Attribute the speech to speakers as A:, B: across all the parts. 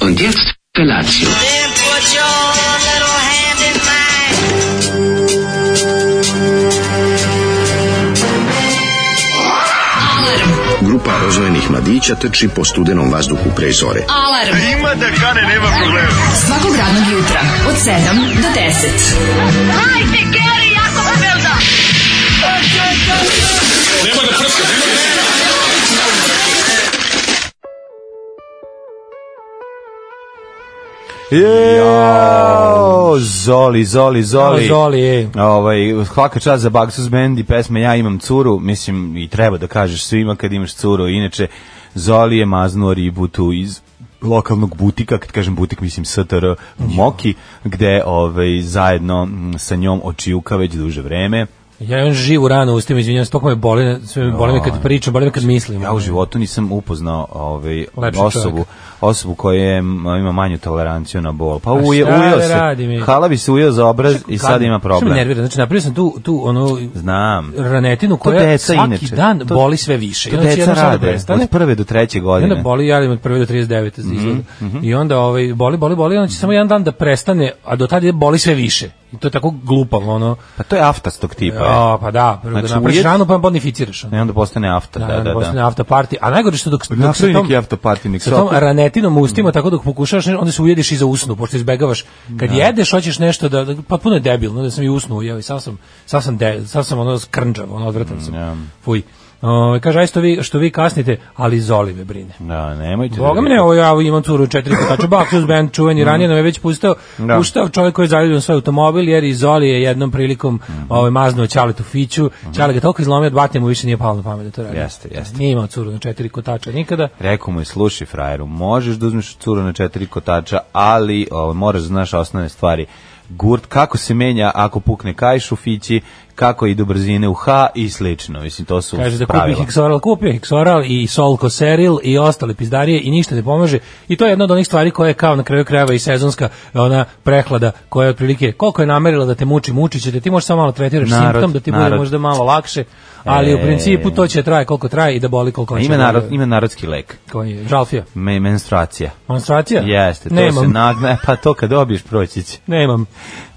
A: Und jetzt Felatio.
B: Then put your little hand in mine.
C: Grupa rozvojenih mladića trči po studenom vazduhu pre zore.
D: Alarm. Ima da kane, nema problema. Svakog radnog jutra, od 7 do 10.
E: Jo, Zoli, Zoli, Zoli.
F: A, Zoli, ej.
E: Ovaj, svaka čast za Baksuz Band i pesme Ja imam curu, mislim i treba da kažeš svima kad imaš curu, inače Zoli je maznuo ribu tu iz lokalnog butika, kad kažem butik mislim STR Moki, gde ovaj, zajedno mm, sa njom očijuka već duže vreme.
F: Ja imam živu ranu u ustima, izvinjam, se, toliko me boli, sve me boli me kad pričam, boli me kad mislim.
E: Ja u životu nisam upoznao ovaj,
F: Lepši
E: osobu,
F: čovjek.
E: osobu koja je, m, ima manju toleranciju na bol. Pa
F: šta
E: uje,
F: da
E: ujeo se,
F: radi mi?
E: halavi se ujeo za obraz i sad
F: Kad-
E: ima
F: Što me
E: problem.
F: nervira, znači napravio sam tu, tu ono,
E: Znam.
F: ranetinu
E: To
F: koja
E: deca
F: svaki
E: inače.
F: dan
E: To-
F: boli sve više. I
E: To
F: onda će
E: deca
F: jednom sada
E: rade,
F: znači, prestane.
E: od prve do treće
F: I onda
E: godine. Mhm,
F: boli, ja imam od 1 do 39 mm I onda ovaj, boli, boli, boli, onda će samo jedan dan da prestane, a do tada boli sve više. I to je tako glupavo, ono.
E: Pa to je aftastog tipa.
F: Ja, pa da, prvo
E: Znači,
F: da napraviš
E: ujed-
F: ranu, pa bonificiraš. ono.
E: Ne, onda postane afta,
F: Da,
E: da, da, da.
F: Postane after party. A najgore što dok, dok se
E: Napravi
F: tom,
E: neki after party, nek
F: sa
E: se Mm.
F: tom
E: opet-
F: ranetinom u ustima, tako dok pokušavaš, ne- onda se ujediš i za usnu, pošto izbegavaš. Kad jedeš, hoćeš nešto da, da pa puno je debilno, da sam i usnu ujeo i sam sam, sam sam, de, sam sam ono skrnđav, ono odvratan
E: Mm,
F: sam. Fuj. O, kaže, aj što vi, što vi kasnite, ali Zoli me brine.
E: Da, nemojte. da
F: Boga mi ne,
E: vidite.
F: ovo ja imam curu četiri kotača, Baksuz band čuveni, ranije nam je već pustao,
E: Mhm. Da.
F: puštao čovjek koji je zaljubljen svoj automobil, jer i Zoli je jednom prilikom
E: Mhm.
F: ovaj, maznuo Ćaletu Fiću, Ćale ga toliko izlomio, dva mu više nije palo na pamet da to radi.
E: Jeste, jeste.
F: Nije imao curu na četiri kotača nikada.
E: Rekao mu je, slušaj frajeru, možeš da uzmeš curu na četiri kotača, ali o, moraš da znaš osnovne stvari. Gurt, kako se menja ako pukne kajš u fići, kako idu brzine u H i slično. Mislim, to su
F: Kaže da kupi
E: pravila.
F: Hexoral, kupi Hexoral i Solko Seril i ostale pizdarije i ništa ne pomaže. I to je jedna od onih stvari koja je kao na kraju krajeva i sezonska ona prehlada koja je otprilike koliko je namerila da te muči, muči će te, ti možeš samo malo tretiraš
E: Narod,
F: simptom da ti bude
E: narod.
F: možda malo lakše, ali u
E: E.
F: principu to će traje koliko traje i da boli koliko hoće.
E: Pa Ima, narod, ima narodski lek.
F: Koji je? Žalfija.
E: Me, menstruacija.
F: Monstracija?
E: Jeste, to
F: Da. Nemam.
E: se nagne, pa to kad dobiješ proći će.
F: Nemam.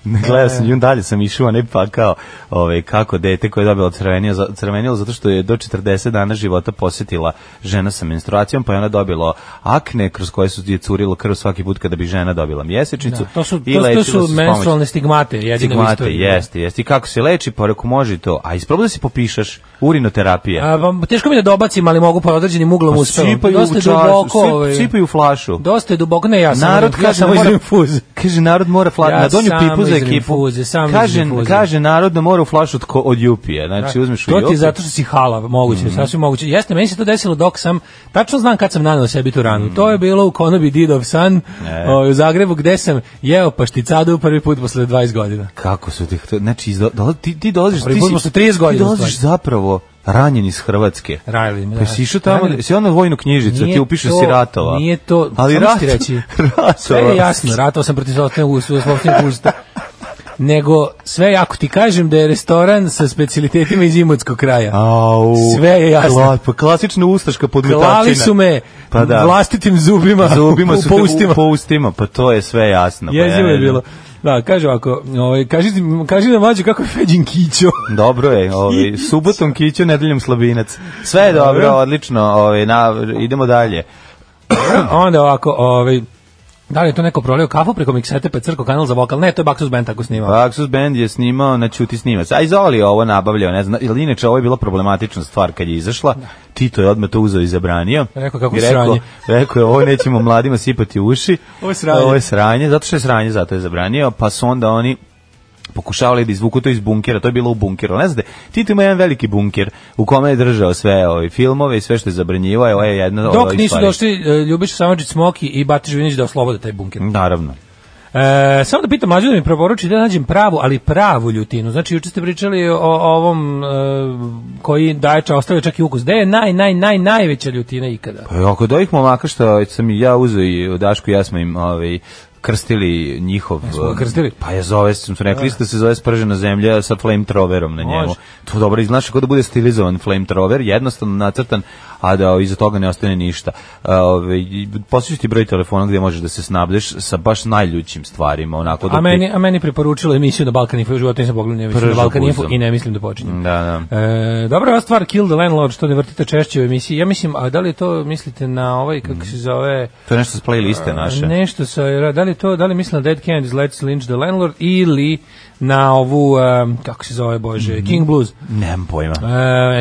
E: Ne,
F: Da,
E: Gledao sam, i dalje sam išao, ne pa kao ovaj, kako dete koje je dobilo crvenilo, za- crvenilo zato što je do 40 dana života posjetila žena sa menstruacijom, pa je ona dobilo akne kroz koje su je curilo krv svaki put kada bi žena dobila mjesečnicu.
F: Da, to su,
E: i
F: to, to
E: lečila se
F: su
E: s pomoću-
F: menstrualne da. stigmate, jedine u
E: Stigmate,
F: istoriji.
E: jeste, jeste. I kako se leči, pa reko može i to. A isprobaj da se popišaš, urinoterapija.
F: A, pa, teško mi je da dobacim, ali mogu pa određenim uglom
E: pa
F: uspevam.
E: sipaju u
F: Dosta je
E: čašu,
F: duboko,
E: sip-
F: ovaj.
E: sipaju u flašu.
F: Dosta je duboko, ne ja sam.
E: Narod
F: ja
E: kaže
F: samo
E: da mora-
F: izvim fuz.
E: Kaže narod mora fla,
F: Ja
E: na donju
F: samo
E: pipu za
F: izrim
E: ekipu.
F: fuze, samo
E: kaže,
F: izrim fuze. Da.
E: kaže narod da mora u flašu od, ko- od jupije. Znači uzmeš u Mhm.
F: to ti
E: jupi.
F: je zato što si hala, moguće, sasvim moguće. Jeste, meni se to desilo dok sam, tačno znam kad sam nanao sebi tu ranu.
E: Mhm.
F: To je bilo u konobi Didov san ovaj, u Zagrebu gde sam jeo pašticadu prvi put posle 20 godina.
E: Kako su ti, hteli- znači izdo, dola- ti, ti dolaziš,
F: Prvi
E: ti
F: put
E: si,
F: posle 30 godina,
E: ti dolaziš
F: stvari.
E: zapravo ranjen iz Hrvatske.
F: Rajli me.
E: Pa si išao tamo, si ono vojnu knjižicu, ti upiše si ratova.
F: Nije to,
E: ali
F: ali
E: rat,
F: ti reći.
E: ratova.
F: Sve je jasno, ratao sam protiv sopstvenog us- sopstvenog usta. Nego sve ako ti kažem da je restoran sa specijalitetima iz Imotskog kraja.
E: Au,
F: Sve je jasno.
E: Kla, pa klasična ustaška podmetačina.
F: Klali su me
E: Pa da.
F: vlastitim zubima,
E: Zubima su
F: u
E: te-
F: poustima.
E: u Poustima, pa to je sve jasno. pa
F: Jezivo
E: ja
F: je
E: ne
F: bilo.
E: znam.
F: Da, kaže ovako, ovaj, kaži, ti- kaži nam mlađe kako je Feđin Kićo.
E: Dobro je, ovaj subotom kiću, nedeljom slabinac. Sve je dobro,
F: Dobro.
E: odlično. Ovaj na idemo dalje.
F: Onda ovako, ovaj, da li je to neko prolio kafu preko miksete pa je crko kanal za vokal? Ne, to je Baksus Band tako snimao.
E: Axus Band je snimao na Ćuti snimac. A Izoli je ovo nabavljao, ne znam, ili inače ovo je bila problematična stvar kad je izašla. Tito je odmah to uzeo i zabranio.
F: Da. Rekao kako
E: I rekao-
F: sranje.
E: Rekao je ovo nećemo mladima sipati u uši.
F: Ovo je sranje.
E: Ovo je sranje, zato što je sranje, zato je zabranio, pa su onda oni pokušavali da izvuku to iz bunkera, to je bilo u bunkeru. Ne znate, Tito ima jedan veliki bunker u kome je držao sve ove filmove i sve što je zabranjivao, ovo je jedna od
F: Dok
E: ovih
F: nisu
E: stvari.
F: došli e, Ljubiša Samadžić Smoki i Bati Živinić da oslobode taj bunker.
E: Naravno.
F: E, samo da pitam mlađu da mi preporuči da nađem pravu, ali pravu ljutinu. Znači, juče ste pričali o, o ovom e, koji daječa ostavio čak i ukus. Gde je naj, naj, naj, najveća ljutina ikada?
E: Pa ako do ovih momaka što sam i ja uzeo i Daško i ja smo im ovaj, krstili njihov...
F: Jesmo ga krstili?
E: Pa je zove, smo rekli da se zove spržena zemlja sa flamethrowerom na njemu.
F: Može.
E: To dobro izgledaš kako da bude stilizovan flamethrower, jednostavno nacrtan, a da iza toga ne ostane ništa. Ove, Posliš ti broj telefona gdje možeš da se snabdeš sa baš najljućim stvarima, onako da
F: A
E: ti-
F: meni, a meni preporučila emisiju na Balkan Info, u životu nisam pogledao ni emisiju na
E: Pržu
F: Balkan Info
E: buzom.
F: i ne mislim da počinjem.
E: Da, da.
F: E, dobra je ova stvar Kill the Landlord, što ne vrtite češće u emisiji. Ja mislim, a da li to mislite na ovaj, kako se zove...
E: To je nešto s playliste Mm. naše.
F: Nešto sa, da li to, da li mislim na Dead Kennedys, Let's Lynch the Landlord ili na ovu, em, kako se zove, bože,
E: Mhm.
F: King Blues.
E: Nemam pojma.
F: E,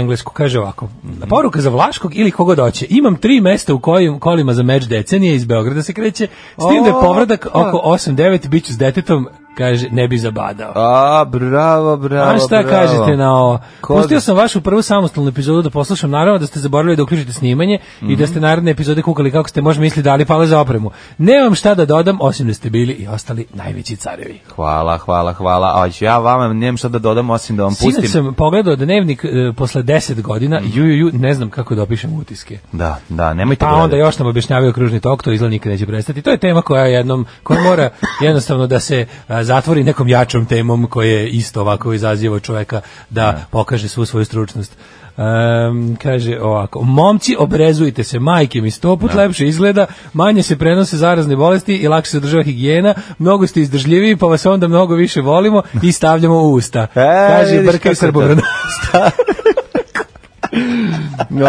F: englesko kaže ovako.
E: Mhm.
F: Poruka za Vlaškog ili koga doće. Imam tri mesta u kojim kolima za meč decenije iz Beograda se kreće, s tim da je
E: O,
F: povradak
E: pa.
F: oko 8-9, bit ću s detetom, kaže, ne bi zabadao.
E: A, bravo, bravo,
F: A šta
E: bravo.
F: kažete na ovo?
E: Ko
F: Pustio
E: da-
F: sam vašu prvu samostalnu epizodu da poslušam, naravno da ste zaboravili da uključite snimanje i
E: Mhm.
F: da ste naredne epizode kukali kako ste možda mislili da li pale za opremu. Nemam šta da dodam, osim da ste bili i ostali najveći carevi.
E: Hvala, hvala, hvala. A ću ja vama nemam šta da dodam osim da vam pustim. Mhm.
F: Sinoć sam pogledao dnevnik e, posle 10 godina, ju, ju, ju, ne znam kako da opišem utiske.
E: Da, da, nemojte
F: Pa
E: gledati.
F: onda još nam objašnjavaju kružni tok, to izgleda nikad neće prestati. To je tema koja jednom, koja mora jednostavno da se a, zatvori nekom jačom temom koja je isto ovako izaziva čoveka da pokaže svu svoju stručnost. Ehm, kaže ovako, momci obrezujte se, majke mi sto put lepše izgleda, manje se prenose zarazne bolesti i lakše se održava higijena, mnogo ste izdržljiviji pa vas onda mnogo više volimo i stavljamo u usta.
E: E,
F: kaže
E: vidiš kako
F: Brka
E: je to.
F: Srbobran.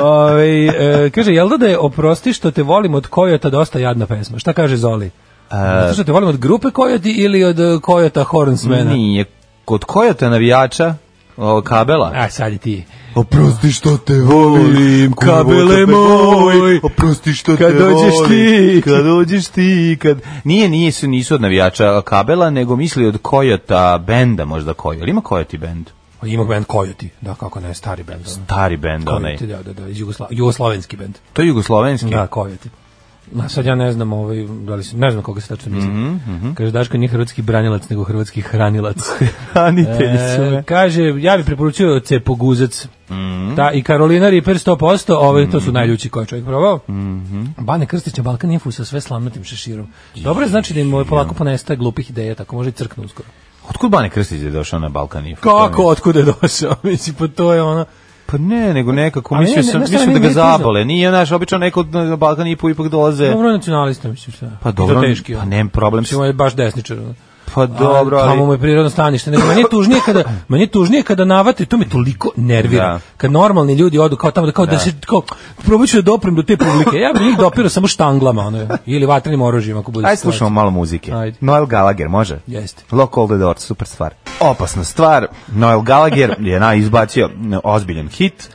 F: Ove, e, kaže, jel da da je oprosti što te volim od Kojota dosta jadna pesma? Šta kaže Zoli? Zato što te volim od grupe Kojoti ili od e, Kojota Hornsmana?
E: Nije. Kod koja te navijača? O, kabela?
F: A E, sad i ti.
E: Oprosti što te volim,
F: kabele moj.
E: Oprosti što
F: Kad dođeš ti.
E: Kad dođeš ti. Kad... Nije, nije, su, nisu od navijača kabela, nego misli od Kojota benda možda Kojot. Jel Ima Kojoti bend?
F: Pa Ima band Kojoti, da kako ne, stari band. ono.
E: Tari bend onaj.
F: Coyote, da, da, da, iz Jugosla- jugoslovenski band.
E: To je jugoslovenski.
F: Da, Kojoti. A sad ja ne znam, ovaj, da li, se- ne znam koga se tačno misli. Kaže, Daško nije hrvatski branilac, nego hrvatski hranilac.
E: Hranitelji su
F: E,
E: me.
F: kaže, ja bih preporučio da Cepoguzac. Ta, Da, I Karolina Reaper 100%, ove, to su najljući koje je čovjek probao. Bane Krstić na Balkan Infu sa sve slamnatim šeširom. Dobro je znači da im ovaj polako ponestaje glupih ideja, tako može i crknu uskoro.
E: Otkud Bane Krstić je došao na Balkan Info?
F: Kako, otkud je došao? Mislim, pa to je ono...
E: Pa ne, nego nekako,
F: Ali
E: mislio
F: ne, ne,
E: sam,
F: znaš šta,
E: mislio da
F: meni
E: ga
F: nije tužno.
E: zabole. Nije, znaš, obično neko na Balkan Info ipak dolaze.
F: Dobro je nacionalista, mislim, šta?
E: Pa dobro,
F: I to teški,
E: pa
F: ono.
E: nemam problem.
F: Mislim, on je baš desničar. ono.
E: Pa dobro,
F: ali...
E: ali...
F: Tamo mu je prirodno stanište. Nego, meni je tužnije kada, meni je tužnije kada navate, to me toliko nervira.
E: Da.
F: Kad normalni ljudi odu kao tamo, da kao da, se, kao, probat ću da doprem do te publike. Ja bih njih dopirao samo štanglama, ono, ili vatrenim oružjima, ako bude
E: Ajde
F: situacija.
E: slušamo malo muzike.
F: Ajde.
E: Noel Gallagher, može?
F: Jeste.
E: Lock all the doors, super stvar. Opasna stvar, Noel Gallagher je na izbacio ozbiljan hit.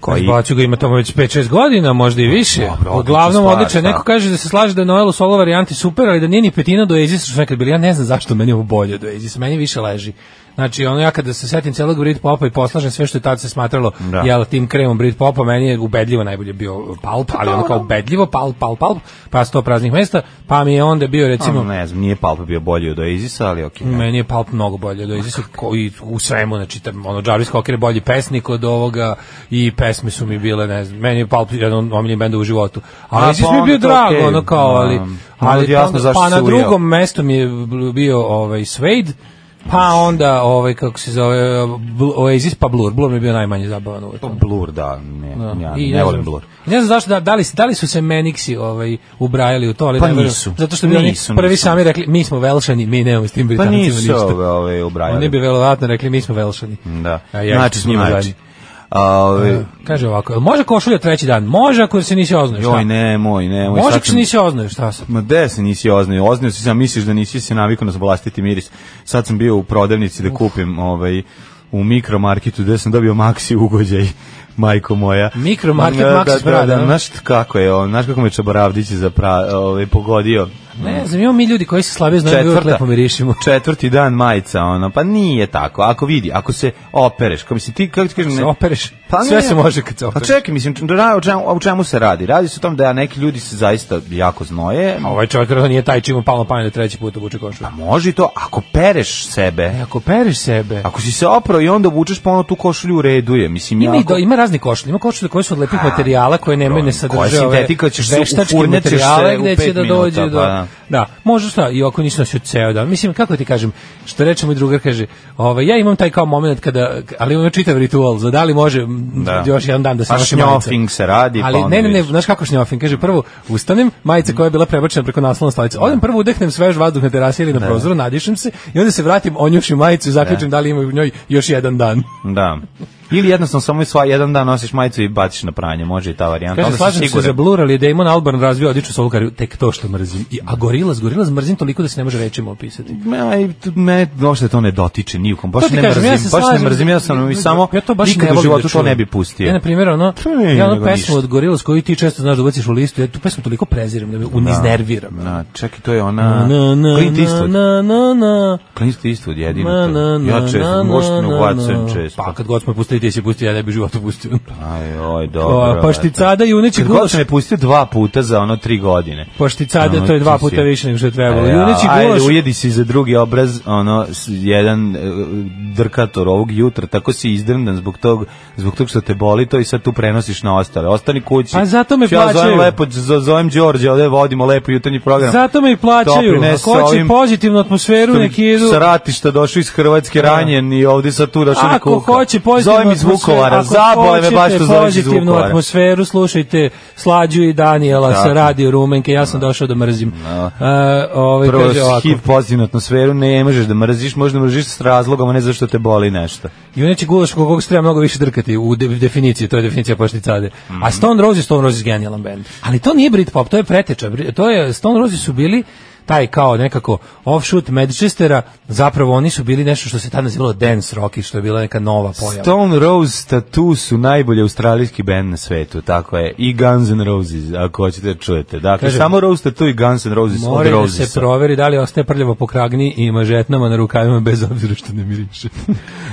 E: Koji...
F: Izbacio ga ima tamo već 5-6 godina, možda i više.
E: Dobro, odlična
F: Uglavnom
E: stvar,
F: odličan.
E: da.
F: Neko kaže da se slaže da je Noelu solo varijanti super, ali da nije ni petina do Oasis što su nekad bili. Ja ne znam zašto meni je ovo bolje od Oasis, meni više leži. Znači, ono ja kada se setim celog Britpopa i poslažem sve što je tad se smatralo
E: Da.
F: jel, tim kremom Britpopa, meni je ubedljivo najbolje bio Palp, ali ono kao ubedljivo Palp, Palp, Palp, pa sto praznih mesta, pa mi je onda bio recimo...
E: Ono, ne znam, nije Palpa bio bolji od Oasisa, ali okej. ne.
F: Meni je Palp mnogo bolje od Oasisa koji u svemu, znači tam, ono Jarvis Cocker je bolji pesnik od ovoga i pesme su mi bile, ne znam, meni je Palp jedan od omiljenih benda u životu.
E: A,
F: Ali Oasis
E: pa
F: mi je
E: onda
F: bio
E: to
F: drago,
E: okej,
F: ono kao,
E: da.
F: ali,
E: Onda
F: ali
E: je jasno
F: pa onda-
E: zašto
F: pa
E: se
F: na
E: ujeo.
F: drugom mestu mi je bio ovaj Suede, pa onda ovaj kako se zove Bl- Oasis pa Blur, Blur mi je bio najmanje zabavan uvek.
E: Blur, da, ne, ja
F: I
E: ne volim
F: znam-
E: Blur. Pa
F: Ne znam zašto, da, da, li, da li su se Meniksi ovaj, ubrajali u to, ali
E: Pa
F: ne verujem.
E: nisu.
F: Zato što bi oni
E: Nisu,
F: prvi
E: nisu.
F: sami rekli, mi smo Velšani, mi nemamo s tim
E: Pa
F: Britancima
E: nisu
F: ništa.
E: ove, ove ubrajali.
F: Oni bi verovatno rekli mi smo Velšani.
E: Da,
F: A ja
E: znači
F: ću s
E: smo
F: njima
E: znači.
F: zajedno.
E: A, ove,
F: Kaže ovako, jel može košulja treći dan? Može ako se nisi oznojio.
E: joj,
F: Joj, ne.
E: nemoj, nemoj.
F: Može
E: sad
F: ako se
E: sam-
F: nisi oznojio, šta sad?
E: Ma de se nisi oznio, oznio si sam misliš da nisi se navikao na vlastiti miris. Sad sam bio u prodavnici da kupim ovaj u mikromarketu gde sam dobio maxi ugođaj. Majko moja.
F: Mikromarket
E: Da,
F: maxi
E: da,
F: sprada,
E: Da, da,
F: no?
E: znaš kako je on, znaš kako me Čaboravdić zapra, ovaj, pogodio.
F: Ne znam, imamo mi ljudi koji se slabije znaju, uvek lepo mirišimo.
E: četvrti dan majica, ono, pa nije tako. Ako vidi, ako se opereš, kao mislim ti, kako ti kažem,
F: Se
E: ne-
F: opereš.
E: pa
F: Sve
E: ne.
F: se može kad se
E: Pa
F: opereš.
E: čekaj, mislim, čem- o čemu, o čemu se radi? Radi se o tom da neki ljudi se zaista jako znoje,
F: A Ovaj čovjek vjerojatno nije taj čim mu palno pamet da treći put obuče košulju.
E: A može i to ako pereš sebe.
F: E, ako pereš sebe,
E: Ako si se oprao i onda obučeš ponovno tu košulju u redu je. Mislim,
F: Ima, i
E: jako-
F: do, ima razni košulje, ima košulje koje su od lepih
E: Ha,
F: materijala koje nemaju
E: dobro,
F: ne
E: koja
F: sadrže ove
E: sintetika ćeš se
F: veštačke
E: ufurnjaćeš se
F: materijale
E: u
F: gde
E: pet
F: će da
E: minuta,
F: dođe
E: pa
F: do
E: da. Da.
F: Da, može šta, i ako nisi nosio ceo dan. Mislim, kako ti kažem, što reče moj drugar, kaže, ovaj, ja imam taj kao moment kada, ali imam čitav ritual, za da li može m,
E: Da.
F: još jedan dan da se
E: A
F: nosi majica.
E: šnjofing se radi, pa
F: ali,
E: onda
F: ne, ne, ne,
E: vidiš.
F: znaš kako šnjofing, kaže, prvo ustanem, majica koja je bila prebačena preko naslovne stolice,
E: Da.
F: odem prvo udehnem svež vazduh na terasi ili na prozoru, nadišem se i onda se vratim, onjušim majicu i zaključim da li ima u njoj još jedan dan.
E: Da. Ili jednostavno samo sva jedan dan nosiš majicu i baciš na pranje, može i ta varijanta.
F: Kaže,
E: si
F: slažem se
E: siguran.
F: za Blur, ali je Damon Albarn razvio odličnu solo karijeru, tek to što mrzim. I, a Gorillaz, Gorillaz mrzim toliko da se ne može rečima opisati.
E: Ma, i t- me, uopšte to ne dotiče ni u kom. Baš
F: To ti
E: ne
F: kažem,
E: mrzim,
F: ja se
E: baš ne
F: slažem.
E: mrzim, ja sam i samo
F: ja to baš
E: nikad
F: ne
E: u
F: volim
E: životu
F: da
E: to
F: čujem.
E: ne bi pustio.
F: Ja, na primjer, ono,
E: Ne,
F: ja ono
E: nego
F: pesmu
E: ništa.
F: od Gorillaz koju ti često znaš da ubaciš u listu, ja tu pesmu toliko preziram da me uniznerviram.
E: Na, čekaj, to je ona...
F: Na, na,
E: Da. Clint Eastwood.
F: na, na, na.
E: Clint Eastwood jedino
F: Na, na,
E: to.
F: na,
E: Ja često,
F: na,
E: možete
F: na,
E: ne
F: na,
E: ubacujem
F: na.
E: često.
F: Pa kad god smo pustili, ti si pustio, ja ne bi u životu pustio.
E: Aj, oj, dobro.
F: O, pa šticada i uneći
E: Kad god
F: gulaš.
E: sam je pustio dva puta za ono tri godine.
F: Pašticada, to je dva
E: Ono, ti si-
F: puta više nego što je trebalo.
E: E,
F: I uneći
E: ajde,
F: gulaš.
E: ujedi si za drugi obraz, ono, s- jedan e, drkator ovog jutra, tako si izdrndan zbog tog, zbog tog što te boli to i sad tu prenosiš na ostale. Ostani kući.
F: Pa zato me
E: Ću ja zovem
F: plaćaju.
E: lepo, zo- zovem Đorđe, ovde vodimo lepo jutarnji program.
F: Zato me i plaćaju.
E: Doprines
F: Ako hoće
E: Da. ovim-
F: pozitivnu atmosferu, nek idu.
E: Sa ratišta došao iz Hrvatske ranjen i ovdje sad tu došao da
F: Da. Ako
E: kuka.
F: hoće pozitivnu
E: Zovem iz
F: atmosferu,
E: Vukovara,
F: ako
E: zabole me baš što
F: hoćete
E: zoveš iz
F: pozitivnu
E: Vukovara.
F: atmosferu, slušajte Slađu i Daniela
E: Tako.
F: sa Radio Rumenke, ja sam došao da mrzim. A, ovaj,
E: Prvo,
F: kaže ovako,
E: HIV pozitivnu atmosferu ne možeš da mrziš, možda mrziš s razlogom, a ne zato što te boli nešto.
F: Juneći znači gulaš kog kog se treba mnogo više drkati u de, definiciji, to je definicija pašticade.
E: Mhm.
F: A Stone Roses, Stone Roses genijalan band. Ali to nije Britpop, to je preteča. Bri- To je, Stone Roses su bili taj kao nekako offshoot Manchestera, zapravo oni su bili nešto što se tada nazivalo dance rock i što je bila neka nova pojava.
E: Stone Rose Tattoo su najbolji australijski band na svetu, tako je. I Guns N' Roses, ako hoćete da čujete. Dakle,
F: Kažem,
E: samo Rose Tattoo i Guns N' Roses od
F: Mora da se
E: Rosesa.
F: proveri da li ostaje prljavo po kragni i mažetnama na rukavima bez obzira što ne miriše.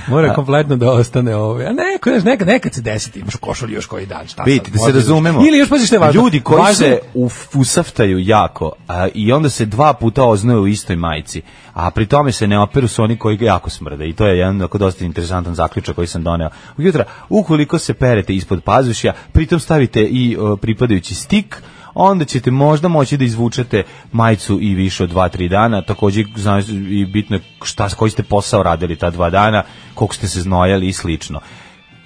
F: Mora kompletno da ostane ovo. A neko, znaš, nekad, nekad se desiti, imaš košulju još koji dan, šta
E: Vidite,
F: sad,
E: da se
F: možda-
E: razumemo.
F: Ili još pazi što je važno.
E: Ljudi koji
F: važno,
E: se uf, usaftaju jako a, i onda se dva puta oznoju u istoj majici, a pri tome se ne operu su oni koji jako smrde i to je jedan ako dosta interesantan zaključak koji sam doneo. Jutra, ukoliko se perete ispod pazušja, pritom stavite i e, pripadajući stik, onda ćete možda moći da izvučete majicu i više od 2-3 dana. Takođe, znaš, i bitno je šta, koji ste posao radili ta dva dana, koliko ste se znojali i slično.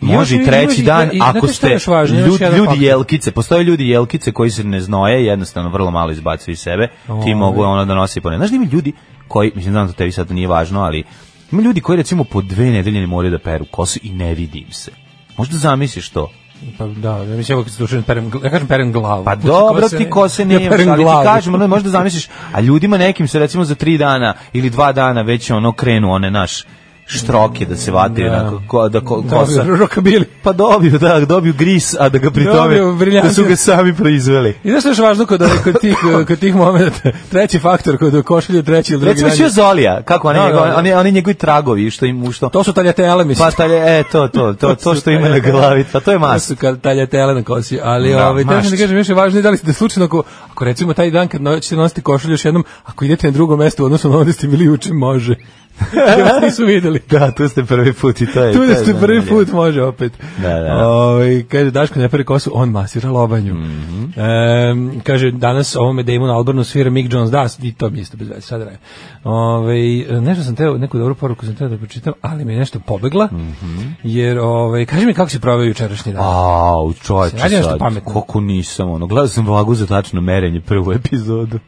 F: Još
E: Može i
F: ima-
E: treći
F: ima-
E: dan,
F: i- i
E: ako
F: znate šta
E: ste
F: je još važno? Još
E: ljud-
F: jedan
E: ljudi
F: faktor.
E: jelkice, postoje ljudi jelkice koji se ne znoje, jednostavno vrlo malo izbacuju iz sebe, ti
F: Ovaj.
E: mogu ono da nosi po ne. Znaš da ima ljudi koji, mislim, znam da tebi sad nije važno, ali ima ljudi koji recimo po dve nedelje ne moraju da peru kosu i ne vidim se. Možda zamisliš to.
F: Pa da, ja mislim, ako se dušim, perem, gl- ja kažem perem glavu.
E: Pa
F: Pusti
E: dobro, ti kose ne
F: ja
E: imaš,
F: perem
E: ali ti
F: glavu.
E: kažem, ono, možda zamisliš, a ljudima nekim se recimo za tri dana ili dva dana već ono krenu one naš štroke da se vate,
F: Da.
E: onako, ko- da ko-
F: Da,
E: kosa.
F: Rockabilly.
E: Pa dobiju, da, dobiju gris, a da ga pri tome,
F: Dobiju
E: da
F: briljante.
E: su ga sami proizveli.
F: I znaš što je još važno kod, ovih- kod tih, kod tih momenta? Treći faktor, kod košulje, treći ili drugi.
E: Recimo
F: dan
E: što
F: je-
E: Zolija, kako oni,
F: Da,
E: njegov,
F: da.
E: oni, oni njegovi tragovi što im u što
F: To su taljatele, mislim.
E: pa talje, e to to to to
F: su
E: što ima na
F: taljatele.
E: glavi, pa to je
F: To
E: mast.
F: su kad taljatele na kosi, ali
E: Da,
F: ovaj
E: mašt.
F: da ne kažem još je važno je da li ste slučajno ako, ako recimo taj dan kad noćete nositi košulju još jednom, ako idete na drugo mesto odnosno na ono gde ste bili juče može. Ja vas nisu videli.
E: Da, tu ste prvi put i to je. to
F: Tu
E: je
F: da ste prvi
E: zanimljivo.
F: put može opet.
E: E, Da, da.
F: Ovaj, kaže Daško ne pere kosu, on masira lobanju.
E: Mhm.
F: Em, kaže danas ovome Damon Albarnu svira Mick Jones, da, i to mi je isto bez veze, sad radim. Ovaj nešto sam teo, neku dobru poruku sam teo da pročitam, ali mi je nešto pobegla.
E: Mhm.
F: Jer ovaj kaži mi kako si proveo jučerašnji dan.
E: Au, čoveče,
F: Se radi nešto
E: sad,
F: pametno?
E: kako nisam, ono, gledao sam vagu za tačno merenje prvu epizodu.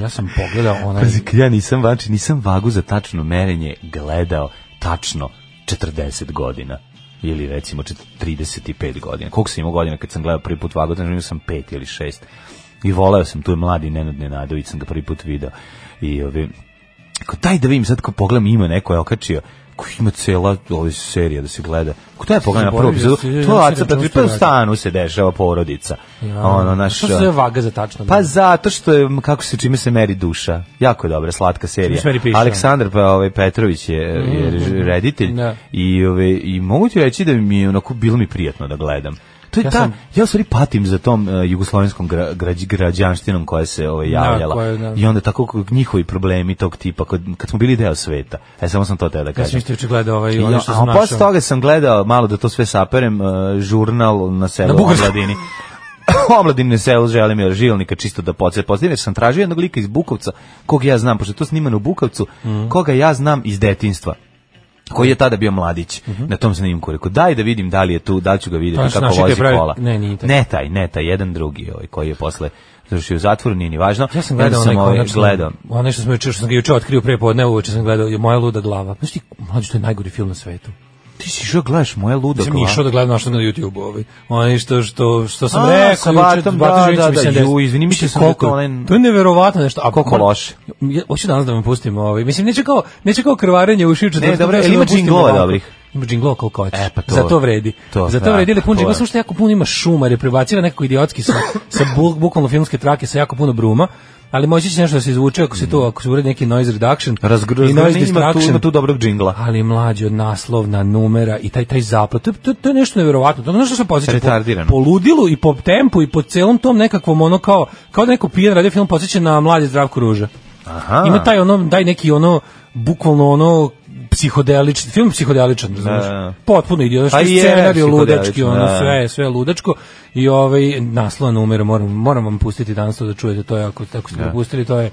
F: Ja sam pogledao onaj
E: Pazi, kad ja nisam, znači, nisam vagu za tačno merenje gledao tačno 40 godina ili recimo čet- 35 godina. Koliko sam imao godina kad sam gledao prvi put vagu, znači imao sam 5 ili 6. I voleo sam, tu je mladi Nenad Nenadović, sam ga prvi put video. I ovi, Ko taj da vidim sad ko pogledam ima neko je okačio koji ima cela ova serija da se gleda. Ko taj pogleda na prvu
F: Zaboravio
E: epizodu,
F: si, ja
E: to
F: sam
E: Aca
F: da se
E: Petrović,
F: čuo
E: pa u
F: što radi.
E: stanu se dešava porodica. Ono, naš,
F: Što se zove vaga za tačno?
E: pa zato što je m, kako se čime se meri duša. Jako je dobra slatka serija.
F: se meri piša.
E: Aleksandar pa ovaj Petrović je, je rež- reditelj
F: Da.
E: i ovaj i mogu ti reći da mi je onako bilo mi prijatno da gledam. To je
F: Ja
E: ta,
F: sam-
E: ja u stvari patim za tom eh, jugoslovenskom gra, građ- građanštinom koja se ovaj, javljala.
F: koja je, da.
E: I onda tako k- njihovi problemi tog tipa, kad, kad smo bili deo sveta. E, samo sam to teo da
F: Ja sam
E: kažem.
F: isto juče gledao ovaj,
E: Ja,
F: ono što
E: a pa
F: sam
E: posle
F: našao.
E: toga sam gledao, malo da to sve saperem, eh, e, žurnal na selu
F: Na
E: na
F: bugarskom.
E: Omladini. omladine selo Želimira Žilnika čisto da podsjetim. Podsjetim jer sam tražio jednog lika iz Bukovca, kog ja znam, pošto je to snimano u Bukovcu,
F: Mhm.
E: koga ja znam iz detinstva koji je tada bio mladić na tom snimku rekao daj da vidim da li je tu da li ću ga vidjeti
F: Pa, Mhm. znaš,
E: kako
F: naši
E: vozi
F: te pravi-
E: kola
F: ne, nije taj.
E: ne taj ne taj jedan drugi ovaj koji je posle završio u zatvoru nije ni važno
F: Ja sam
E: Onda
F: gledao onaj
E: ovaj,
F: konačno,
E: gledao
F: Onaj što sam juče što sam ga juče otkrio pre podne, uveče sam gledao je moja luda glava. Znaš ti, mlađi, to je najgori film na svetu.
E: ti si išao da gledaš moje ludo
F: Sam išao da gledam našao na YouTube ovaj. Onaj što što što sam
E: A,
F: rekao
E: sa
F: juče,
E: Batom,
F: Bata
E: da,
F: Živković
E: da,
F: mi
E: da,
F: se ne desi.
E: ju, izvini, mislio sam da je to
F: koliko-
E: onaj-
F: To je neverovatno nešto. A
E: Koliko
F: moram-
E: loše.
F: Ja, hoću danas da me pustimo ovaj. Mislim neće kao neće kao krvarenje u šiče.
E: Ne, dobro, jel ima džinglova dobrih?
F: Ima džinglova koliko hoćeš.
E: E, pa to-
F: Za to vredi.
E: to,
F: Za to
E: da,
F: vredi, ali puno
E: to
F: džingla,
E: je.
F: samo što jako puno ima šuma, jer je prebacila nekako idiotski sa, sa bu- bukvalno filmske trake, sa jako puno bruma. Ali moći će nešto da se izvuče ako se to, ako se uredi neki noise reduction i noise
E: ima tu,
F: distraction
E: ima tu dobrog džingla
F: ali mlađi od naslovna numera i taj taj zaplet to, to, to je nešto neverovatno to je nešto što se podseća
E: Retardirano.
F: po, po ludilu i po tempu i po celom tom nekakvom ono kao kao da neko pijan radio film podseća na mladi Zdravko Ruža
E: Aha.
F: ima taj ono taj neki ono bukvalno ono psihodelični film psihodeličan znaš
E: Da, da.
F: potpuno idiotski
E: Pa je,
F: scenarij ludački
E: psihodelično,
F: ono
E: da.
F: sve sve ludačko i ovaj naslov numera moram moram vam pustiti danas to da čujete to je ako tako ste propustili to je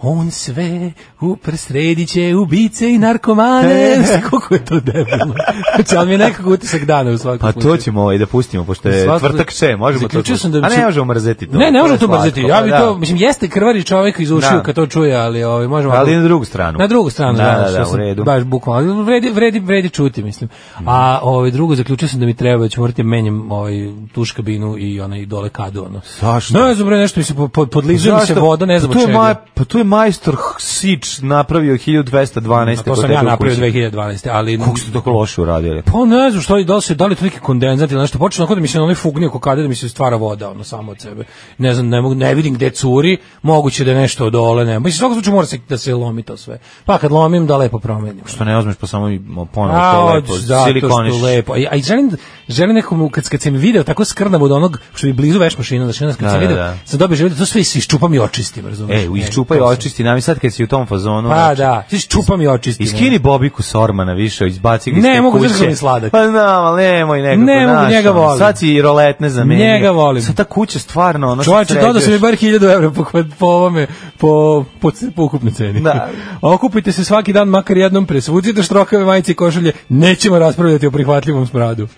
F: on sve uprsredit će ubice i
E: E.
F: narkomane. Koliko je to debilno. Znači, ali mi je nekako utisak dana u svakom
E: Pa
F: slučaju.
E: to ćemo ovaj da pustimo, pošto je
F: Svakako-
E: tvrtak če, možemo to
F: Zaključio sam
E: pustiti.
F: da
E: A
F: ću-
E: ne možemo mrzeti to.
F: Ne, ne
E: To je
F: možemo to
E: slatko,
F: mrzeti. Ja
E: pa
F: bi
E: da.
F: to, mislim, jeste krvari čovjek iz ušiju
E: Da.
F: kad to čuje, ali ovaj, možemo...
E: Ali na drugu stranu.
F: Na drugu stranu,
E: Da,
F: da,
E: da,
F: što
E: da, u
F: sam
E: redu.
F: Baš bukvalno, ali vredi, vredi, vredi čuti, mislim. A ovaj, drugo, zaključio sam da mi treba, da ću morati da menjam ovaj, tuš kabinu i onaj dole kadu, ono.
E: Zašto?
F: Ne znam, bre, nešto mi se po- po- podlizuje mi da se
E: Zašto?
F: voda, ne
E: Pa
F: znam
E: tu
F: od
E: je
F: čega.
E: maj- Pa tu je majstor H- Sič napravio 1212.
F: A to sam ja napravio 2012. Ali,
E: Kako ste tako loše uradili?
F: Pa ne znam što, da li, se, da li je to neki kondenzat ili nešto, počne onako da mi se na onaj fugni oko kade da mi se stvara voda, ono, samo od sebe. Ne znam, ne, mogu, ne vidim gde curi, moguće da je nešto dole, ne. Mislim, u svakom slučaju mora se, da se lomi to sve. Pa kad lomim, da lepo promenim.
E: Što ne uzmeš pa samo i ponovo
F: A,
E: to
F: od-
E: lepo,
F: zato
E: silikoniš.
F: što lepo. A, i- a i želim, želim nekom, kad, kad sam video tako skrnav od onog, što je blizu veš mašina, znači, znaš, kad
E: Da,
F: sam
E: da,
F: video,
E: da.
F: sam dobio želje, da to sve is- iščupam i očistim, razumiješ?
E: E, iščupaj očisti, nam i sad kad si u tom fazonu.
F: Pa
E: znači,
F: da, iščupam i očistim.
E: Iskini Bobiku Sormana više, izbaci ga iz
F: Ne,
E: te
F: mogu,
E: kuće.
F: znaš kako mi je sladak.
E: Pa znam, ali nemoj nekako.
F: Ne mogu,
E: znaš,
F: njega
E: ono,
F: volim.
E: Sad si i roletne zamenio.
F: Njega volim.
E: Sad ta kuća stvarno, ono
F: Čovječe, dodao sam mi
E: sređuješ.
F: bar 1000 evra po, kvad- po ovome, po, po, c- po ukupnoj ceni.
E: Da.
F: Okupite se svaki dan makar jednom, presvucite štrokave, majice i košulje, nećemo raspravljati o prihvatljivom smradu.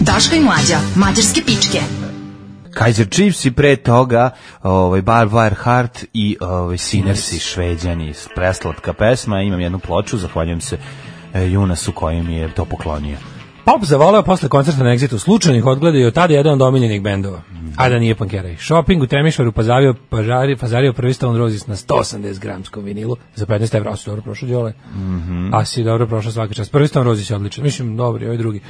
D: Daška i mlađa, mađarske pičke.
E: Kaiser Chiefs i pre toga ovaj Barbar Hart i ovaj Sinersi Šveđani preslatka pesma imam jednu ploču zahvaljujem se e, Junasu koji mi je to poklonio
F: Pop zavoleo posle koncerta na Exitu slučajnih odgleda i od tada jedan od omiljenih bendova. A da nije Pankeraj. Shopping u Temišvaru pazavio, pažari, pazario prvi Stone Roses na 180 gramskom vinilu za 15 evra. A si dobro prošao, Đole? A si dobro prošao svaki čas. Prvi Stone Roses je odličan. Mislim, dobri, ovaj drugi.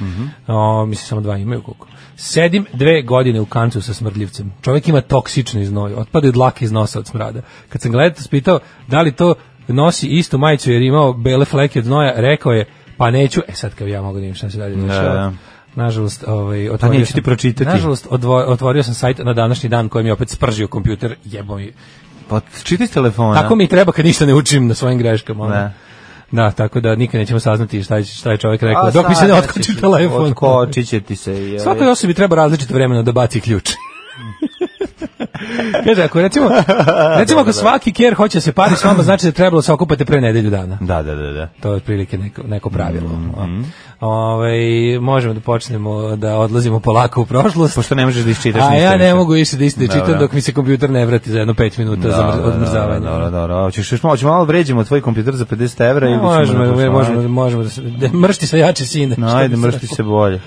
F: o, mislim, samo dva imaju koliko. Sedim dve godine u kancu sa smrdljivcem. Čovjek ima toksični znoj. Otpadaju dlake iz nosa od smrada. Kad sam gledao, spitao da li to nosi istu majicu jer je imao bele fleke od znoja, rekao je pa neću, e sad kao ja mogu da im šta se dalje dešava.
E: da.
F: Nažalost, ovaj, otvorio
E: neću
F: sam-
E: ti pročitati.
F: Nažalost, odvo- otvorio sam sajt na današnji dan koji mi je opet spržio kompjuter, jebo mi.
E: pa čitaj s telefona
F: Tako mi i treba kad ništa ne učim na svojim greškama. ono.
E: Da.
F: Da, tako da nikad nećemo saznati šta je, šta je čovjek rekao.
E: A,
F: dok mi se ne
E: sad
F: otkoči
E: ćeš-
F: telefon.
E: otkočit će ti se i, ovaj,
F: Svakoj osobi treba različito vremena da baci ključ. Kaže, ako recimo, recimo ako svaki kjer hoće da se pari s vama, znači da je trebalo se okupati pre nedelju dana.
E: da da da da
F: To je otprilike neko, neko pravilo.
E: Mhm.
F: Ovaj, možemo da počnemo da odlazimo polako u prošlost.
E: pošto ne možeš da isčitaš
F: A
E: ništa
F: ja ne
E: više.
F: mogu više da isti da čitam
E: Dobro.
F: dok mi se kompjuter ne vrati za jedno 5 minuta
E: Da,
F: za
E: da,
F: mr-
E: da,
F: odmrzavanje.
E: da, da, da, da. Hoćeš još malo, hoćemo malo vređamo tvoj kompjuter za 50 evra ili ćemo
F: Možemo,
E: da
F: možemo,
E: posmažemo?
F: možemo, možemo da se, da mršti sa jače sine.
E: No,
F: Šta bi
E: ajde,
F: se
E: mršti
F: reklo?
E: se bolje.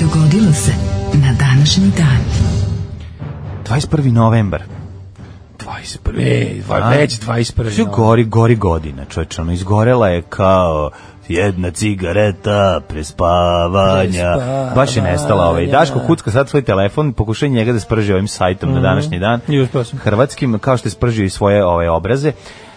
D: Dogodilo se na današnji dan.
E: 21. novembar.
F: 21. Ej, dva-
E: A?
F: već 21.
E: Sve gori, gori godina, čovječe, ono, izgorela je kao jedna cigareta prespavanja.
F: Prespavanja.
E: Baš je nestala ovaj. Daško Kucka sad svoj telefon, pokušaj njega da sprži ovim sajtom na današnji dan.
F: Mhm. I uspeo sam.
E: Hrvatskim, kao što je spržio i svoje ove obraze.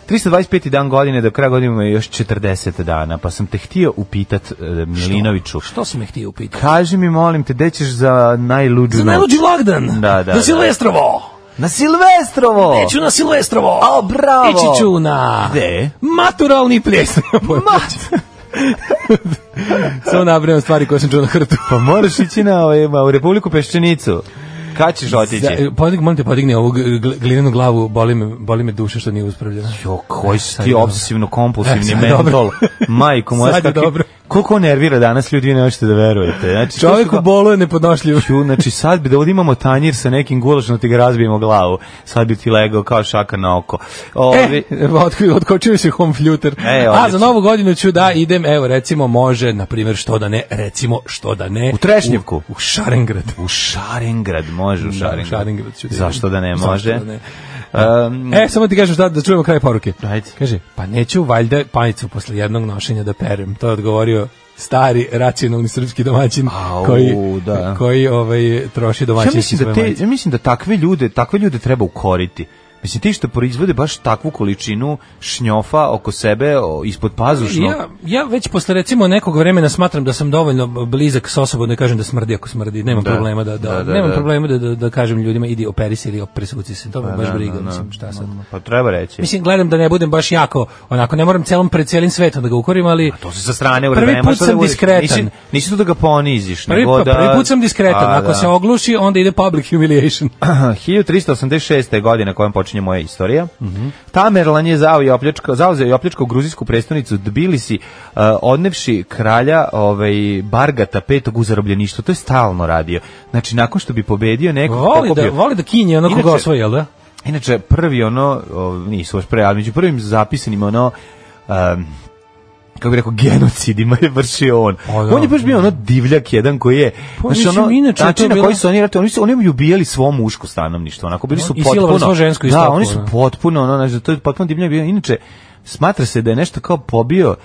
E: 325. dan godine, do kraja godine ima još 40 dana, pa sam te htio upitat e, Milinoviću.
F: Što si me htio upitati?
E: Kaži mi, molim te, gde ćeš za najluđu
F: Za
E: noć?
F: najluđi lagdan.
E: Da, da,
F: Na
E: da.
F: Silvestrovo.
E: Na Silvestrovo!
F: Neću na Silvestrovo.
E: A, bravo.
F: Ići ću na...
E: Gde?
F: Maturalni ples.
E: Mat!
F: Samo nabrajam stvari koje sam čuo na hrtu.
E: Pa moraš ići na ovaj, ma, u Republiku Peščenicu. Kad ćeš otići?
F: Za- Podig, molim te, podigne ovu gl- gl- glinenu glavu, boli me, boli me duša što nije uspravljena.
E: Jo, koji si
F: Sad
E: ti
F: je dobro.
E: obsesivno
F: E,
E: kompulsivni
F: sad je
E: mentol.
F: dobro.
E: Majko moja,
F: Sad je
E: kakvi-
F: dobro.
E: koliko on nervira danas ljudi, vi ne možete da verujete. Znači,
F: Čovjek
E: to
F: u
E: su-
F: bolu je nepodnošljiv.
E: Ču, znači sad bi da ovdje imamo tanjir sa nekim gulašom, da ti ga razbijemo glavu. Sad bi ti legao kao šaka na oko. Ovi,
F: E, otkrio, otkočio se home fljuter.
E: E,
F: A
E: odlično.
F: za novu godinu ću da idem, evo recimo može, na primjer što da ne, recimo što da ne.
E: U Trešnjevku?
F: U, u Šarengrad.
E: U Šarengrad, može u
F: Da, u
E: Šarengrad.
F: Šarengrad ću da idem.
E: Zašto da ne
F: Zašto
E: može?
F: da ne?
E: Um,
F: E, samo ti kažem šta, da čujemo kraj poruke.
E: Ajde.
F: Kaže, pa neću valjda panicu posle jednog nošenja da perem. To je odgovorio stari racionalni srpski domaćin
E: Au,
F: koji,
E: da.
F: koji ovaj, troši
E: ja
F: domaćinski
E: mislim
F: svoje
E: da te,
F: majice.
E: ja mislim da takve ljude, takve ljude treba ukoriti. Mislim ti što proizvode baš takvu količinu šnjofa oko sebe, o, ispod pazušnog.
F: Ja, ja već posle recimo nekog vremena smatram da sam dovoljno blizak sa osobom da kažem da smrdi ako smrdi, nemam
E: Da.
F: problema da, da,
E: Da, da,
F: nemam
E: da.
F: problema da, da, da kažem ljudima idi operi se ili opresuci se, to me baš
E: Da,
F: briga,
E: da, da.
F: mislim šta sad.
E: Pa treba reći.
F: Mislim, gledam da ne budem baš jako, onako, ne moram celom pred celim svetom da ga ukorim, ali...
E: To se sa strane uradi.
F: Prvi
E: ne
F: put
E: možeš da
F: sam
E: budeš-
F: diskretan.
E: Nisi, nisi tu da ga poniziš.
F: Prvi,
E: nego
F: pa,
E: da,
F: prvi put sam diskretan,
E: Pa,
F: ako
E: da.
F: se ogluši, onda ide public humiliation.
E: 1386. godine kojom počinje moja istorija.
F: Mhm.
E: Tamerlan je zao i opljačka, zauzeo i opljačkao gruzijsku prestonicu Tbilisi, uh, odnevši kralja ovaj, Bargata petog u zarobljeništvo. To je stalno radio. Znači, nakon što bi pobedio nekog...
F: Voli da,
E: pokupio-
F: voli da kinje ono koga
E: Inače-
F: osvoji, jel da?
E: Inače, prvi ono, o, nisu baš pre, ali među prvim zapisanim ono, um, kako bi rekao, genocidima je vršio on.
F: O, da.
E: on je baš bio ono divljak jedan koji je,
F: Pa,
E: znaš,
F: mislim,
E: ono,
F: inače je
E: način
F: to
E: na
F: bilo-
E: koji su oni ratili, oni su, oni im ubijali svo muško stanovništvo, onako, bili su
F: I silovali
E: potpuno,
F: svo žensko isto
E: da,
F: tako,
E: oni su
F: da.
E: potpuno, ono, znači, to je potpuno divljak bio, inače, smatra se da je nešto kao pobio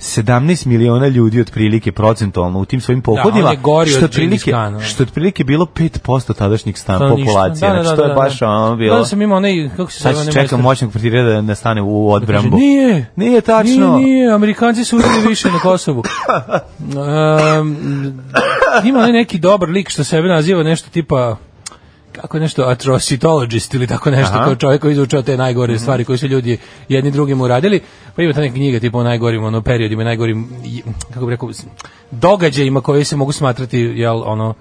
E: 17 miliona ljudi otprilike procentualno u tim svojim
F: Da, je
E: pohodima,
F: gori od
E: što,
F: Džingis
E: otprilike,
F: Kana, da.
E: što je otprilike bilo 5% tadašnjih stan populacije,
F: Da, da,
E: znači
F: da,
E: to je
F: da,
E: baš
F: da.
E: ono bilo.
F: Da, sam imao onaj, kako se
E: Sad
F: zove, onaj
E: čekam
F: majstor-
E: moćnog portira da ne stane u odbrambu.
F: Kaže, Nije.
E: Nije tačno.
F: Nije, nije, Amerikanci su uzeli više na Kosovu. Um, ima onaj neki dobar lik što sebe naziva nešto tipa kako nešto atrocitologist ili tako nešto
E: Aha. Mhm.
F: kao čovjek koji izučava te najgore stvari koje su ljudi jedni drugim uradili pa ima ta neka knjiga tipa o najgorim ono periodima najgorim j- kako bih rekao s- događajima koji se mogu smatrati jel ono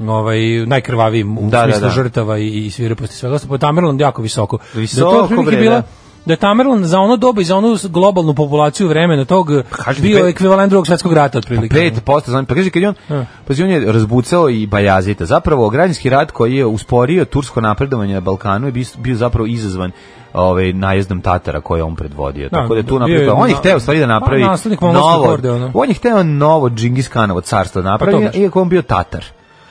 F: ovaj najkrvavijim
E: Da,
F: u
E: da,
F: smislu
E: da.
F: žrtava i, i svireposti i svega ostalo pa Tamerlan jako visoko Da je to
E: Visoko,
F: otprilike
E: bre,
F: bila
E: da.
F: da je Tamerlan za ono doba i za onu globalnu populaciju vremena tog
E: Pa kažem ti,
F: bio
E: pet-
F: ekvivalent drugog svetskog rata otprilike.
E: Pet posto, znam, pa kaže kad je on, pa on je razbucao i Bajazita. Zapravo, građanski rat koji je usporio tursko napredovanje na Balkanu je bio, bio zapravo izazvan ovaj najezdom Tatara koje je on predvodio. Tako da je tu
F: bio je
E: napravio. On je
F: na-
E: hteo u stvari da napravi
F: Pa, naslednik mongolske
E: novo.
F: horde, ono.
E: On je hteo novo Džingiskanovo carstvo da
F: Pa
E: napravi,
F: to baš.
E: iako je on bio Tatar.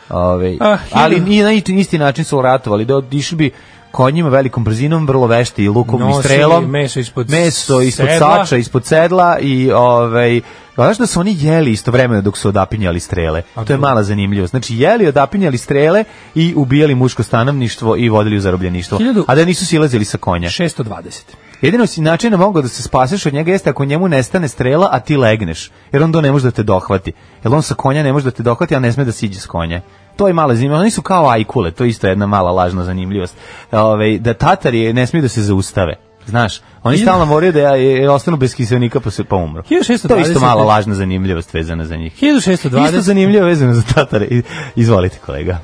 E: Ove,
F: Ah,
E: ali
F: hiljadu-
E: nije na isti- isti način su ratovali, da išli bi konjima velikom brzinom, vrlo vešti i lukom i
F: Nosili
E: strelom.
F: meso ispod
E: meso ispod
F: sedla.
E: sača, ispod sedla i ovaj Znaš da su oni jeli istovremeno dok su odapinjali strele. to
F: da.
E: je mala zanimljivost. Znači, jeli, odapinjali strele i ubijali muško stanovništvo i vodili u zarobljeništvo.
F: Hiljadu-
E: A da nisu silazili sa konja.
F: 620.
E: Jedino si način na mogao da se spaseš od njega jeste ako njemu nestane strela, a ti legneš. Jer on to ne može da te dohvati. Jer on sa konja ne može da te dohvati, a ne sme da siđe s konja. To je mala zanimljivost. Oni su kao ajkule, to je isto jedna mala lažna zanimljivost. Ove, da tatari je- ne smiju da se zaustave. Znaš, oni stalno moraju da je, je- ostanu bez kiselnika pa se pa umru.
F: 1620.
E: To je isto mala lažna zanimljivost vezana za njih.
F: 1620.
E: Isto zanimljivo vezano za tatare. I- Izvolite kolega.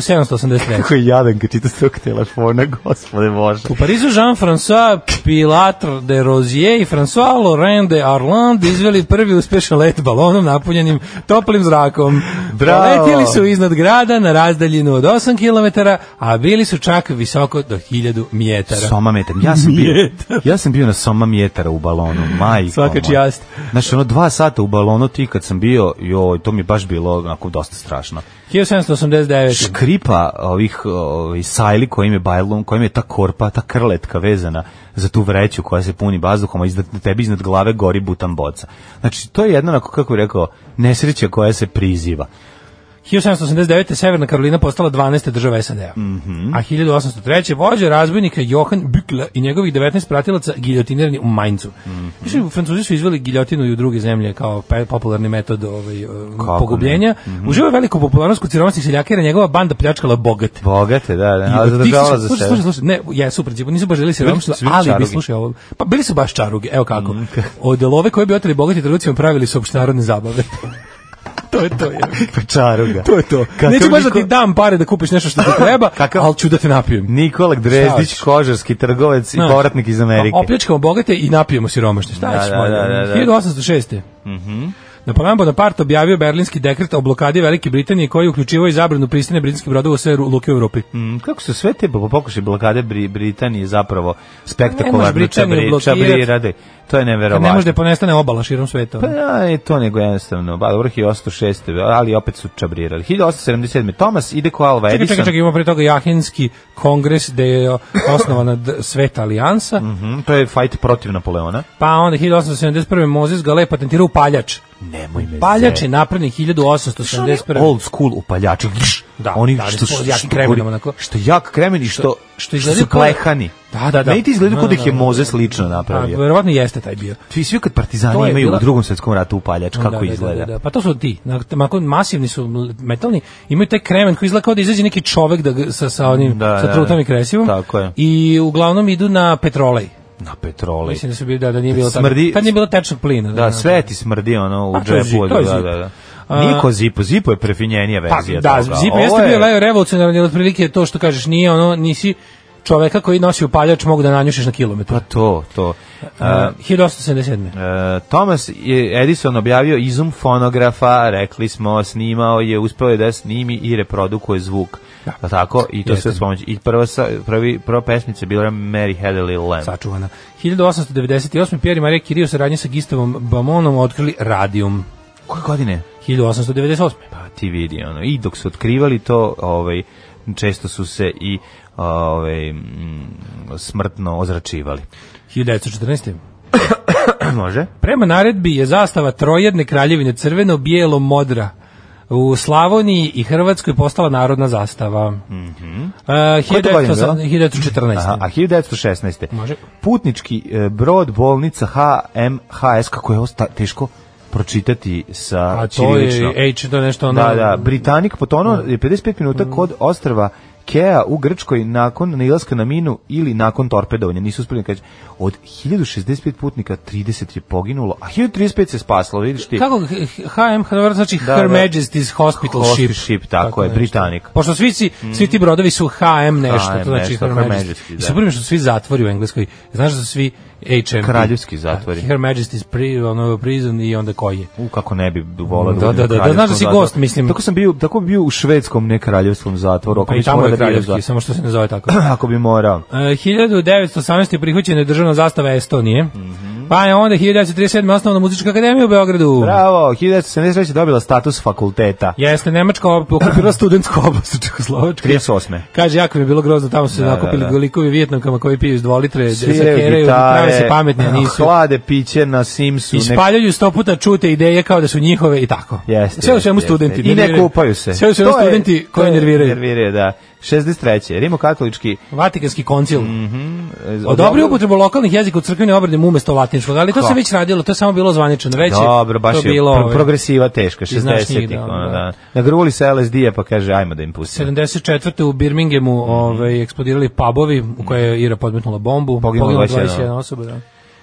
F: 1783.
E: Koji jadan kad čita s tog telefona, gospode bože.
F: U Parizu Jean-François Pilatre de Rozier i François Laurent de Arland izveli prvi uspešan let balonom napunjenim toplim zrakom.
E: Bravo!
F: Letjeli su iznad grada na razdaljinu od 8 km, a bili su čak visoko do 1000 mjetara.
E: Soma metar. Ja sam bio,
F: Mjetar.
E: ja sam bio na soma mjetara u balonu, majko.
F: Svaka
E: moja.
F: čast.
E: Znači, ono, dva sata u balonu ti kad sam bio, joj, to mi je baš bilo onako dosta strašno.
F: 1789.
E: Škripa ovih ovih sajli kojim je bajlom, kojim je ta korpa, ta krletka vezana za tu vreću koja se puni bazduhom, a iznad tebi iznad glave gori butan boca. Znači, to je jedno, onako, kako bih rekao, nesreća koja se priziva.
F: 1789. Severna Karolina postala 12. država SAD-a. Mm -hmm. A 1803. vođa razbojnika Johan Bukla i njegovih 19 pratilaca giljotinirani u Maincu. Mm -hmm. u Francuzi su izveli giljotinu i u druge zemlje kao pe- popularni metod ovaj, eh,
E: Kako
F: pogubljenja. Mm -hmm. Uživa veliku popularnost kod siromasnih seljaka jer je njegova banda pljačkala bogate.
E: Bogate, da, da, ali
F: Ti si-
E: zadržavala za
F: slušaj,
E: sebe.
F: Slušaj, slušaj, ne, ja super, džibo, nisu baš želi siromaštvo,
E: Bili Mm. su
F: ali bi
E: čaruge.
F: slušaj ovo. Pa bili su baš čaruge, evo kako. Od love koje bi oteli bogati trgovcima pravili su opštenarodne zabave. to je to, je.
E: Pa čaruga.
F: To je to.
E: Kakav
F: Neću baš da ti
E: Niko-
F: dam pare da kupiš nešto što ti treba,
E: Kakav-
F: ali ću da te napijem.
E: Nikola Drezdić,
F: hoćeš?
E: kožarski trgovac i
F: Da.
E: povratnik iz Amerike.
F: Opljačkamo bogate i napijemo siromašne. Šta
E: Da,
F: ćeš,
E: da,
F: molim,
E: da, da, da.
F: 1806. Mhm. Napoleon Bonaparte objavio berlinski dekret o blokadi Velike Britanije koji uključivao i zabranu pristane britanskih brodova u sve ru- luke u Evropi.
E: Mm, Kako su sve te pokušaj blokade Bri Britanije zapravo
F: Ne možeš
E: spektakularno
F: Britaniju
E: čabri,
F: blokirat.
E: čabrirade? To je
F: Kad ne može
E: neverovatno.
F: da ponestane obala širom sveta.
E: Pa da, je to nego jednostavno. Ba, dobro, 1806. Ali opet su čabrirali. 1877. Thomas ide ko Alva
F: Čekaj,
E: Edison.
F: čekaj, čekaj, imamo pre toga Jahinski kongres gde je osnovana d- Sveta alijansa,
E: Mhm, to je fight protiv Napoleona.
F: pa onda 1871. Mozes Gale patentirao upaljač.
E: Nemoj me
F: Paljač
E: zezati.
F: je napravljen 1871.
E: old school upaljači.
F: Da,
E: oni
F: da,
E: što
F: da,
E: su
F: s jakim kremenom
E: gori-
F: onako.
E: Što jak kremen i što
F: što izgledaju
E: su
F: kao-
E: plehani.
F: Da, da, da.
E: Ne ti izgleda
F: Da,
E: kod
F: da,
E: ih je
F: da, da.
E: Mozes lično
F: A,
E: napravio.
F: verovatno jeste taj bio.
E: Svi svi kad
F: To
E: partizani
F: je
E: imaju
F: bila-
E: u drugom svetskom ratu upaljač kako
F: Da, da, da,
E: izgleda.
F: Da, da, Pa to su ti, na- onako masivni su ml- metalni, imaju taj kremen koji izgleda kao da izađe neki čovek da, ga- sa, sa onim,
E: Da,
F: sa
E: da,
F: trutom
E: da.
F: i kresivom.
E: Tako je.
F: I uglavnom idu na petrolej.
E: Na petrole.
F: Mislim da su bili, da, da nije bilo tako.
E: Smrdi-
F: Tad nije bilo tečnog plina.
E: Da, sve ti smrdi ono u
F: Pa, to je
E: džepu.
F: zip, to je
E: da,
F: zip.
E: da, da.
F: A-
E: Nije ko Zipo, Zipo je prefinjenija
F: Pa,
E: verzija
F: da,
E: toga.
F: Zip
E: Ovo
F: jeste
E: je-
F: bio le- revolucionaran, ali otprilike to što kažeš, nije ono, nisi čoveka koji nosi upaljač mogu da nanjušiš na kilometar.
E: Pa to, to. A,
F: 1877.
E: E, Thomas je Edison objavio izum fonografa, rekli smo, snimao je, uspeo je da snimi i reprodukuje zvuk. Da. Tako, i to
F: Jeste.
E: sve spomenući. I prva, sa, prvi, prva pesmica je bila Mary Had a Little Lamb.
F: sačuvana. 1898. Pierre Marie Curie u saradnji sa Gistavom Bamonom otkrili radijum.
E: Koje godine?
F: 1898.
E: Pa ti vidi, ono. I dok su otkrivali to, ovaj, često su se i ovaj, mm, smrtno ozračivali.
F: 1914.
E: Može?
F: Prema naredbi je zastava trojedne kraljevine crveno, bijelo, modra. U Slavoniji i Hrvatskoj postala narodna zastava. Mm
E: Mhm. Koje to godine bilo?
F: 1914.
E: Aha, a 1916.
F: Može.
E: Putnički e, brod bolnica HMHS, kako je ovo sta- teško pročitati sa
F: A to
E: ćirilično.
F: je, Da. H, to je nešto ono...
E: Da, da, Britanik potonuo je 55
F: Mm.
E: minuta kod ostrava Kea u Grčkoj nakon nailaska na minu ili nakon torpedovanja. Nisu uspeli kaže od 1065 putnika 30 je poginulo, a 1035 se spaslo, vidiš ti.
F: Kako, H- H- HM, Hrvatska znači
E: Da,
F: Her
E: da.
F: Majesty's Hospital,
E: Hospital
F: Ship.
E: ship, tako je,
F: nešto.
E: Britanik.
F: Pošto svi, si, svi ti brodovi su HM nešto,
E: HM
F: to znači
E: nešto,
F: Her
E: Her
F: Majesty.
E: Majesty,
F: I
E: da.
F: super mi je što su svi zatvori u Engleskoj. Znaš da su svi HM.
E: Kraljevski zatvori.
F: Da,
E: Pa
F: Her Majesty's pri, ono, prison i onda koji je.
E: U kako ne bi volao
F: Da,
E: budem
F: da, da,
E: u
F: da, znaš da si
E: kraljevskom
F: gost,
E: zatvoru.
F: mislim.
E: Tako sam bio, tako bi bio u švedskom ne kraljevskom zatvoru, ako
F: Pa
E: bi
F: i tamo
E: morao
F: je
E: da bio
F: kraljevski,
E: za-
F: samo što se ne zove tako.
E: ako bi morao.
F: E, 1918. prihvaćena je državna zastava Estonije. Pa je onda 1937. osnovna muzička akademija u Beogradu.
E: Mhm. Bravo, 1973 dobila status fakulteta.
F: Jeste, Nemačka op- okupirala studentsku oblast u Čehoslovačkoj.
E: 38.
F: Kaže, jako mi je bilo grozno, tamo su se
E: Da,
F: nakupili
E: da, da.
F: likovi Vjetnamkama koji piju iz 2 litre,
E: Sviraju
F: zakeraju, da prave se
E: gitare,
F: pametni, a nisu. pa-
E: hlade piće na Simsu.
F: I
E: nek-
F: spaljuju sto puta čute ideje kao da su njihove i tako.
E: Jeste,
F: sve u
E: jeste,
F: svemu
E: jeste.
F: studenti.
E: I ne
F: nerviraju.
E: kupaju se.
F: Sve u svemu
E: To je-
F: studenti
E: to
F: koji
E: je-
F: nerviraju.
E: Nerviraju, da. 63. Rimokatolički
F: Vatikanski koncil. Mm
E: e,
F: Odobrio upotrebu lokalnih jezika u crkvenim obredima umesto latinskog, ali to
E: Kako?
F: se već radilo, to je samo bilo zvanično. Već je
E: Dobro, baš
F: to
E: je
F: bilo
E: pro-
F: ovaj,
E: progresiva teška,
F: Ti znaš njih,
E: 60-ih.
F: da,
E: ono,
F: da.
E: da. Nagruvali se LSD-a pa kaže ajmo da im pustimo.
F: 74. u Birminghamu
E: Mhm.
F: ovaj, eksplodirali pubovi u koje je Ira podmetnula bombu.
E: Poginulo
F: Poginulo
E: 21
F: 21 osoba, da.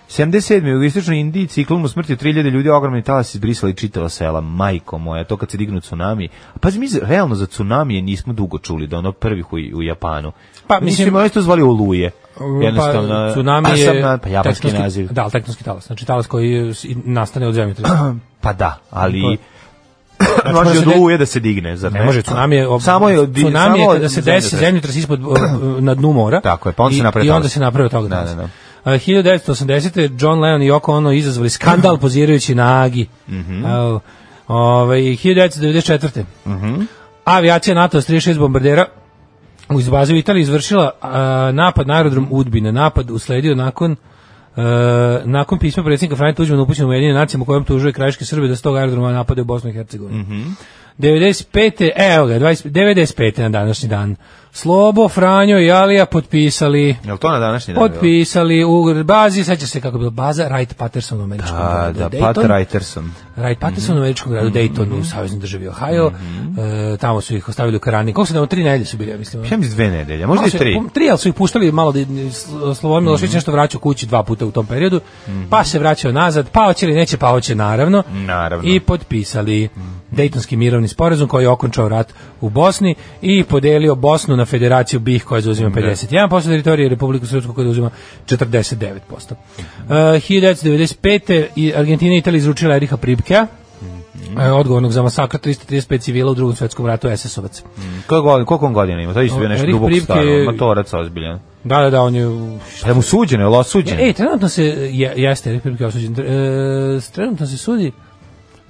E: 77. u jugoistočnoj Indiji ciklon u smrti 3000 ljudi ogromni talas izbrisali čitava sela. Majko moja, to kad se dignu tsunami. A pazi, mi za- realno za tsunamije nismo dugo čuli da ono prvih u, u Japanu.
F: Pa,
E: Pa
F: mislim-
E: mislim, mislim to zvali oluje.
F: pa,
E: Jednostavno.
F: tsunami
E: a sad
F: je
E: na- pa japanski
F: tektonski-
E: naziv.
F: Da, ali tektonski talas, znači talas koji je s- i nastane od zemljotresa.
E: Pa da, ali
F: mora
E: može
F: Pa- Znači, se
E: od
F: de-
E: oluje da se digne, zar ne?
F: Ne može tsunami je ob-
E: Samo je od-
F: tsunami je
E: samo
F: kada se
E: od
F: desi
E: zemljotresa.
F: zemljotres ispod o, o, na dnu mora.
E: Tako je, pa onda
F: i-
E: se napravi
F: i onda
E: talas.
F: se napravi od toga. Uh,
E: Da,
F: talas.
E: da, da.
F: A, 1980. John Lennon i Yoko Ono izazvali skandal pozirajući na Agi.
E: Mhm.
F: Au. Ovaj 1994.
E: Mhm.
F: Avijacija NATO s 36 bombardera u izbazi u Italiji izvršila a, napad na aerodrom Udbine. Napad usledio nakon e, nakon pisma predsjednika Franja Tuđmana upućenom u Ujedinjene nacije u kojem tužuje krajiške Srbe da s tog aerodroma napade u Bosnu i Hercegovini. 95. e, Evo ga, 20, 95. na današnji dan. Slobo, Franjo i Alija potpisali
E: Jel to na današnji dan? bilo?
F: potpisali u bazi, seća se kako je bilo baza Wright Patterson u američkom
E: A,
F: gradu
E: da,
F: Dayton.
E: Pat Mhm. Reiterson.
F: Wright Patterson u američkom gradu Dayton u saveznoj državi Ohio.
E: Mhm.
F: E, tamo su ih ostavili u karani. Koliko su tamo? Tri nedelje su bili, ja mislim.
E: Ja mislim dve nedelje, možda i
F: Malo su-
E: tri. Mhm.
F: pom- Tri, ali su ih puštali malo da Slobodan Milošević nešto vraćao kući dva puta u tom periodu, pa se vraćao nazad, pa hoće ili neće, pa hoće naravno.
E: Naravno. Mhm.
F: I potpisali Dejtonski mirovni sporazum koji je okončao rat u Bosni i podelio Bosnu na federaciju BiH koja zauzima
E: Da.
F: 51% teritorije, Republiku Srpsku koja zauzima 49%. Uh, 1995. i Argentina i Italija izručila Eriha Pribkea,
E: Mhm.
F: e, odgovornog za masakr 335 civila u drugom svetskom ratu SS-ovac.
E: Koliko, godina- koliko on godina ima? To je isto bio nešto
F: Erich
E: duboko
F: Pripke
E: staro,
F: je-
E: matorac ozbiljan.
F: Da, da, da, on je u-
E: Pa je mu suđeno, je li osuđen?
F: E, trenutno se, je, jeste, Republika osuđen, e, s- trenutno se sudi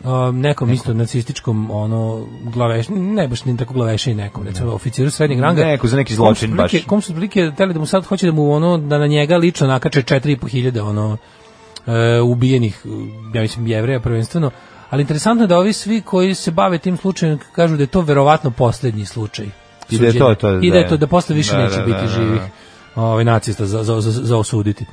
F: um, nekom isto nacističkom ono glaveš ne baš ni tako glaveše i nekom recimo oficiru srednjeg ranga
E: Neko za neki
F: Kom
E: zločin
F: su prilike-
E: baš.
F: kom su prilike teli da mu sad hoće da mu ono da na njega lično nakače 4.500 ono e, ubijenih ja mislim jevreja prvenstveno ali interesantno je da ovi svi koji se bave tim slučajem kažu da je to verovatno posljednji slučaj
E: I da je to-
F: suđenja.
E: to je-
F: i da je
E: da.
F: to da posle više
E: Da,
F: neće
E: da, da,
F: biti
E: da, Mhm. da.
F: živih ovaj nacista za, za, za, za osuditi.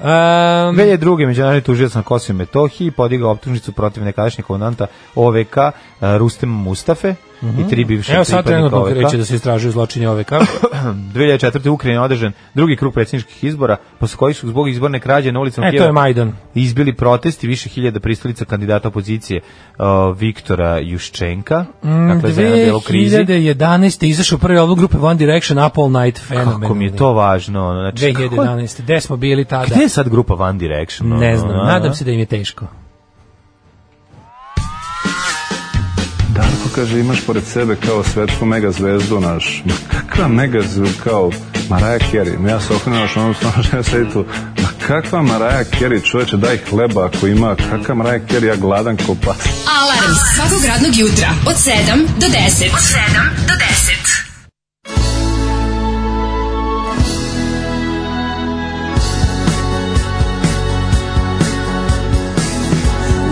F: Em,
E: 2002. međunarodni tužilac na Kosovo i Metohiji podigao optužnicu protiv nekadašnjeg komandanta OVK eh, Rustema Mustafe i tri bivše
F: Mhm. Evo sad
E: pripadnika
F: trenutno reći da
E: OVK.
F: se istražuju zločini OVK.
E: 2004. u Ukrajini je održan drugi krug predsjedničkih izbora, posle kojih su zbog izborne krađe na ulicama
F: E, to
E: Kijeva
F: je Majdan.
E: izbili protesti više hiljada pristalica kandidata opozicije eh, Viktora Juščenka,
F: Mm,
E: dakle za jedan delo krizi.
F: 2011. izašao prvi album grupe One Direction, Up All Night, fenomenalni.
E: Kako mi je to važno. ono, Znači, kako-
F: 2011. Gde smo bili tada?
E: Gde je sad grupa One Direction? ono,
F: Ne znam,
E: a?
F: nadam se da im je teško.
A: Darko kaže imaš pored sebe kao svetsku megazvezdu naš. Ma kakva megazvezdu kao Maraja Kerry. Ma Ja se okrenuo naš onom stvarno žena sedi da tu. Ma kakva Maraja Kerry čoveče daj hleba ako ima. Kakva Maraja Kerry ja gladan ko pas.
D: Alarm svakog radnog jutra od 7 do 10. Od 7 do 10.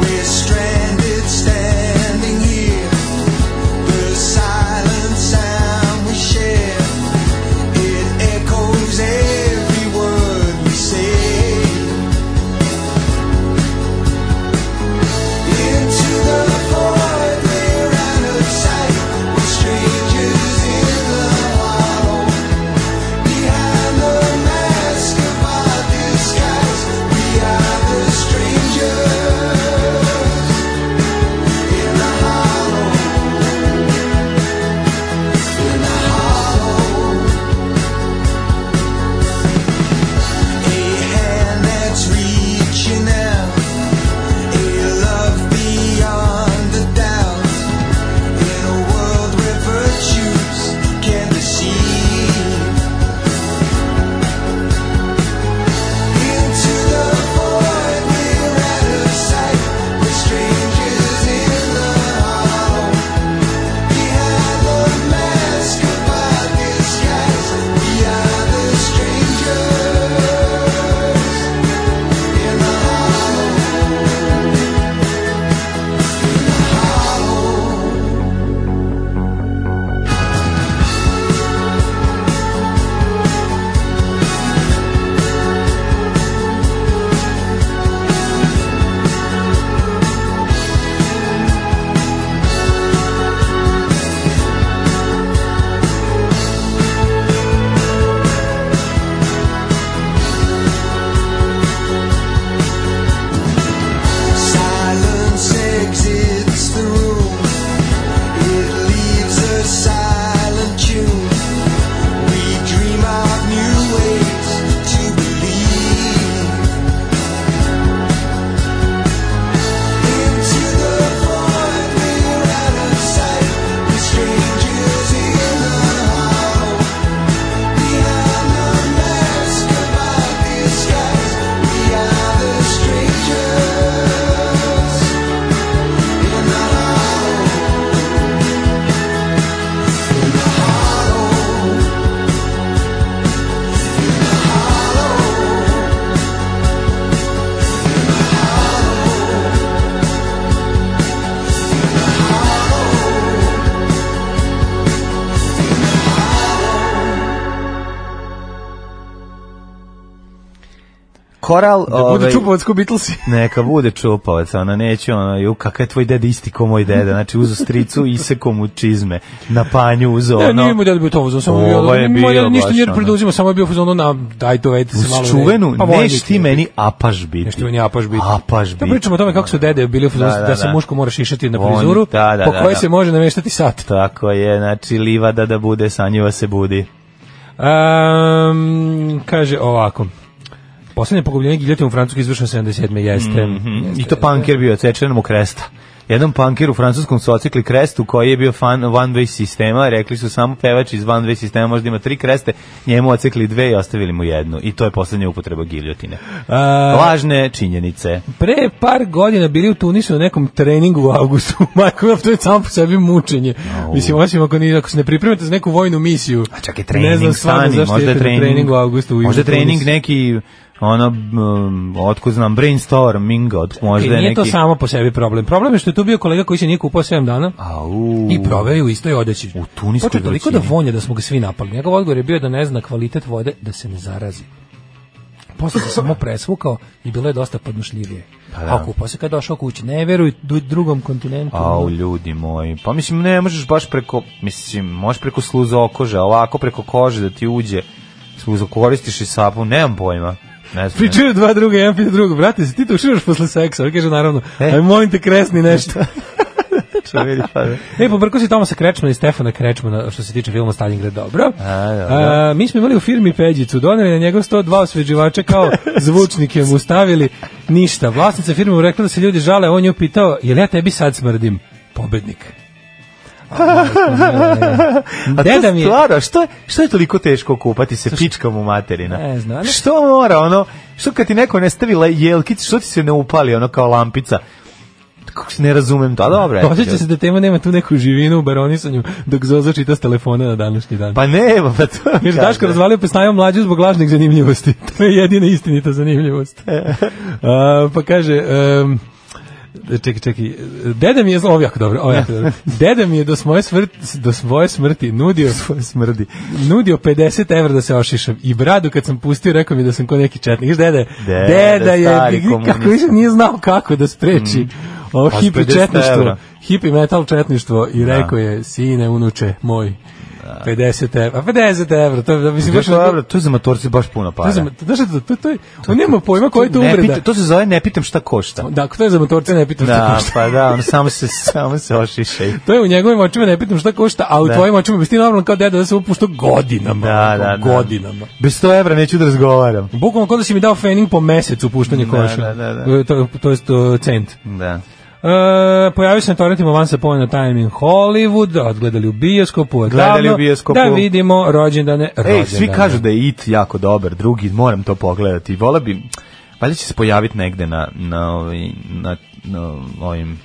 G: We're stranded standing here. The silent sound we share. It echoes every word we say. Into the void we're out of sight. We're strangers
E: koral... ovaj,
F: Da bude čupovatsku Beatlesi.
E: Neka bude čupavac, ona neće, ono, ju, kakav je tvoj deda isti ko moj deda, znači uzo stricu, isekao mu čizme, na panju uzo
F: Ne,
E: ono...
F: nije mu deda bio to uzeo, samo
E: Ovo
F: je bio,
E: je
F: moj
E: bio
F: deda ništa
E: baš
F: nije
E: ono.
F: preduzimo, samo je bio fuzon, ono, na, daj to, vedite se
E: Uz
F: malo.
E: čuvenu,
F: pa vojnik
E: neš ti
F: je.
E: meni apaš biti.
F: Nešto meni apaš biti.
E: Apaš biti.
F: Da pričamo o tome kako su dede bili u fazonu
E: Da,
F: da,
E: da,
F: se
E: da.
F: muško moraš išati na
E: Oni-
F: frizuru,
E: da, da,
F: po
E: da,
F: kojoj
E: da.
F: se može nameštati sat.
E: Tako je, znači livada da bude, sanjiva se budi.
F: Um, kaže ovako. Poslednje pogubljenje giljotina u Francuskoj izvršeno 77. jeste.
E: Mhm,
F: jeste.
E: I to panker bio, cečenom mu kresta. Jednom panker u francuskom su ocekli krestu koji je bio fan one-way sistema, rekli su samo pevač iz one-way sistema možda ima tri kreste, njemu ocekli dve i ostavili mu jednu. I to je poslednja upotreba giljotine.
F: A,
E: Lažne činjenice.
F: pre par godina bili u Tunisu na nekom treningu u augustu. Majko, mila, to je samo po sebi mučenje. Mislim, osim ako, ni, ako se ne pripremate za neku vojnu misiju.
E: A čak i trening, stani,
F: zašto
E: možda
F: idete
E: je
F: na
E: trening,
F: trening u augustu. u
E: možda je
F: južnom
E: trening
F: Tunisu.
E: neki, ono, um, otko znam, brainstorming, od, možda
F: E,
E: da je
F: Nije
E: neki...
F: to samo po sebi problem. Problem je što je tu bio kolega koji se nije kupao 7 dana.
E: Au.
F: i proveo je u istoj odeći.
E: U Tuniskoj
F: Počeo je toliko da
E: vrućini.
F: vonja da smo ga svi napali. Njegov odgovor je bio da ne zna kvalitet vode da se ne zarazi. Posle se samo presvukao i bilo je dosta podnošljivije.
E: Pa
F: Pa
E: da.
F: da. Ako posle kad je došao kući, ne veruj du- drugom kontinentu.
E: Au, ljudi moji. Pa mislim, ne možeš baš preko, mislim, možeš preko sluza okože, a ovako preko kože da ti uđe, sluza koristiš i sapun, nemam pojma. Ne znam.
F: Pričaju dva druga, jedan pita drugog, brate, si ti to uširaš posle seksa? On kaže, naravno,
E: E.
F: aj molim te kresni nešto.
E: Priča, vidi, pa da.
F: E, pobrko si Tomasa Krečmana i Stefana Krečmana što se tiče filma Stalingrad, dobro.
E: A, dobro.
F: A, mi smo imali u firmi Peđicu, doneli na njegov 102 osveđivača kao zvučnike mu stavili, ništa. Vlasnica firme mu rekla da se ljudi žale, on je pitao, jel ja tebi sad smrdim? Pobednik.
E: A
F: Deda
E: to
F: mi je-
E: stvarno, što, je- što je toliko teško kupati se pičkam u materina?
F: Ne znam, E, ne-
E: Što mora, ono, što kad ti neko ne stavi la- jelkicu, što ti se ne upali, ono, kao lampica? Kako se ne razumem to, a dobro. eto,
F: Osjeća se da tema nema tu neku živinu u baronisanju dok Zoza čita s telefona na današnji dan.
E: Pa ne, pa to...
F: Jer
E: kažem.
F: Daško razvalio pesnaju mlađu zbog lažnih zanimljivosti. To je jedina istinita zanimljivost.
E: E.
F: A, pa kaže... Um, čekaj, čekaj, deda mi je, ovo je jako dobro, ovo je jako dobro, deda mi je do svoje, svrt, do svoje smrti nudio,
E: smrdi.
F: nudio 50 evra da se ošišam i bradu kad sam pustio rekao mi da sam ko neki četnik, Znaš, deda, je-
E: Deda,
F: deda je,
E: stari
F: kako
E: komunista.
F: više nije znao kako da spreči ovo
E: Pa s
F: hipi
E: 50 evra.
F: četništvo, hipi metal četništvo i
E: Da.
F: rekao je, sine, unuče, moj, 50 evra, 50 evra, to, je- da, mislim, baš,
E: Znaš, dobro, to je za matorci baš puno para.
F: to, je- znaš, to, to, to, je- on nema pojma koja je to
E: Ne
F: uvreda.
E: pitam- to se zove ne pitam šta košta.
F: Da, ako to je za motorce, ne pitam šta
E: Da,
F: košta.
E: pa da, on samo se samo se ošiša. i-
F: To je u njegovim očima, ne pitam šta košta, a u
E: Da.
F: tvojim očima bi ti normalno kao deda da se upušta godinama.
E: Da,
F: onako,
E: da, da.
F: Godinama.
E: Bez 100 evra neću da razgovaram.
F: Bukvalno kao da si mi dao fening po mesecu puštanje
E: Da,
F: koša.
E: da, da, da.
F: E, To, to je to, cent.
E: Da.
F: E, pojavio se na torrentima Once Upon a Time in Hollywood, odgledali u bioskopu,
E: Gledali
F: odavno,
E: u bioskopu.
F: da vidimo rođendane, rođendane.
E: Ej, svi kažu da je It jako dobar, drugi moram to pogledati. Vola bi valjda će se pojaviti negde na na ovaj na, na ovim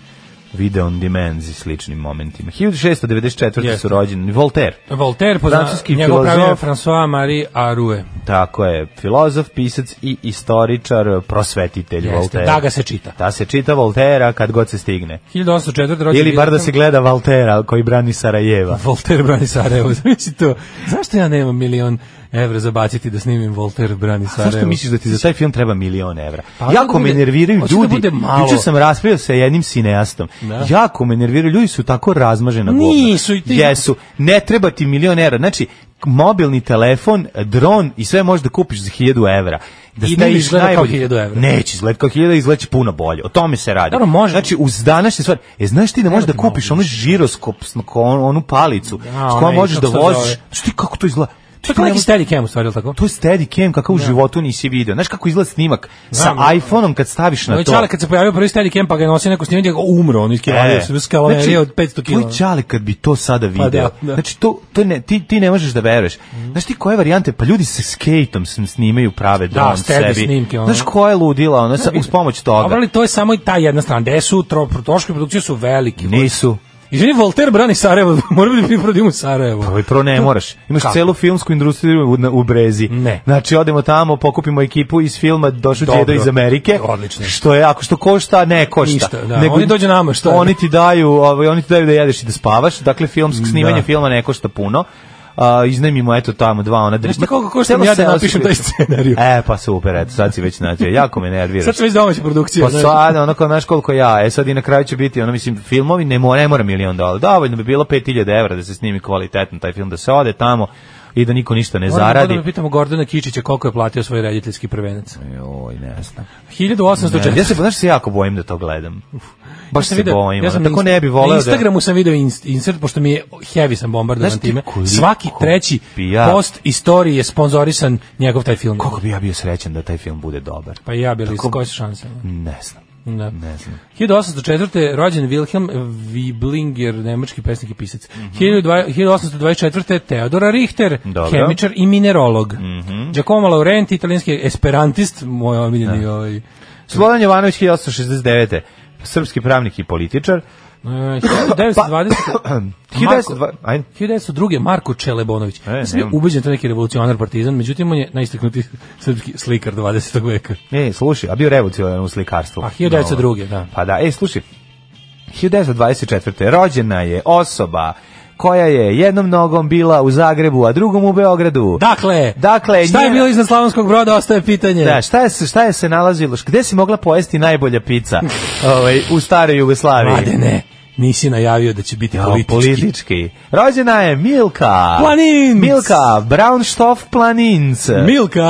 E: video on demand i sličnim momentima. 1694. su
F: Jeste.
E: rođeni Voltaire.
F: Voltaire, pozna,
E: Francuski
F: njegov pravi ime je
E: filozof.
F: François Marie Arouet.
E: Tako je, filozof, pisac i istoričar, prosvetitelj
F: Jeste,
E: Voltaire.
F: da ga se čita.
E: Da se čita Voltera kad god se stigne.
F: 1804. rođen
E: Ili bar da
F: Wilhelm-
E: se gleda Valtera koji brani Sarajeva.
F: Voltaire brani Sarajevo, zamisli to. Zašto ja nemam milion evra za baciti da snimim Voltaire brani Sarajevo?
E: Zašto misliš da ti za taj film treba milion evra?
F: Pa,
E: jako
F: da
E: me
F: bude-
E: nerviraju
F: hoće da
E: ljudi.
F: bude malo.
E: Juče sam raspravio sa jednim cineastom.
F: Da.
E: Jako me nerviraju, ljudi su tako razmažena govna.
F: Nisu i ti-
E: Jesu. Ne treba ti milion evra. Znači, mobilni telefon, dron i sve možeš da kupiš za 1000 evra. Da
F: I ne
E: staviš
F: bi izgledao kao
E: najbolji-
F: 1000 evra.
E: Neće izgledati kao 1000, izgledaće puno bolje. O tome se radi.
F: Dobro, može.
E: Znači, uz današnje stvari, e, znaš ti da možeš da
F: ti malo
E: kupiš onu žiroskop, onu, onu palicu,
F: Da,
E: s kojom
F: onaj,
E: možeš da
F: kako se
E: voziš.
F: zove?
E: Znaš ti kako to izgleda?
F: To je
E: Ti
F: kao
E: ne
F: neki
E: možeš-
F: Steadicam u stvari, je li tako?
E: to je Steadicam kakav u životu nisi video. Znaš kako izgleda snimak sa
F: Da. Znam, da.
E: iPhoneom kad staviš na
F: Moj
E: to.
F: Ovaj čale kad se pojavio prvi Steadicam pa ga je nosio neko snimanje, ga umro, on iskivalio se bez kavalerije od 500 kg.
E: E. Znači, Tvoj čale kad bi to sada video.
F: da, Mhm. da.
E: Znači to, to ne, ti, ti ne možeš da veruješ. Znaš ti koje varijante? Pa ljudi se skejtom s- snimaju prave dron
F: Da, steady
E: sebi.
F: snimke, ono.
E: Znaš koje je ludila ono, sa, uz pomoć toga?
F: Dobro, ali to je samo i ta jedna strana. Gde su tro- troškovi produkcije su veliki.
E: Nisu.
F: Izvini, Voltaire brani Sarajevo, moramo da mi prodimo Sarajevo.
E: Ovo Pa, prvo ne moraš. Imaš
F: Kako?
E: celu filmsku industriju u, na- u Brezi.
F: Ne.
E: Znači, odemo tamo, pokupimo ekipu iz filma Došu
F: Dobro.
E: Djedo iz Amerike.
F: Odlično.
E: Što je, ako što košta, ne košta.
F: Ništa, da. Oni dođu nama, šta je?
E: Oni ti daju, ovaj, oni ti daju da jedeš i da spavaš. Dakle, filmsko snimanje
F: Da.
E: filma ne košta puno. a, iznajmimo eto tamo dva ona
F: Znaš ti
E: Ma,
F: koliko košta
E: celo
F: ja da
E: selo
F: napišem
E: se-
F: taj scenariju?
E: E, pa super, eto, sad si već natio, jako me nerviraš.
F: Sad sam već domaća produkcija.
E: Pa
F: znaš.
E: sad, ono kao, znaš koliko ja, e sad i na kraju će biti, ono, mislim, filmovi ne mora, ne mora milion dolara, dovoljno bi bilo 5000 evra da se snimi kvalitetno taj film, da se ode tamo i da niko ništa ne
F: Moramo
E: zaradi.
F: Da me pitamo Gordana Kičića koliko je platio svoj rediteljski prvenac.
E: Joj, ne znam.
F: 1804.
E: Ne, ja se, znaš, se jako bojim da to gledam. Baš
F: sam
E: se
F: video-
E: bojim,
F: ja
E: ja
F: sam na
E: tako
F: Inst-
E: ne bi voleo
F: Na
E: da...
F: Instagramu sam video inst- insert, pošto mi je heavy sam bombardovan
E: Znaš ti
F: time.
E: koliko
F: Svaki treći
E: bi ja-
F: post istorije je sponzorisan njegov taj film.
E: Koliko bi ja bio srećan da taj film bude dobar?
F: Pa i ja bili,
E: Tako-
F: koje su šanse?
E: Ne znam,
F: Da.
E: ne znam.
F: 1804. rođen Wilhelm Wiblinger, nemački pesnik i pisac. 12- 1824. Teodora Richter,
E: Dobro. Mhm.
F: hemičar i minerolog. Giacomo Laurenti, italijanski esperantist, moj omiljeni
E: Da.
F: ovaj,
E: Slobodan Jovanović, 1869. Srpski pravnik i političar.
F: E,
E: Pa-
F: 1920. Marko,
E: 1920 ajde.
F: 1902. Marko Čelebonović.
E: E,
F: ja sam bio
E: nemam.
F: ubeđen da je to neki revolucionar partizan, međutim on je najistaknuti srpski slikar 20. veka. Pa,
E: Ne, slušaj, a bio revolucionar u slikarstvu.
F: A 1902. da.
E: Pa da, e, slušaj, 1924. rođena je osoba koja je jednom nogom bila u Zagrebu, a drugom u Beogradu.
F: Dakle,
E: Dakle,
F: šta je
E: nje-
F: bilo iznad Slavonskog broda, ostaje pitanje.
E: Da, šta je, se- šta je se nalazilo? Gde si mogla pojesti najbolja pizza ovaj, u staroj Jugoslaviji?
F: Mladene, nisi najavio da će biti
E: Ja,
F: politički.
E: politički. Rođena je Milka.
F: Planinc.
E: Milka, Braunstoff Planinc.
F: Milka!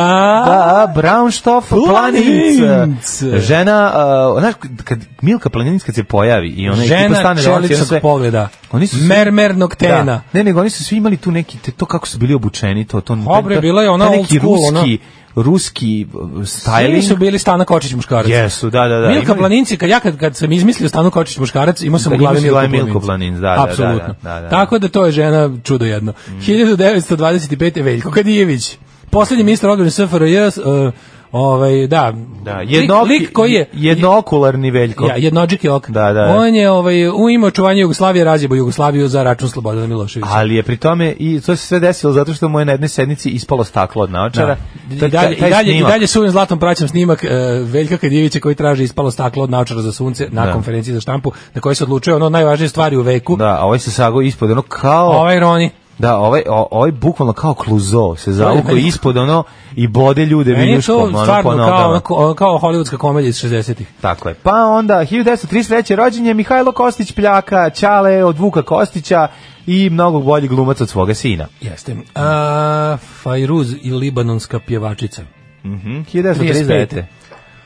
E: Da, Braunstoff Planinc.
F: Planinc.
E: Žena, uh, znaš, kad Milka Planinc kad se pojavi i ona ekipa
F: Žena
E: stane da hoće
F: čeličnog
E: sve-
F: pogleda.
E: Oni su svi-
F: Mermernog tena.
E: Da. Ne, nego oni su svi imali tu neki, te, to kako su bili obučeni, to, to,
F: Pa, bre,
E: to-
F: bila je ona
E: to
F: old
E: neki
F: school, ona-
E: ruski, ruski uh,
F: Ili
E: styling.
F: su bili Stana Kočić muškarac.
E: Jesu, da, da, da.
F: Milka
E: Imali-
F: Planinci, kad ja kad, kad sam izmislio Stanu Kočić muškarac, imao sam
E: Da,
F: u glavi
E: imao si u glavi
F: Milku Planinci.
E: Milku Planinc, da, da, da,
F: Apsolutno.
E: da, da, Mm. da.
F: Tako da to je žena čudo jedno. 1925. Veljko Kadijević, posljednji ministar odbrane SFRJ, uh, ovaj, da,
E: Da,
F: Lik-
E: jednooki-
F: lik koji je...
E: jednookularni Veljko.
F: Ja, jednođik je ok.
E: Da, da, da.
F: On je ovaj, u ime očuvanja Jugoslavije razjebo Jugoslaviju za račun Slobodana Miloševića.
E: Ali je pri tome i to se sve desilo zato što mu je na jednoj sednici ispalo staklo od naočara.
F: Da. I
E: Taj-
F: dalje,
E: taj
F: i dalje, i
E: snimak.
F: dalje suvim zlatom praćam snimak e, Veljka Kadjevića koji traži ispalo staklo od naočara za sunce na
E: Da.
F: konferenciji za štampu na kojoj se odlučuje ono od najvažnije stvari u veku.
E: Da, a ovaj se sago ispod ono kao
F: Ovaj Roni.
E: da, ovaj o- ovaj bukvalno kao kluzo se zavuko
F: Meni-
E: ispod ono i bode ljude
F: Ovaj- Meni je
E: viljuškom
F: to
E: ono po
F: stvarno kao,
E: nogama.
F: ono, ko- kao hollywoodska komedija iz 60-ih.
E: Tako je. Pa onda 1933. rođen je Mihajlo Kostić Pljaka, Ćale od Vuka Kostića i mnogo bolji glumac od svoga sina.
F: Jeste. A, Fajruz i libanonska pjevačica.
E: Mhm. 1939.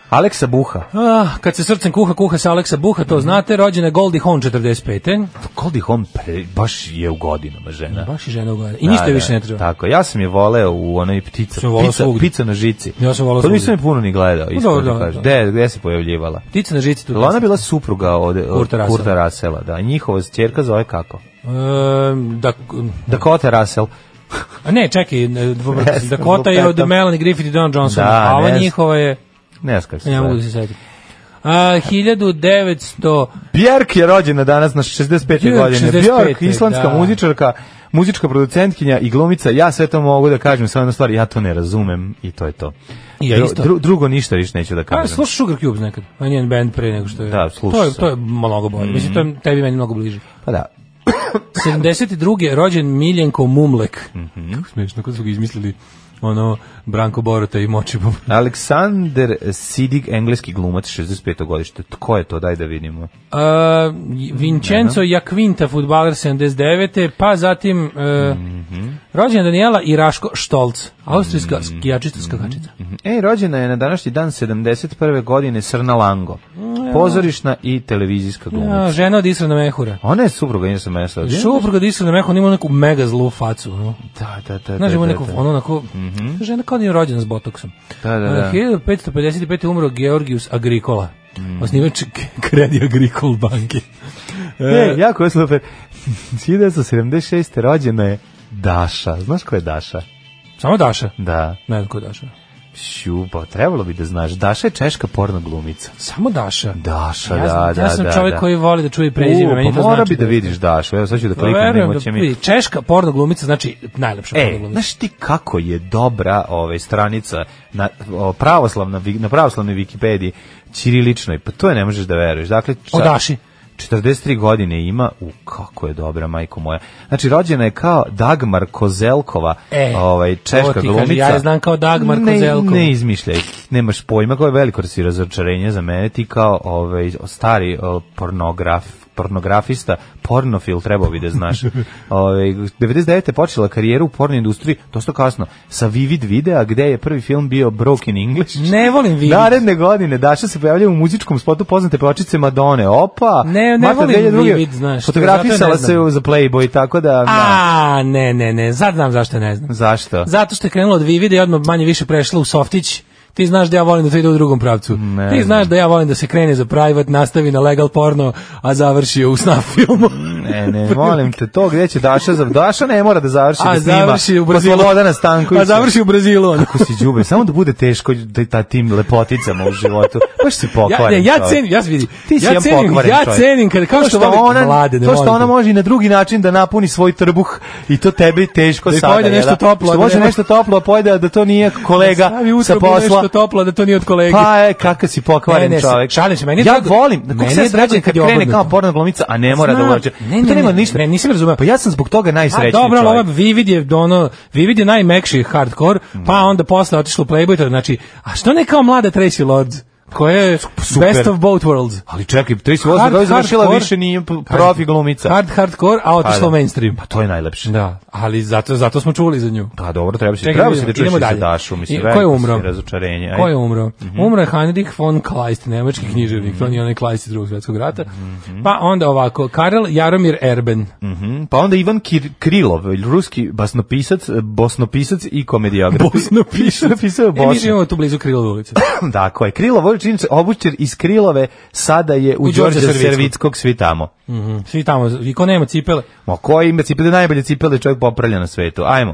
E: Aleksa Buha.
F: Ah, kad se srcem kuha, kuha se Aleksa Buha,
E: Mhm.
F: to znate, rođena je Goldie Hawn 45.
E: Goldie Hawn pre- baš je u godinama žena.
F: Baš i žena ugovara. I ništa
E: Da,
F: joj više
E: da,
F: ne treba.
E: Tako, ja sam je voleo u onoj ptica,
F: Sam je voleo
E: pizza,
F: svugde.
E: pizza na žici.
F: Ja sam je voleo
E: To nisam
F: svugde.
E: je puno ni gledao, iskreno
F: dobro,
E: da
F: dobro,
E: kažem.
F: dobro.
E: Gde, gde se pojavljivala?
F: Ptica na žici tu.
E: Jel ona bila supruga od, od Kurta,
F: Kurta Russella.
E: Russella, da. Njihova ćerka zove kako?
F: Ehm, da,
E: Dakota Russell.
F: A ne, čekaj, ne, dobro,
E: Ne znam,
F: Dakota je od
E: lupetam.
F: Melanie Griffith i Don Johnson,
E: Da,
F: a ova
E: ne znam.
F: njihova je,
E: Ne znam kako se
F: ne mogu da
E: zove.
F: se setim. A, 1900,
E: Björk je rođena danas na 65.
F: Björk,
E: godine.
F: 65.,
E: Björk, islandska
F: da.
E: muzičarka, muzička producentkinja i glumica. Ja sve to mogu da kažem, samo jedna stvar, ja to ne razumem i to je to.
F: Ja isto.
E: drugo ništa više neću da
F: a
E: kažem.
F: slušaš Sugar Cubes nekad, a njen band pre nego što je.
E: Da, slušao
F: To je,
E: sam. Mhm.
F: to je mnogo bolje, mislim, to je tebi meni mnogo bliže.
E: Pa da,
F: 72. rođen Miljenko Mumlek.
E: Mhm.
F: Kako smiješno, kako su ga izmislili ono Branko Borota i Močibom.
E: Aleksander Sidig, engleski glumac, 65. godište. Tko je to? Daj da vidimo.
F: Uh,
E: Da,
F: Vincenzo Jakvinta, futbaler 79. Pa zatim uh,
E: Mhm.
F: rođen Daniela i Raško Štolc, austrijska skijačica skakačica.
E: E, rođena je na današnji dan 71. godine Srna Lango. Pozorišna i televizijska
F: A,
E: glumica.
F: žena od Israna Mehura.
E: Ona je supruga Inesa Mesa.
F: Šuprug od Israna Mehura ima neku mega zlu facu. Ono.
E: Da, da, da.
F: Znaš,
E: da,
F: ima
E: da,
F: neku,
E: da. Mhm.
F: ono onako, žena kao da je rođena s botoksom. E,
E: Da, da, da.
F: A, 1555. umro Georgius Agricola,
E: Mhm.
F: osnivač K- Credit Agricol banke.
E: E, jako je super. 1976. rođena je Daša. Znaš ko je Daša?
F: Samo Daša.
E: Da.
F: Ne znam ko je Daša.
E: Šupa, trebalo bi da znaš. Daša je češka porno glumica.
F: Samo Daša.
E: Daša,
F: ja,
E: da,
F: sam-
E: da,
F: ja sam
E: da,
F: čovjek
E: da.
F: koji voli da čuje prezime,
E: U,
F: meni
E: pa
F: to
E: mora
F: znači
E: bi da vidiš Dašu. Evo sad ću da kliknem,
F: Verujem
E: nemo
F: da
E: će mi...
F: vidi. Češka porno glumica znači najlepša
E: E,
F: porno glumica.
E: znaš ti kako je dobra ovaj stranica na o, pravoslavna vi- na pravoslavnoj Wikipediji ćiriličnoj, pa to je ne možeš da veruješ. Dakle,
F: O
E: ča-
F: Daši.
E: 43 godine ima, u kako je dobra majko moja. Znači rođena je kao Dagmar Kozelkova,
F: E,
E: ovaj
F: ovo
E: češka
F: ti kažem,
E: glumica.
F: ja je znam kao Dagmar
E: Ne-
F: Kozelkova.
E: Ne izmišljaj. Nemaš pojma koje je veliko si razočarenje za mene ti kao ovaj stari o, pornograf pornografista, pornofil trebao bi da znaš. Ove, 99. je počela karijeru u porno industriji, dosta kasno, sa Vivid videa, gde je prvi film bio Broken English.
F: Ne volim Vivid.
E: Naredne godine Daša se pojavlja u muzičkom spotu poznate pevačice Madone. Opa!
F: Ne, ne
E: Marta
F: volim
E: 2002.
F: Vivid, znaš, zato
E: Fotografisala
F: ne znam.
E: se za Playboy, tako da... da.
F: A, ne, ne, ne, sad znam zašto ne znam.
E: Zašto?
F: Zato što je krenulo od Vivida i odmah manje više prešla u Softić. Ti znaš da ja volim da to ide u drugom pravcu.
E: Ne
F: Ti znaš da ja volim da se krene za private, nastavi na legal porno, a završi u snuff filmu.
E: Ne, ne, molim te, to gdje će Daša za... Daša ne mora da završi
F: a
E: da snima.
F: završi u
E: Pa
F: Brazilu.
E: Slobodana Stankovića.
F: A završi u Brazilu. ono.
E: Kako si đube, samo da bude teško da ta tim lepoticama u životu. Baš si
F: Ja,
E: pokvaren.
F: ne, ja
E: čovjek.
F: cenim, ja se vidi.
E: Ti si
F: ja
E: jedan
F: cenim,
E: pokvaren
F: ja
E: čovjek.
F: cenim kad kao
E: to
F: što,
E: što
F: volim
E: ona,
F: mlade, ne
E: to što
F: volim
E: ona
F: te.
E: može i na drugi način da napuni svoj trbuh i to tebi teško
F: Da i
E: sada.
F: pojede
E: jel
F: nešto
E: da?
F: toplo,
E: Što
F: da
E: može
F: nema-
E: nešto toplo, a pojede a da to nije kolega
F: Stavi utro
E: sa
F: bude
E: posla.
F: nešto toplo da to nije od kolege.
E: Pa je, kakav si pokvaren
F: Ne, ne,
E: čovjek.
F: šalim se, meni je
E: ja
F: drago-
E: volim, da
F: meni
E: kako
F: je
E: se ja
F: drago
E: srećan kad
F: kad je
E: krene
F: obrnuto.
E: kao porno glumica, a ne mora da
F: Znam.
E: uvađe.
F: Ne,
E: to
F: ne,
E: nema
F: ne,
E: ništa.
F: ne, nisam razumeo.
E: Pa ja sam zbog toga najsrećniji
F: A dobro, ali
E: čovjek.
F: ova Vivid je ono, Vivid je najmekši hardcore, pa
E: Mm.
F: onda posle otišlo u Playboy, to znači, a što ne kao mlada Tracy Lords, koja je
E: super.
F: best of both worlds.
E: Ali čekaj, 38
F: Hard-
E: godina završila
F: hardcore-
E: više nije p- profi glumica.
F: Hard, hardcore, a
E: Pa
F: otišlo
E: da.
F: u mainstream.
E: Pa to je najlepše.
F: Da, ali zato, zato smo čuli za nju.
E: Pa dobro, treba se
F: Čekaj,
E: treba
F: da
E: se da
F: vidimo,
E: čuješ
F: idemo
E: i za
F: dalje.
E: Dašu, mislim,
F: I- ko je
E: veliko
F: umro?
E: si razočarenje. Ajde.
F: Ko je um- umro?
E: Mhm.
F: Umro je Heinrich von Kleist, nemački književnik, to nije onaj Kleist iz drugog svjetskog rata. Pa onda ovako, Karel Jaromir Erben.
E: Mhm, Pa onda Ivan Kir Krilov, ruski basnopisac, eh, bosnopisac i komedijograf.
F: Bosnopisac.
E: Napisao je
F: E, mi
E: Bosnu.
F: živimo tu blizu Krilove ulice.
E: Tako je. Krilov, ovo je činjenica, obućer iz Krilove, sada je u,
F: U Đorđa
E: Đorđa
F: Servickog.
E: Servickog, svi tamo.
F: Mhm, Svi tamo, i ko nema cipele,
E: Ma koji ima cipele, najbolje cipele čovjek popravlja na svetu. Ajmo.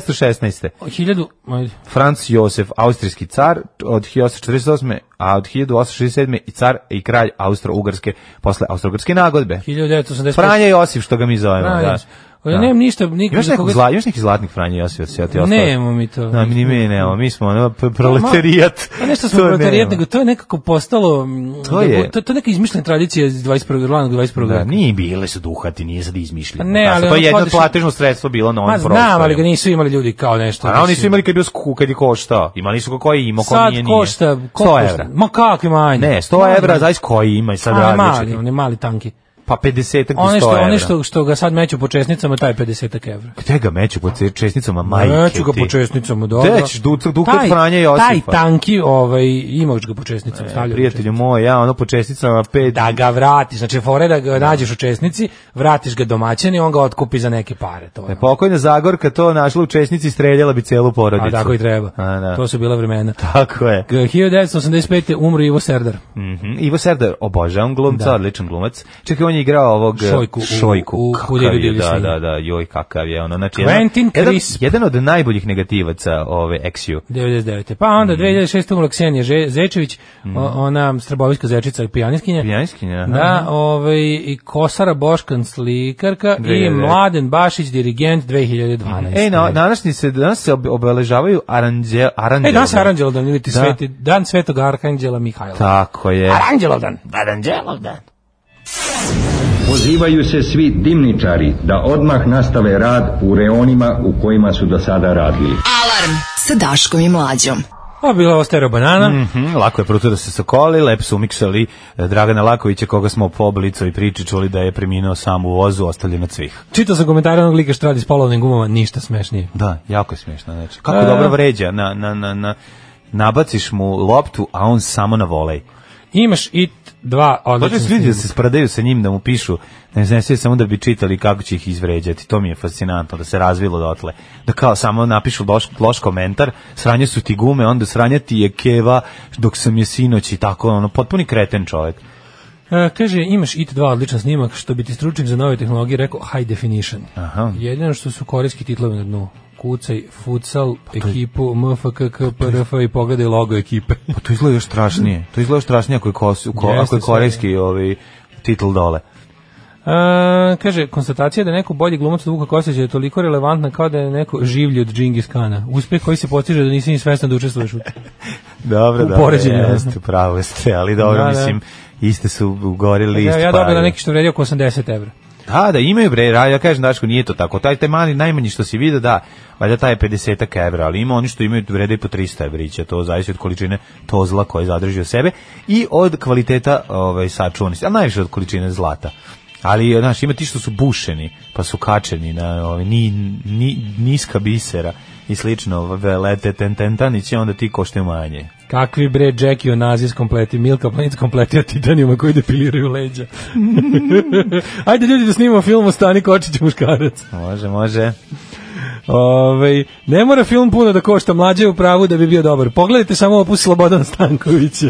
E: 1916.
F: hiljadu, ajde.
E: Franz Josef, austrijski car od 1848. a od 1867. i car i kralj Austro-Ugarske posle Austro-Ugarske nagodbe.
F: 1985.
E: Franja Josif, što ga mi zovemo.
F: Franja.
E: Da.
F: O, ja nemam ništa, nikog
E: Imaš
F: za
E: nekog,
F: koga-
E: zla, imaš nekih zlatnih Franja Josifa? da se ja ti ostalo?
F: Nemamo mi to.
E: Da, mi ni mi nemamo, mi smo ono p- proletarijat.
F: Pa nešto smo
E: To
F: proletarijat,
E: nemamo.
F: nego to je nekako postalo... mm,
E: To je-
F: To, to je neka izmišljena tradicija iz 21. ranog 21.
E: Da,
F: veka.
E: nije bile su duhati, nije sad izmišljeno.
F: Pa ne,
E: Da,
F: ali
E: sad to je
F: ono
E: jedno
F: platiš-
E: platežno sredstvo bilo na onom
F: Ma znam,
E: prostoru.
F: ali ga nisu imali ljudi kao nešto.
E: A oni su
F: mislim.
E: imali kad je bio sku, kad je koštao. Imali su ga koji imao, ko
F: Sad
E: nije, nije.
F: košta, ko
E: 100
F: košta?
E: evra.
F: Ma kakvi manji.
E: Ne, 100 evra, zavis koji ima i sad
F: Ali
E: različiti.
F: mali, on je mali tanki.
E: Pa 50 do 100
F: One što,
E: evra. Pa
F: one što, što ga sad meću po česnicama, taj je 50 evra.
E: Gde ga meću po ce- česnicama majke
F: Neću ga
E: ti?
F: po česnicama, dobro.
E: Gde ćeš ducat dukat
F: Taj-
E: Franje Josifa?
F: Taj tanki, ovaj, imaš ga po česnicama, stavljaju.
E: Prijatelju moj, ja ono po česticama 5
F: da ga vratiš, znači fore da ga nađeš u česnici, vratiš ga domaćin i on ga otkupi za neke pare,
E: E,
F: to je. ono.
E: Pokojna Zagorka to našla u česnici, streljala bi celu porodicu.
F: A tako i treba.
E: A, da.
F: To su bila vremena.
E: Tako je.
F: G- 1985. umro Ivo Serdar.
E: Mhm. Ivo Serdar, obožavam glumca, odličan glumac. Čekaj, on je igrao ovog eh,
F: Da. Šojku u-
E: šojku.
F: u- u
E: Kakav
F: Kudiru
E: je,
F: divlji
E: da,
F: svinje.
E: da, da, joj kakav je. Ono, znači,
F: Quentin
E: jedan,
F: Crisp.
E: jedan od najboljih negativaca ove XU.
F: 99. Pa onda
E: Mm.
F: 2006. umro Ksenija Že- Zečević, o- ona strabovijska zečica pijaniskinja.
E: Pijaniskinja, aha.
F: Da, ovaj, i Kosara Boškan slikarka
E: 2009.
F: i Mladen Bašić dirigent 2012.
E: Ej, E, na, današnji se, danas se ob- obeležavaju aranđe, aranđe.
F: E, danas je Aranđelo dan, ili ti
E: Da.
F: sveti, dan svetog Arhanđela Mihajla.
E: Tako je.
F: Aranđelo dan.
H: Pozivaju se svi dimničari da odmah nastave rad u reonima u kojima su do sada radili.
D: Alarm sa Daškom i Mlađom.
F: Ovo je bila ovo stereo banana.
E: Mhm, lako je pruto da se sokoli, lepo su umiksali eh, Dragana Lakovića, koga smo po blicovi priči čuli da je preminuo sam u vozu, ostavljen od svih.
F: Čitao sam komentare onog lika što radi s polovnim gumama, ništa smešnije.
E: Da, jako je smiješno, znači. Kako
F: E.
E: dobro vređa, na, na, na, na, nabaciš mu loptu, a on samo na volej.
F: Imaš IT 2
E: Počeli
F: odličan
E: su ljudi da
F: snimak.
E: se spradaju sa njim, da mu pišu, da ne znam, sve samo da bi čitali kako će ih izvređati. To mi je fascinantno, da se razvilo dotle. Da kao samo napišu loš, loš komentar, sranje su ti gume, onda sranje ti je keva dok sam je sinoć i tako, ono, potpuni kreten čovjek.
F: E, kaže, imaš IT 2 odličan snimak, što bi ti stručnik za nove tehnologije rekao high definition.
E: Aha.
F: Jedino što su korijski titlovi na dnu. Kucaj, futsal,
E: Pa
F: ekipu, MFK, KPRF i pogledaj logo ekipe.
E: Pa to izgleda još strašnije. To izgleda još strašnije ako je, kos, ko,
F: Jeste,
E: ako je
F: sve.
E: korejski ovaj, titl dole.
F: E, kaže, konstatacija da je neko bolji glumac od Vuka Kostića je toliko relevantna kao da je neko življi od Džingis Kana. Uspjeh koji se postiže da nisi ni svestan da učestvuješ u
E: Dobro,
F: u
E: dobro,
F: poređenju.
E: jeste, pravo ste, ali dobro,
F: Da, da.
E: mislim, iste su ugorili
F: Ja,
E: list.
F: ja dobila
E: pare.
F: neki što vredi oko 80 evra.
E: Da, da, imaju bre, ra- ja kažem Daško, nije to tako. Taj, taj mali, najmanji što si vidio, da, valjda taj je 50 evra, ali ima oni što imaju vrede i po 300 evrića, to zavisi od količine to zla koje zadrži u sebe i od kvaliteta ovaj, sačuvanosti, a najviše od količine zlata. Ali, znaš, ima ti što su bušeni, pa su kačeni na ovaj, ni, ni, niska bisera i slično, velete tentantanići, onda ti košte manje.
F: Kakvi bre Jackie o nazis kompleti, Milka Planinc kompleti o titanijuma koji depiliraju leđa. Ajde ljudi da snimamo film o Stani Kočić muškarac.
E: Može, može.
F: Ove, ne mora film puno da košta, mlađe je u pravu da bi bio dobar. Pogledajte samo opus Slobodan Stankovića.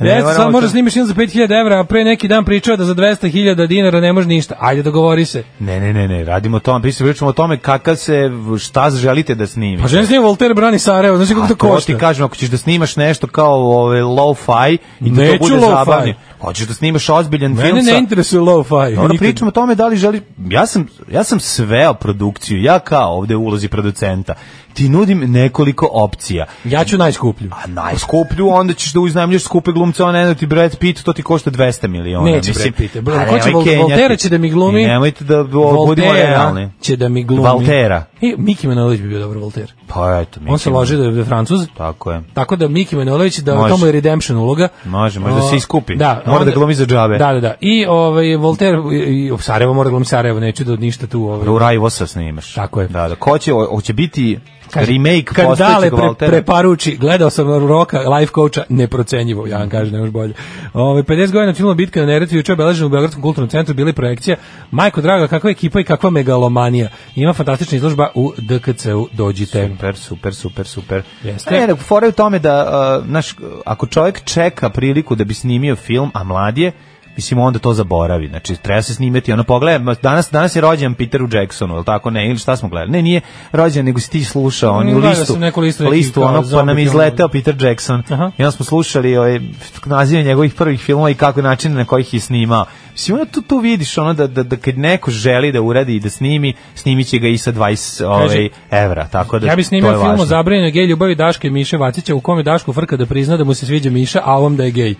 E: Ne
F: Jeste,
E: moramo
F: sad možeš
E: to-
F: da snimiš film za 5000 evra, a pre neki dan pričao da za 200.000 dinara ne može ništa. Ajde, dogovori se.
E: Ne, ne, ne, ne, radimo o tome, pričamo o tome kakav se, šta želite da snimite.
F: Pa želim snijem Voltaire brani Sarajevo, znaš kako
E: A
F: to košta?
E: ti kažem, ako ćeš da snimaš nešto kao ove, low-fi i da to
F: Neću
E: bude
F: lo-fi.
E: zabavno, hoćeš da snimaš ozbiljan film
F: Mene
E: sa...
F: ne interesuje lo-fi.
E: Ono
F: nikad.
E: pričamo o tome da li želi... Ja sam, ja sam sveo produkciju, ja kao ovde u ulozi producenta. Ti nudim nekoliko opcija.
F: Ja ću najskuplju.
E: A najskuplju, onda ćeš da uznajemljaš skupe glumce, on eno ti Brad Pitt, to ti košta 200 miliona.
F: Neće
E: mislim.
F: Brad Pitt.
E: A
F: Bro, ko će
E: nemoj
F: Vol-
E: kenjati.
F: Voltera će da mi glumi?
E: I Nemojte da ovo, budemo realni.
F: će da mi glumi.
E: Voltera.
F: I Miki Manojlović bi bio dobar Voltaire.
E: Pa eto, mi
F: On se
E: ćemo-
F: loži da je Francuz.
E: Tako je.
F: Tako da Miki Manojlović da
E: Može.
F: Može. tomu je redemption uloga.
E: Može, može da se
F: O,
E: iskupi. Mora da glumi za džabe.
F: Da, da, da. I ovaj Voltaire i, i Sarajevo mora da glumi Sarajevo, neću da od ništa tu ovaj.
E: U Rajvosa snimaš.
F: Tako je.
E: Da, da. Ko će, o- hoće biti
F: Kaže,
E: remake
F: kad dale
E: postojećeg
F: pre,
E: Valtera?
F: preparuči, gledao sam Roka, life coacha, neprocenjivo, ja vam kažem, ne može bolje. Ove, 50 godina od filma Bitka na Neretvi, juče obeležena u Beogradskom kulturnom centru, bila je projekcija. Majko draga, kakva ekipa i kakva megalomanija. Ima fantastična izložba u DKC-u, dođite.
E: Super, super, super, super.
F: Jeste.
E: Ne, ne, fora je u tome da, uh, znaš, ako čovjek čeka priliku da bi snimio film, a mlad je, mislim, onda to zaboravi. Znači, treba se snimati, ono, pogledaj, ma, danas, danas je rođen Peteru Jacksonu, ili tako, ne, ili šta smo gledali? Ne, nije rođen, nego si ti slušao, on
F: Mm,
E: u
F: gledao
E: listu,
F: sam neku listu nekih kao
E: ono, pa
F: zombi
E: nam je
F: filmova.
E: izleteo Peter Jackson,
F: Aha.
E: i onda smo slušali ovaj, nazive njegovih prvih filmova i kako načine na kojih je snimao. Mislim, onda tu, tu vidiš ono da, da, da kad neko želi da uradi i da snimi, snimit će ga i sa 20 ovaj, evra, tako da
F: Ja bi
E: to
F: snimio
E: je
F: film o
E: važno.
F: zabranjenoj gej ljubavi Daške i Miše Vacića u kome Daško frka da prizna da mu se sviđa Miša, a ovom da je gej.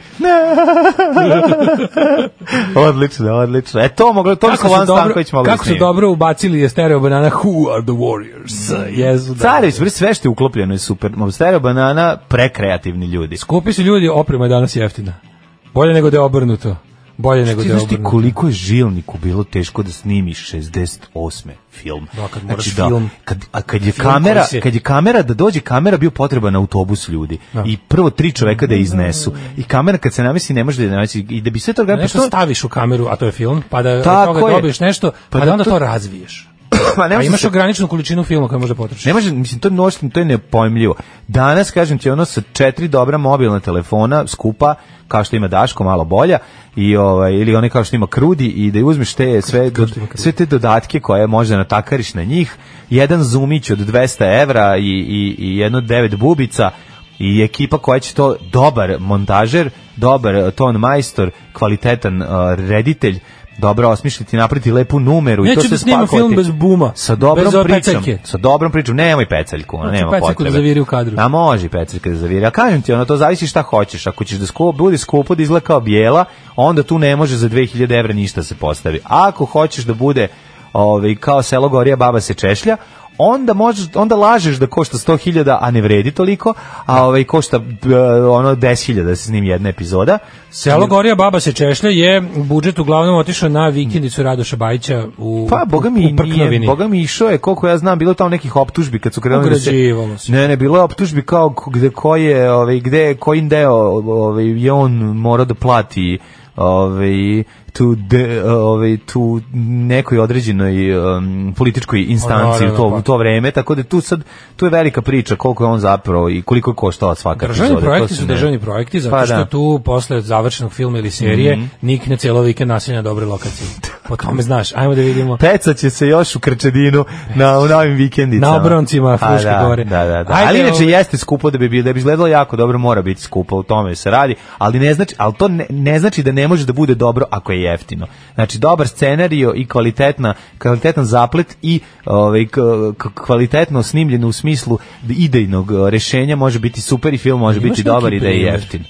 E: odlično, odlično. E to moglo, to bi
F: Kako
E: Kovan
F: su dobro,
E: Stanković mogao
F: kako su dobro ubacili je stereo banana Who are the Warriors? Jezu, da.
E: Carević, bre, sve što je uklopljeno je super. Stereo banana, prekreativni ljudi.
F: Skupi su ljudi, oprema je danas jeftina. Bolje nego da je obrnuto. Bolje nego
E: Ti
F: da je
E: znaš ti
F: obrnuto.
E: koliko je žilniku bilo teško da snimiš 68. film. Znači
F: Da, kad moraš film.
E: Kad, a kad je,
F: Film
E: kamera,
F: koji se-
E: kad je kamera, da dođe kamera, bio potreban autobus ljudi. I prvo tri čoveka da je iznesu. I kamera kad se namesi ne može da je namesi. I da bi sve to
F: Da
E: organi-
F: nešto
E: pa što-
F: staviš u kameru, a to je film, pa da
E: Tako
F: od toga
E: je.
F: dobiješ nešto,
E: Pa
F: pa,
E: da
F: da onda
E: to-
F: to razviješ.
E: Pa ne
F: A
E: može
F: imaš
E: se-
F: ograničenu količinu filma koju možda potrošiš.
E: Ne može, mislim, to je noštvo, to je nepojmljivo. Danas, kažem ti, ono sa četiri dobra mobilna telefona, skupa, kao što ima Daško, malo bolja, i ovaj, ili one kao što ima Krudi, i da uzmeš te sve, do, sve te dodatke koje možda natakariš na njih, jedan zumić od 200 evra i, i, i jedno devet bubica, i ekipa koja će to dobar montažer, dobar eh, ton majstor, kvalitetan eh, reditelj, dobro osmisliti, napraviti lepu numeru i to
F: Neću
E: sve
F: da snimam
E: spakovati.
F: film bez buma,
E: Sa dobrom
F: bez ove
E: pričom.
F: pecaljke.
E: Sa dobrom pričom, nemoj pecaljku, ona
F: Hoću
E: nema
F: pecaljku da
E: potrebe.
F: zaviri u kadru.
E: A može i pecaljka da zaviri. A kažem ti, ono, to zavisi šta hoćeš. Ako ćeš da skupo, budi skupo da izgleda kao bijela, onda tu ne može za 2000 evra ništa se postavi. A ako hoćeš da bude ovaj, kao selo gorija, baba se češlja, onda možeš onda lažeš da košta 100.000 a ne vredi toliko a ovaj košta b- ono 10.000 da se snimi jedna epizoda
F: Selo Gorija Baba se češlja je budžet uglavnom otišao na vikendicu Radoša Bajića u
E: Pa, boga mi,
F: u
E: nije,
F: Prknovini.
E: boga mi išao je, koliko ja znam, bilo je tamo nekih optužbi kad su krenuli da se...
F: Ugrađivalo se.
E: Ne, ne, bilo je optužbi kao k- gde koji je, ovaj, gde, kojim deo ovaj, je on morao da plati ovaj, tu, de, ovaj, tu nekoj određenoj um, političkoj instanci
F: Pa,
E: u, to,
F: naravno, pa.
E: u to vreme, tako da tu sad, tu je velika priča koliko je on zapravo i koliko je koštala svaka
F: Državni
E: epizoda. to
F: projekti
E: se
F: su
E: ne-
F: državni projekti zato
E: Pa,
F: što
E: da. Mhm.
F: tu posle završenog filma ili serije nikne celo vikend nasilje na dobre lokacije. Po tome znaš. Ajmo da vidimo.
E: Pecat će se još u Krčedinu na, u novim vikendicama.
F: Na obroncima
E: A,
F: Fruške
E: da,
F: gore.
E: Da, da, da.
F: Ajde,
E: ali inače
F: ovaj-
E: jeste skupo da bi bilo, da bi izgledalo jako dobro, mora biti skupo, u tome se radi, ali ne znači, ali to ne, ne znači da ne može da bude dobro ako je jeftino. Znači dobar scenario i kvalitetna, kvalitetan zaplet i ovaj k- k- kvalitetno snimljeno u smislu idejnog eh, rešenja može biti super i film može
F: Imaš
E: biti
F: neki
E: dobar i da je
F: primer
E: jeftin.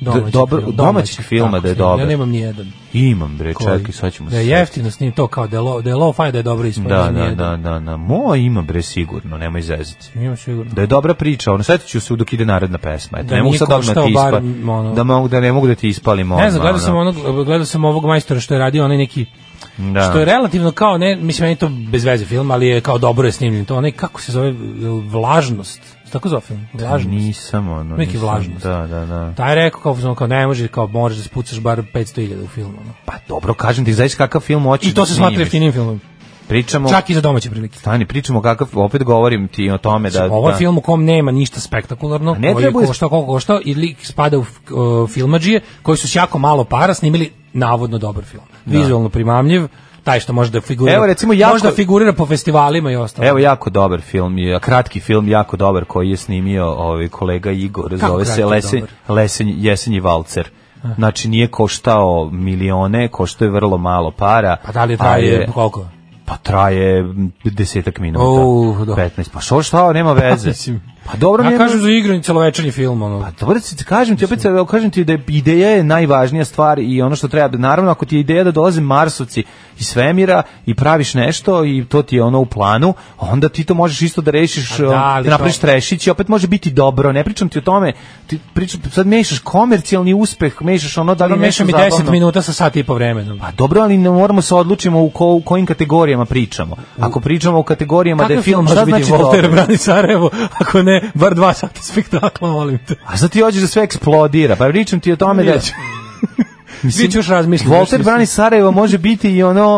F: Domaćih
E: Dobar-
F: film-
E: domaćih filma
F: tako,
E: da je
F: film.
E: dobar.
F: Ja nemam nijedan.
E: Imam bre,
F: koji-
E: čekaj, sad ćemo
F: Da je
E: se-
F: jeftino s njim to kao da je lo- da je lo-fi, da je dobro ispod.
E: Da, da, da, da, da. Mo ima bre sigurno, nemoj zezati.
F: Imam sigurno.
E: Da je dobra priča, ono setit ću se dok ide naredna pesma. Eto,
F: Da
E: ne mogu sad
F: nije
E: odmah da ti
F: koštao bar,
E: ispalim.
F: ono-
E: Da, mogu, da ne mogu da ti ispalim odmah.
F: Ne znam, gledao sam
E: ono.
F: onog, gledao sam ovog majstora što je radio onaj neki
E: Da.
F: Što je relativno kao ne, mislim meni je to bez veze film, ali je kao dobro je snimljen. To onaj kako se zove jel vlažnost. Tako zove film.
E: Pa
F: Vlažnost.
E: Nisam, ono.
F: Neki
E: nisam.
F: vlažnost.
E: Da, da, da.
F: Taj je rekao kao, fazon, kao ne može, kao možeš da spucaš bar 500.000 u filmu. ono.
E: Pa dobro, kažem ti, zaista kakav film hoćeš
F: I to
E: da
F: se smatra
E: snimiš.
F: jeftinim filmom.
E: Pričamo...
F: Čak i za domaće prilike.
E: Stani, pričamo kakav, opet govorim ti o tome da...
F: Ovo je
E: da,
F: film u kom nema ništa spektakularno,
E: ne
F: ne koji je
E: treba je-
F: koštao koliko koštao i lik spada u f- o, filmadžije koji su s jako malo para snimili navodno dobar film. Vizualno primamljiv, taj što može da figurira.
E: Da. Evo, recimo, jako-
F: Možda figurira po festivalima i ostalo.
E: Evo jako dobar film, je, kratki film jako dobar koji je snimio ovaj kolega Igor, zove se
F: kratki,
E: Lesen,
F: dobar?
E: Lesen, Jesenji Valcer. Znači nije koštao milione, koštao je vrlo malo para.
F: Pa da li je
E: a
F: traje koliko?
E: Pa traje m, desetak minuta.
F: Au, da.
E: 15. Pa što šta, nema veze.
F: Mislim,
E: pa dobro,
F: Ja
E: nema-
F: kažem za igru i celovečernji film, ono.
E: Pa dobro, ti- kažem ti, opet se- kažem ti da je ideja je najvažnija stvar i ono što treba, naravno ako ti je ideja da dolaze Marsovci iz svemira i praviš nešto i to ti je ono u planu, onda ti to možeš isto da rešiš,
F: A da, ali
E: da napraviš
F: to-
E: trešić i opet može biti dobro, ne pričam ti o tome, ti pričam, sad mešaš komercijalni uspeh, mešaš ono da li
F: Dobro,
E: nešto
F: mešam mi
E: zabavno.
F: 10 minuta sa sat i po vremenom.
E: Pa dobro, ali ne moramo se odlučimo u, ko, u kojim kategorijama pričamo. Ako pričamo u kategorijama da je
F: Kakav
E: film, šta
F: može biti
E: znači
F: Volter
E: dobro?
F: brani Sarajevo, ako ne, bar dva sata spektakla, molim te.
E: A sad ti hoćeš da sve eksplodira, pa pričam ti o tome da...
F: Neću. Mislim, ću još razmisliti.
E: Volter brani Sarajevo može biti i ono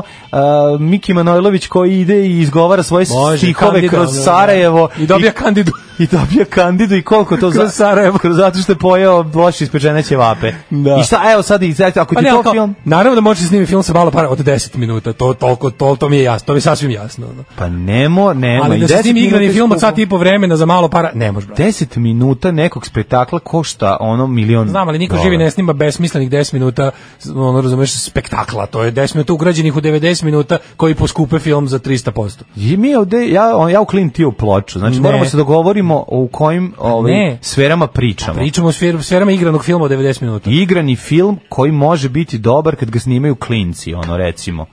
E: uh, Miki Manojlović koji ide i izgovara svoje
F: Može,
E: stihove
F: Kandida,
E: kroz
F: da, da.
E: Sarajevo
F: I dobija kandidu.
E: i, dobija kandidu i koliko to
F: Kroz Sarajevo.
E: kroz zato što je pojeo loše ispečene ćevape.
F: Da.
E: I šta evo sad i sad, ako
F: Pa
E: ti
F: ne,
E: to
F: ali kao,
E: film
F: naravno da može se snimiti film sa malo para od 10 minuta, to, toliko, to, to mi je jasno, to mi je sasvim jasno. Ono.
E: pa nemo, nema
F: Ali
E: i
F: da se
E: 10
F: snimi
E: minuta
F: igrani
E: je
F: film od
E: skupo.
F: sat i po vremena za malo para, ne može, brate.
E: 10 minuta nekog spektakla košta ono milion.
F: Znam, ali niko
E: dolara.
F: živi ne snima besmislenih 10 minuta, ono razumeš, spektakla. To je 10 minuta ugrađenih u 90 minuta koji poskupe film za 300%.
E: I mi ovde, ja, on- ja u Clint Eastwood ploču, znači
F: Ne.
E: moramo se dogovorimo u kojim ovaj,
F: ne.
E: sferama pričamo.
F: Pričamo o sfer- sferama igranog filma od 90 minuta.
E: igrani film koji može biti dobar kad ga snimaju klinci, ono recimo.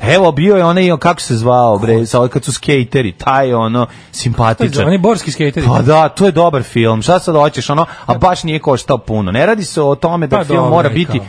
E: Evo bio je onaj kako se zvao bre, sa ovaj kad su skateri, taj je ono
F: To je za-
E: simpatičan.
F: oni borski skateri.
E: Pa da, to je dobar film. Šta sad hoćeš ono, a baš nije koštao puno. Ne radi se o tome da
F: Da. Pa
E: film
F: dobro,
E: mora
F: i
E: biti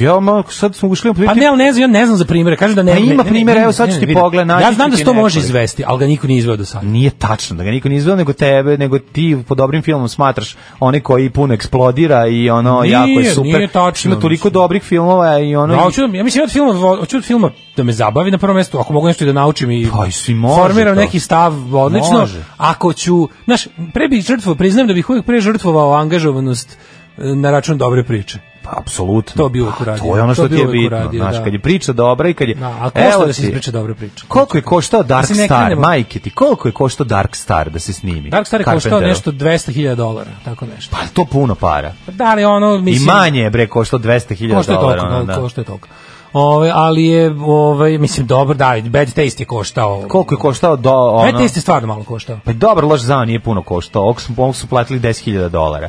E: Ja, ma, sad smo ušli u
F: Pa
E: politiku.
F: ne, ali ne znam, ja ne znam za primere. Kažem da ne.
E: Pa ima
F: ne- ne-
E: primjera,
F: ne-
E: evo sad
F: ne-
E: ću
F: ne-
E: ti
F: vidim.
E: pogledaj,
F: Ja
E: naći
F: znam
E: ću
F: da
E: ti
F: se to može
E: nekoliko.
F: izvesti, ali ga niko nije izveo do sada.
E: Nije tačno da ga niko nije izveo nego tebe, nego ti po dobrim filmom smatraš onaj koji puno eksplodira i ono
F: Nije,
E: jako je super.
F: nije tačno,
E: Ima toliko
F: mislim.
E: dobrih filmova i ono
F: Ja hoću, da- ja mislim od filma, hoću od filma da me zabavi na prvom mjestu, ako mogu nešto i da naučim i
E: Pa, i svi može
F: formiram
E: to.
F: neki stav odlično.
E: Može.
F: Ako ću, znaš, pre bih žrtvo, priznam da bih uvijek pre žrtvovao angažovanost e, na račun dobre priče.
E: Pa, apsolutno.
F: To bi uvek
E: Pa,
F: uradio.
E: To je ono
F: To
E: što
F: bi
E: ti je
F: uvek
E: bitno.
F: uradio,
E: znaš,
F: da.
E: kad je priča dobra i kad je...
F: Da, a košta
E: Evo
F: da se
E: ti,
F: ispriča dobra priča.
E: Koliko je koštao Dark
F: Mislim, ne
E: Star?
F: krenemo-
E: Majke ti, koliko je koštao Dark Star da se snimi?
F: Dark Star je koštao
E: Carpenteru?
F: nešto 200.000 dolara, tako nešto.
E: Pa to puno para.
F: Da li ono,
E: I
F: mislim...
E: manje je, bre, koštao 200.000 dolara.
F: Košta je toliko,
E: ono,
F: da, košta je toliko. Ove, ali je, ove, mislim, dobro, da, Bad Taste je koštao.
E: Koliko je koštao do... Ono...
F: Bad Taste je stvarno malo koštao.
E: Pa dobro, loš zao nije puno koštao. Ovog su, ovog su platili 10.000 dolara.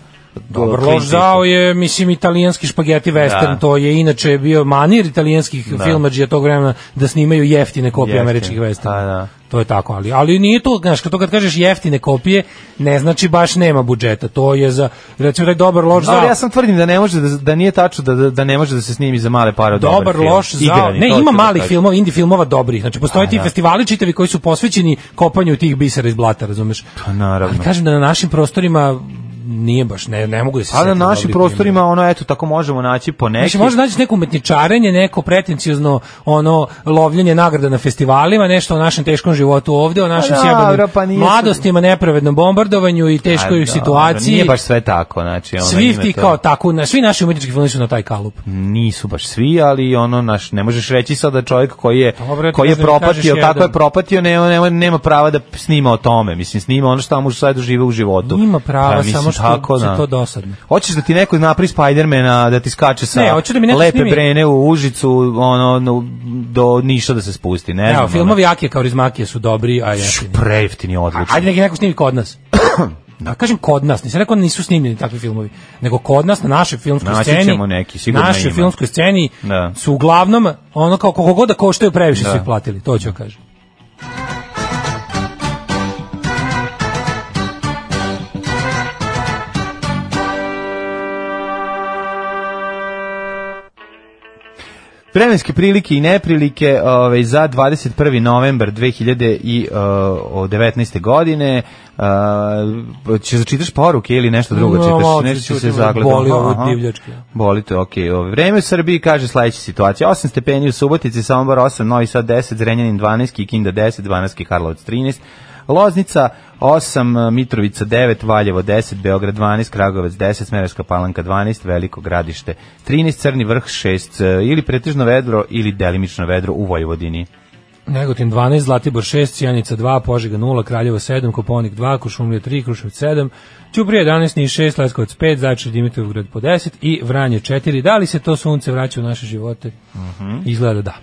F: Dobar
E: Clint
F: loš zao
E: Eastwood.
F: je, mislim, italijanski špageti western,
E: Da.
F: to je inače bio manir italijanskih da. filmađija tog vremena da snimaju jeftine kopije
E: Jeftine,
F: američkih westerna.
E: pa da.
F: To je tako, ali, ali nije to, znaš, kad to kad kažeš jeftine kopije, ne znači baš nema budžeta, to je za, recimo da je dobar loš zao.
E: Dobro, ja sam tvrdim da ne može da, da nije tačno da, da, da ne može da se snimi za male pare dobar,
F: dobar,
E: film.
F: loš zao.
E: Igrani, to
F: Ne, ima
E: ću da
F: malih
E: kažem.
F: filmova, indie filmova dobrih. Znači postoje ti
E: da.
F: festivali čitavi koji su posvećeni kopanju tih bisera iz blata, razumeš?
E: Pa naravno.
F: Ali kažem da na našim prostorima nije baš, ne, ne mogu da se
E: A na
F: setim
E: našim
F: dobrih
E: prostorima, ono, eto, tako možemo naći po neki.
F: Znači, možda naći neko umetničarenje, neko pretencijozno ono lovljenje nagrada na festivalima, nešto o našem teškom životu ovde, o
E: Pa
F: našim
E: dobro,
F: sjebanim
E: pa nije-
F: mladostima, nepravednom bombardovanju i
E: A,
F: teškoj
E: da,
F: situaciji.
E: Nije baš sve tako, znači. Ono,
F: svi
E: ima
F: ti
E: to-
F: kao tako, na, svi naši umetnički filmovi su na taj kalup.
E: nisu baš svi, ali ono naš ne možeš reći sad da čovjek koji je
F: Dobro,
E: koji je
F: možda mi da kažeš
E: propatio,
F: jedan.
E: kako je propatio, nema nema nema prava da snima o tome. Mislim snima ono što mu sve dožive u životu.
F: Ima prava,
E: Pa, mislim,
F: samo što se to dosadno.
E: Hoćeš da ti neko napravi Spidermana da ti skače sa
F: Ne, hoću da mi neko
E: lepe
F: snimi-
E: brene u Užicu, ono no, do Niša da se spusti, ne znam.
F: Evo,
E: ono.
F: filmovi Akije kao Rizmakije su dobri, a
E: Š,
F: jeftini.
E: prejeftini odlično.
F: Ajde neki neko snimi kod nas. Da kažem kod nas, nisam rekao da nisu snimljeni takvi filmovi, nego kod nas na našoj filmskoj
E: Naći
F: sceni.
E: ćemo neki, sigurno
F: našoj
E: ima.
F: filmskoj sceni
E: Da.
F: su uglavnom ono kao koliko god da koštaju previše
E: Da.
F: su ih platili, to ću kažem.
E: Vremenske prilike i neprilike ovaj, za 21. novembar 2019. e, godine. E, Uh, će začitaš poruke ili nešto drugo
F: No,
E: čitaš?
F: malo
E: Nešto
F: ću
E: će se
F: čuti,
E: zagledati.
F: da boli ovo divljački.
E: Boli to, okej. Ovaj, Vreme u Srbiji kaže sledeća situacija. 8 stepeni u Subotici, Sombor 8, Novi Sad 10, Zrenjanin 12, Kikinda 10, 12, Karlovac 13, Loznica 8, Mitrovica 9, Valjevo 10, Beograd 12, Kragovec 10, Smereska palanka 12, Veliko gradište 13, Crni vrh 6, e, ili pretežno vedro ili delimično vedro u Vojvodini.
F: Negotin 12, Zlatibor 6, Cijanica 2, Požega 0, Kraljevo 7, Koponik 2, Kuršumlija 3, Kruševac 7, Ćuprije 11, Niš 6, Leskovac 5, Zajčar Dimitrovgrad po 10 i Vranje 4. Da li se to sunce vraća u naše živote? Izgleda da.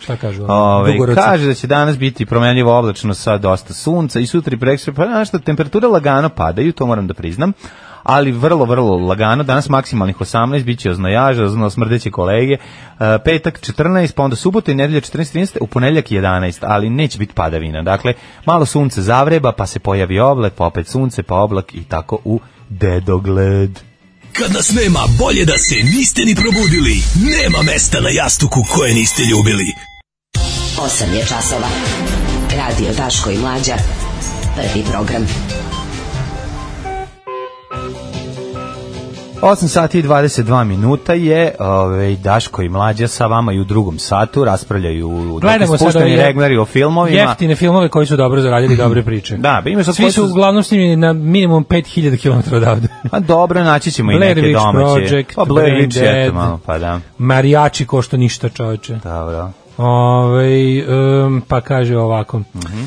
F: Šta Ovaj, kažu? ovi
E: Ove,
F: dugoroci?
E: kaže da će danas biti promenljivo oblačno sa dosta sunca i sutra i prekstra, pa znaš što, temperature lagano padaju, to moram da priznam, ali vrlo, vrlo lagano, danas maksimalnih 18, bit će oznojaža, ozno smrdeće kolege, E, petak 14, pa onda subota i nedelja 14, 13, u ponedeljak 11, ali neće biti padavina, dakle, malo sunce zavreba, pa se pojavi oblak, pa opet sunce, pa oblak i tako u dedogled.
I: Kad nas nema, bolje da se niste ni probudili. Nema mesta na jastuku koje niste ljubili.
D: 8 je časova. Radio Daško i Mlađa. Prvi program.
E: 8 sati i 22 minuta je ovaj, Daško i Mlađa sa vama i u drugom satu raspravljaju u
F: Gledamo
E: dakle,
F: sad
E: spušteni
F: ove je-
E: regnari o filmovima.
F: Jeftine filmove koji su dobro zaradili dobre priče.
E: Da, pa imaš sad
F: Svi
E: koji
F: su
E: su-
F: uglavnom snimljeni na minimum 5000 km odavde.
E: A dobro, naći ćemo i
F: Blair
E: neke
F: Witch
E: domaće.
F: Project,
E: pa Blair
F: Brain
E: Witch, eto
F: Dead.
E: malo, pa da.
F: Marijači ko što ništa čoveče.
E: Dobro.
F: Ove, um, pa kaže ovako.
E: Mhm.
F: E,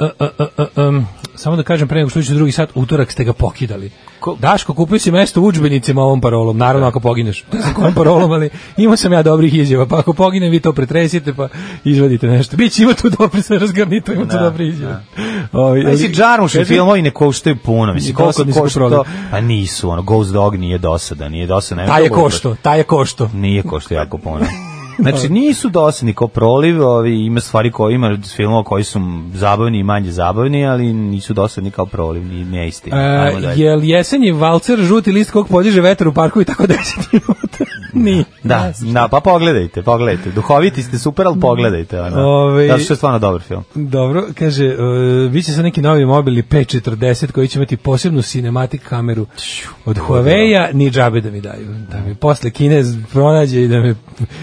F: e, e, e, e, em, samo da kažem pre nego što uđe drugi sat, utorak ste ga pokidali.
E: Ko-
F: Daško, kupio si mesto u udžbenicima ovom parolom, naravno ako pogineš. Ne znam kojom parolom, ali imao sam ja dobrih izjava, pa ako poginem vi to pretresite, pa izvadite nešto. Biće ima tu dobro se razgarnito, ima tu
E: Da,
F: dobre izjave. Ovi,
E: Mislim,
F: ali-
E: Jarmusch i
F: Kaži-
E: filmovi ne koštaju puno. Mislim, koliko
F: Dosadni su
E: košta...
F: program.
E: Pa nisu, ono, Ghost Dog nije dosadan, nije dosadan.
F: Taj je
E: Dobro,
F: košto, taj je košto.
E: Nije košta jako puno. Znači, nisu dosadni ko proliv, ovi, ima stvari koje ima filmova koji su zabavni i manje zabavni, ali nisu dosadni kao proliv, ni ne istina.
F: E,
E: Ajmo dalje.
F: jel jesenji valcer žuti list kog podiže vetar u parku i tako 10 minuta? Nije.
E: Da, da, pa pogledajte, pogledajte. Duhoviti ste super, ali pogledajte. Ono.
F: Ovaj-
E: Da, što je stvarno dobar film.
F: Dobro, kaže, uh, bit će sad neki novi mobili P40 koji će imati posebnu cinematic kameru od
E: da.
F: Huawei-a, ni džabe da mi daju. Da mi posle Kinez pronađe i da me,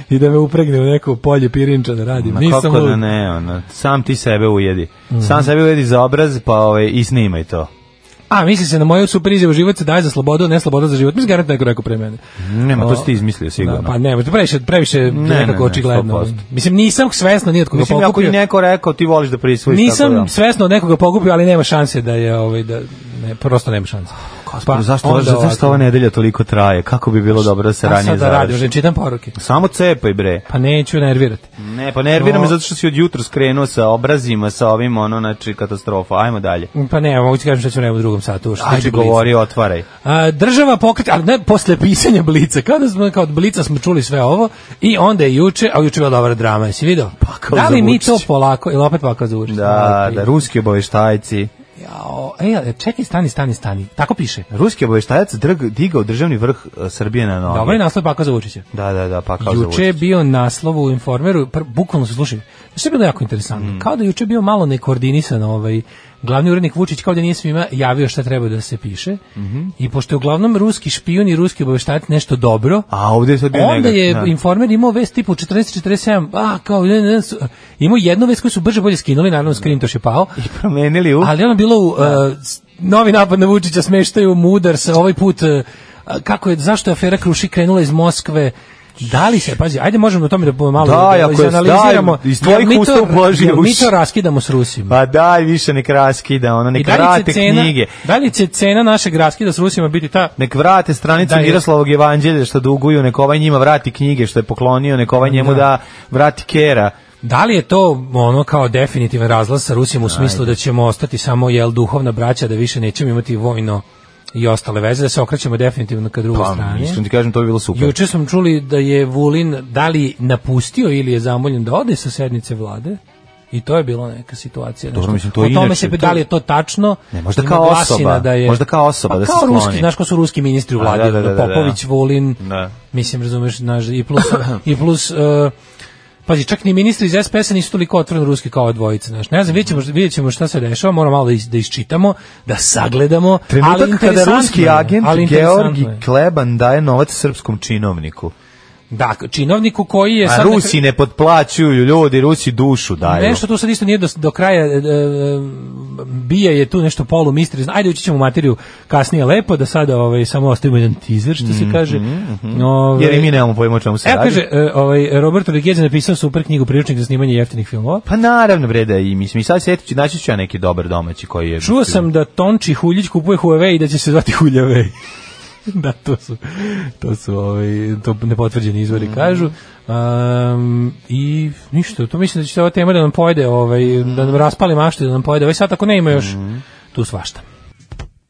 F: i da me upregne u neko polje pirinča da radim.
E: Ma
F: Nisam
E: kako da
F: lud. Mhm.
E: ne, ono, sam ti sebe ujedi. Sam sebe ujedi za obraz, pa ovaj, i snimaj to.
F: A, misli se na moju super izjavu život se daje za slobodu, ne sloboda za život. Mislim, garantno neko rekao pre mene.
E: Nema, to si ti izmislio Mhm, sigurno.
F: Da, pa ne, previše, previše
E: ne,
F: nekako
E: ne,
F: očigledno.
E: 100%.
F: Mislim, nisam svesno nijed koga
E: Mislim, ako ti
F: pokupio.
E: neko rekao, ti voliš da prisvojiš.
F: Nisam
E: tako da.
F: svesno od nekoga pogubio, ali nema šanse da je ovaj da ne, prosto nema šanse.
E: Pa, zašto, ova-
F: onda
E: zašto
F: ovako.
E: ova nedelja toliko traje? Kako bi bilo dobro da se
F: Šta sad
E: ranije
F: da radim,
E: završi?
F: ne čitam poruke.
E: Samo cepaj bre.
F: Pa neću nervirati.
E: Ne, pa nervira
F: No.
E: me zato što si od jutra skrenuo sa obrazima, sa ovim, ono, znači, katastrofa. Ajmo dalje.
F: Pa ne, mogu ti kažem šta ću ne u drugom satu. Što se
E: Ajde,
F: tiče Blica.
E: govori, otvaraj.
F: A, država pokret, ali ne posle pisanja Blica. Kada smo kao od Blica smo čuli sve ovo i onda je juče, a juče je bila dobra drama, jesi video?
E: Pakao
F: da
E: za
F: li mi
E: Vučića.
F: to polako, ili opet pakao za Vučića?
E: Da, da, ruski obaveštajci.
F: Jao, ej, čekaj, stani, stani, stani. Tako piše.
E: Ruski obaveštajac drg, digao državni vrh e, Srbije na noge.
F: Dobar je naslov pakao za Vučića.
E: Da, da, da, pa kao za
F: Juče je
E: Vučića.
F: bio naslov u Informeru, pr, bukvalno se slušaj, Što je bilo jako interesantno?
E: Mm.
F: Kao da je juče bio malo nekoordinisan ovaj glavni urednik Vučić kao da nije svima javio šta treba da se piše.
E: Mhm.
F: I pošto je uglavnom ruski špijun i ruski obaveštajac nešto dobro,
E: A ovdje je sad bio
F: onda
E: negat-
F: je
E: da.
F: informer imao vest tipu 1447, a kao ne, ne, su- imao jednu vest koju su brže bolje skinuli, naravno Skrintoš je pao.
E: promenili u...
F: Ali ono bilo
E: Da.
F: u, e, s- novi napad na Vučića smeštaju mudar sa ovaj put e, a, kako je zašto je afera Kruši krenula iz Moskve Da li se, pazi, ajde možemo o tome da malo
E: Daj, ako je-
F: izanaliziramo.
E: daj, iz tvojih
F: mi
E: usta
F: to-
E: uboži
F: jel mi
E: uši.
F: to raskidamo s Rusima.
E: Pa daj, više nek raskida, ona,
F: I
E: nek
F: da li, će
E: vrate
F: cena,
E: knjige.
F: da li će cena našeg raskida s Rusima biti ta
E: Nek vrate stranicu
F: Da, je.
E: Miroslavog evanđelja što duguju, nek ovaj njima vrati knjige što je poklonio, nek ovaj njemu da, vrati kera.
F: Da li je to ono kao definitivan razlaz sa Rusijom u smislu da ćemo ostati samo jel duhovna braća da više nećemo imati vojno i ostale veze da se okrećemo definitivno ka drugoj
E: Pa,
F: strani?
E: iskreno ti kažem, to bi bilo super.
F: Juče smo čuli da je Vulin da li napustio ili je zamoljen da ode sa sednice vlade. I to je bilo neka situacija.
E: Dobro,
F: nešto.
E: mislim, to
F: o
E: je
F: tome
E: inače,
F: se
E: to-
F: da li je to tačno?
E: Ne, možda
F: Ima
E: kao
F: glasina
E: osoba,
F: Da je,
E: možda kao osoba
F: pa
E: da se
F: kao ruski,
E: skloni.
F: Znaš ko su ruski ministri u
E: A,
F: vladi?
E: da, da, da, da, da.
F: Popović, Vulin,
E: Da.
F: mislim, razumeš, znaš, i plus, i plus e, Pazi, čak ni ministri iz SPS-a nisu toliko otvoreno ruski kao ova dvojica, znaš. Ne znam, vidjet ćemo, vidjet ćemo šta se dešava, moramo malo da, is- da isčitamo, da sagledamo, ali
E: Trenutak kada
F: interesantno
E: ruski
F: je,
E: agent
F: ali interesantno
E: Georgi
F: je.
E: Kleban daje novac srpskom činovniku.
F: Da, činovniku koji je...
E: A
F: E, sad na kraju-
E: Rusi ne potplaćuju ljudi, Rusi dušu daju.
F: Nešto tu sad isto nije do, do kraja e, e, bija je tu nešto polu misteri. Ajde ući ćemo u materiju kasnije lepo da sada ovaj samo ostavimo jedan teaser što se kaže. Ovaj,
E: Mhm, Jer i mi nemamo pojma o čemu se
F: Evo
E: radi.
F: kaže, e, ovaj, Roberto Rigezi napisao super knjigu priručnik za snimanje jeftinih filmova.
E: Pa naravno, bre, da i mislim, i sad sjetit ću, naći ću ja neki dobar domaći koji je...
F: Čuo sam da Tonči Huljić kupuje Huawei i da će se zvati Huljavej. da, to su, to su ovaj, to nepotvrđeni izvori
E: Mhm.
F: kažu. Um, I ništa, to mislim da će se ova tema da nam pojede, ovaj,
E: Mhm.
F: da nam raspali mašte, da nam pojede. Ovaj sad ako ne ima još tu svašta.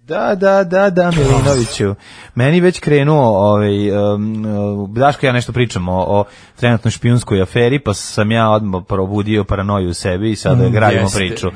E: Da, da, da, da, Milinoviću. Meni već krenuo, ovaj, um, uh, Daško i ja nešto pričam o, o trenutno špijunskoj aferi, pa sam ja odmah probudio paranoju u sebi i sada
F: Mm,
E: gradimo
F: jeste.
E: priču.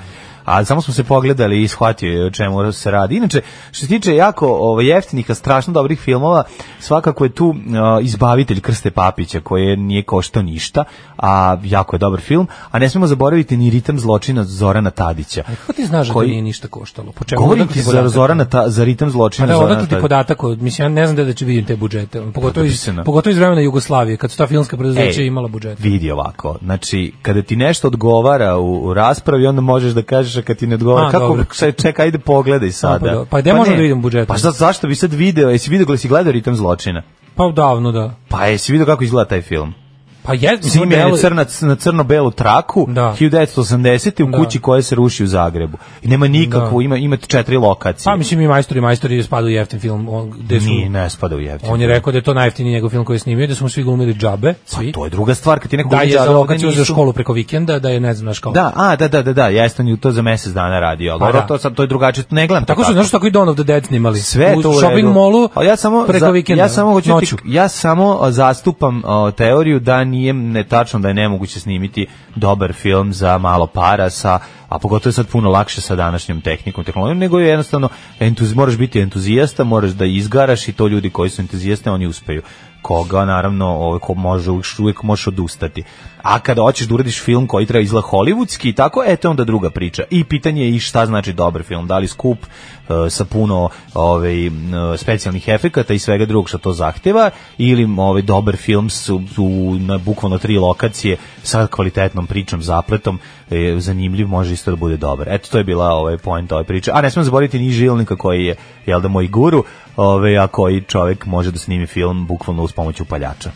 E: A samo smo se pogledali i shvatio je o čemu se radi. Inače, što se tiče jako ovaj, jeftinih, a strašno dobrih filmova, svakako je tu uh, Izbavitelj Krste Papića, koji nije koštao ništa, a jako je dobar film. A ne smemo zaboraviti ni Ritam zločina Zorana Tadića.
F: Kako ti znaš da to
E: Koji-
F: nije ništa koštalo? Po čemu?
E: Govorim
F: Odakle
E: ti za
F: podatak?
E: Zorana ta, za ritam
F: Pa
E: zločina.
F: da,
E: Zorana
F: odakle ti
E: Tadića.
F: podatak, od- mislim, ja ne znam da će vidim te budžete, ono, pogotovo iz,
E: pisano.
F: pogotovo iz vremena Jugoslavije, kad su ta filmska preduzeća
E: Ej,
F: imala budžete.
E: Vidi ovako, znači, kada ti nešto odgovara u, u raspravi, onda možeš da kažeš, a kad ti ne odgovara,
F: A,
E: kako,
F: dobro.
E: čekaj, čekaj, ajde pogledaj
F: A, pa
E: sada.
F: do- pa gde možemo
E: ne.
F: da vidimo budžet?
E: Pa za- zašto bi sad video, jesi video, jesi gledao ritam zločina?
F: Pa davno, da.
E: Pa jesi video kako izgleda taj film?
F: Pa je, mislim,
E: Sime je
F: delo-
E: crna, na crno-belu traku,
F: Da.
E: 1980. u
F: Da.
E: kući koja se ruši u Zagrebu. I nema nikakvu,
F: Da.
E: ima, ima četiri lokacije.
F: Pa mislim i majstori, majstori spada u jeftin film, on, gde su,
E: Nije, ne spada u jeftin.
F: on je rekao da je to najjeftiniji njegov film koji je snimio, da su mu svi glumili džabe, svi.
E: Pa, To je druga stvar, kad ti neko
F: da je
E: uđe, a
F: za
E: ovde
F: lokaciju za
E: nisu-
F: školu preko vikenda, da je ne znam naš kao.
E: Da, a, da, da, da, da, ja sam ju to za mjesec dana radio, ali
F: Pa
E: dobro,
F: da.
E: to, sam, to je drugačije, to ne gledam. to
F: Tako su, znaš što, tako i Dawn of the Dead snimali.
E: pa sve
F: u
E: to u
F: shopping
E: redu.
F: mallu
E: Ali ja samo
F: preko
E: za-
F: vikenda,
E: ja samo hoću da ti,
F: noću.
E: ja samo a, zastupam a, teoriju da nije netačno da je nemoguće snimiti dobar film za malo para sa a pogotovo je sad puno lakše sa današnjom tehnikom, tehnologijom, nego je jednostavno entuz, moraš biti entuzijasta, moraš da izgaraš i to ljudi koji su entuzijaste, oni uspeju koga naravno ovaj ko može uvijek- uvijek možeš odustati. A kada hoćeš da uradiš film koji treba izgleda hollywoodski i tako, e to je onda druga priča. I pitanje je i šta znači dobar film, da li skup e, sa puno ovaj m, e, specijalnih efekata i svega drugog što to zahteva ili m, ovaj dobar film su, su na bukvalno tri lokacije sa kvalitetnom pričom, zapletom, e, zanimljiv može isto da bude dobar. Eto to je bila ovaj point ove priče. A ne smem zaboraviti ni Žilnika koji je jel da moj guru, ovaj a koji čovjek može da snimi film bukvalno uz pomoć upaljača.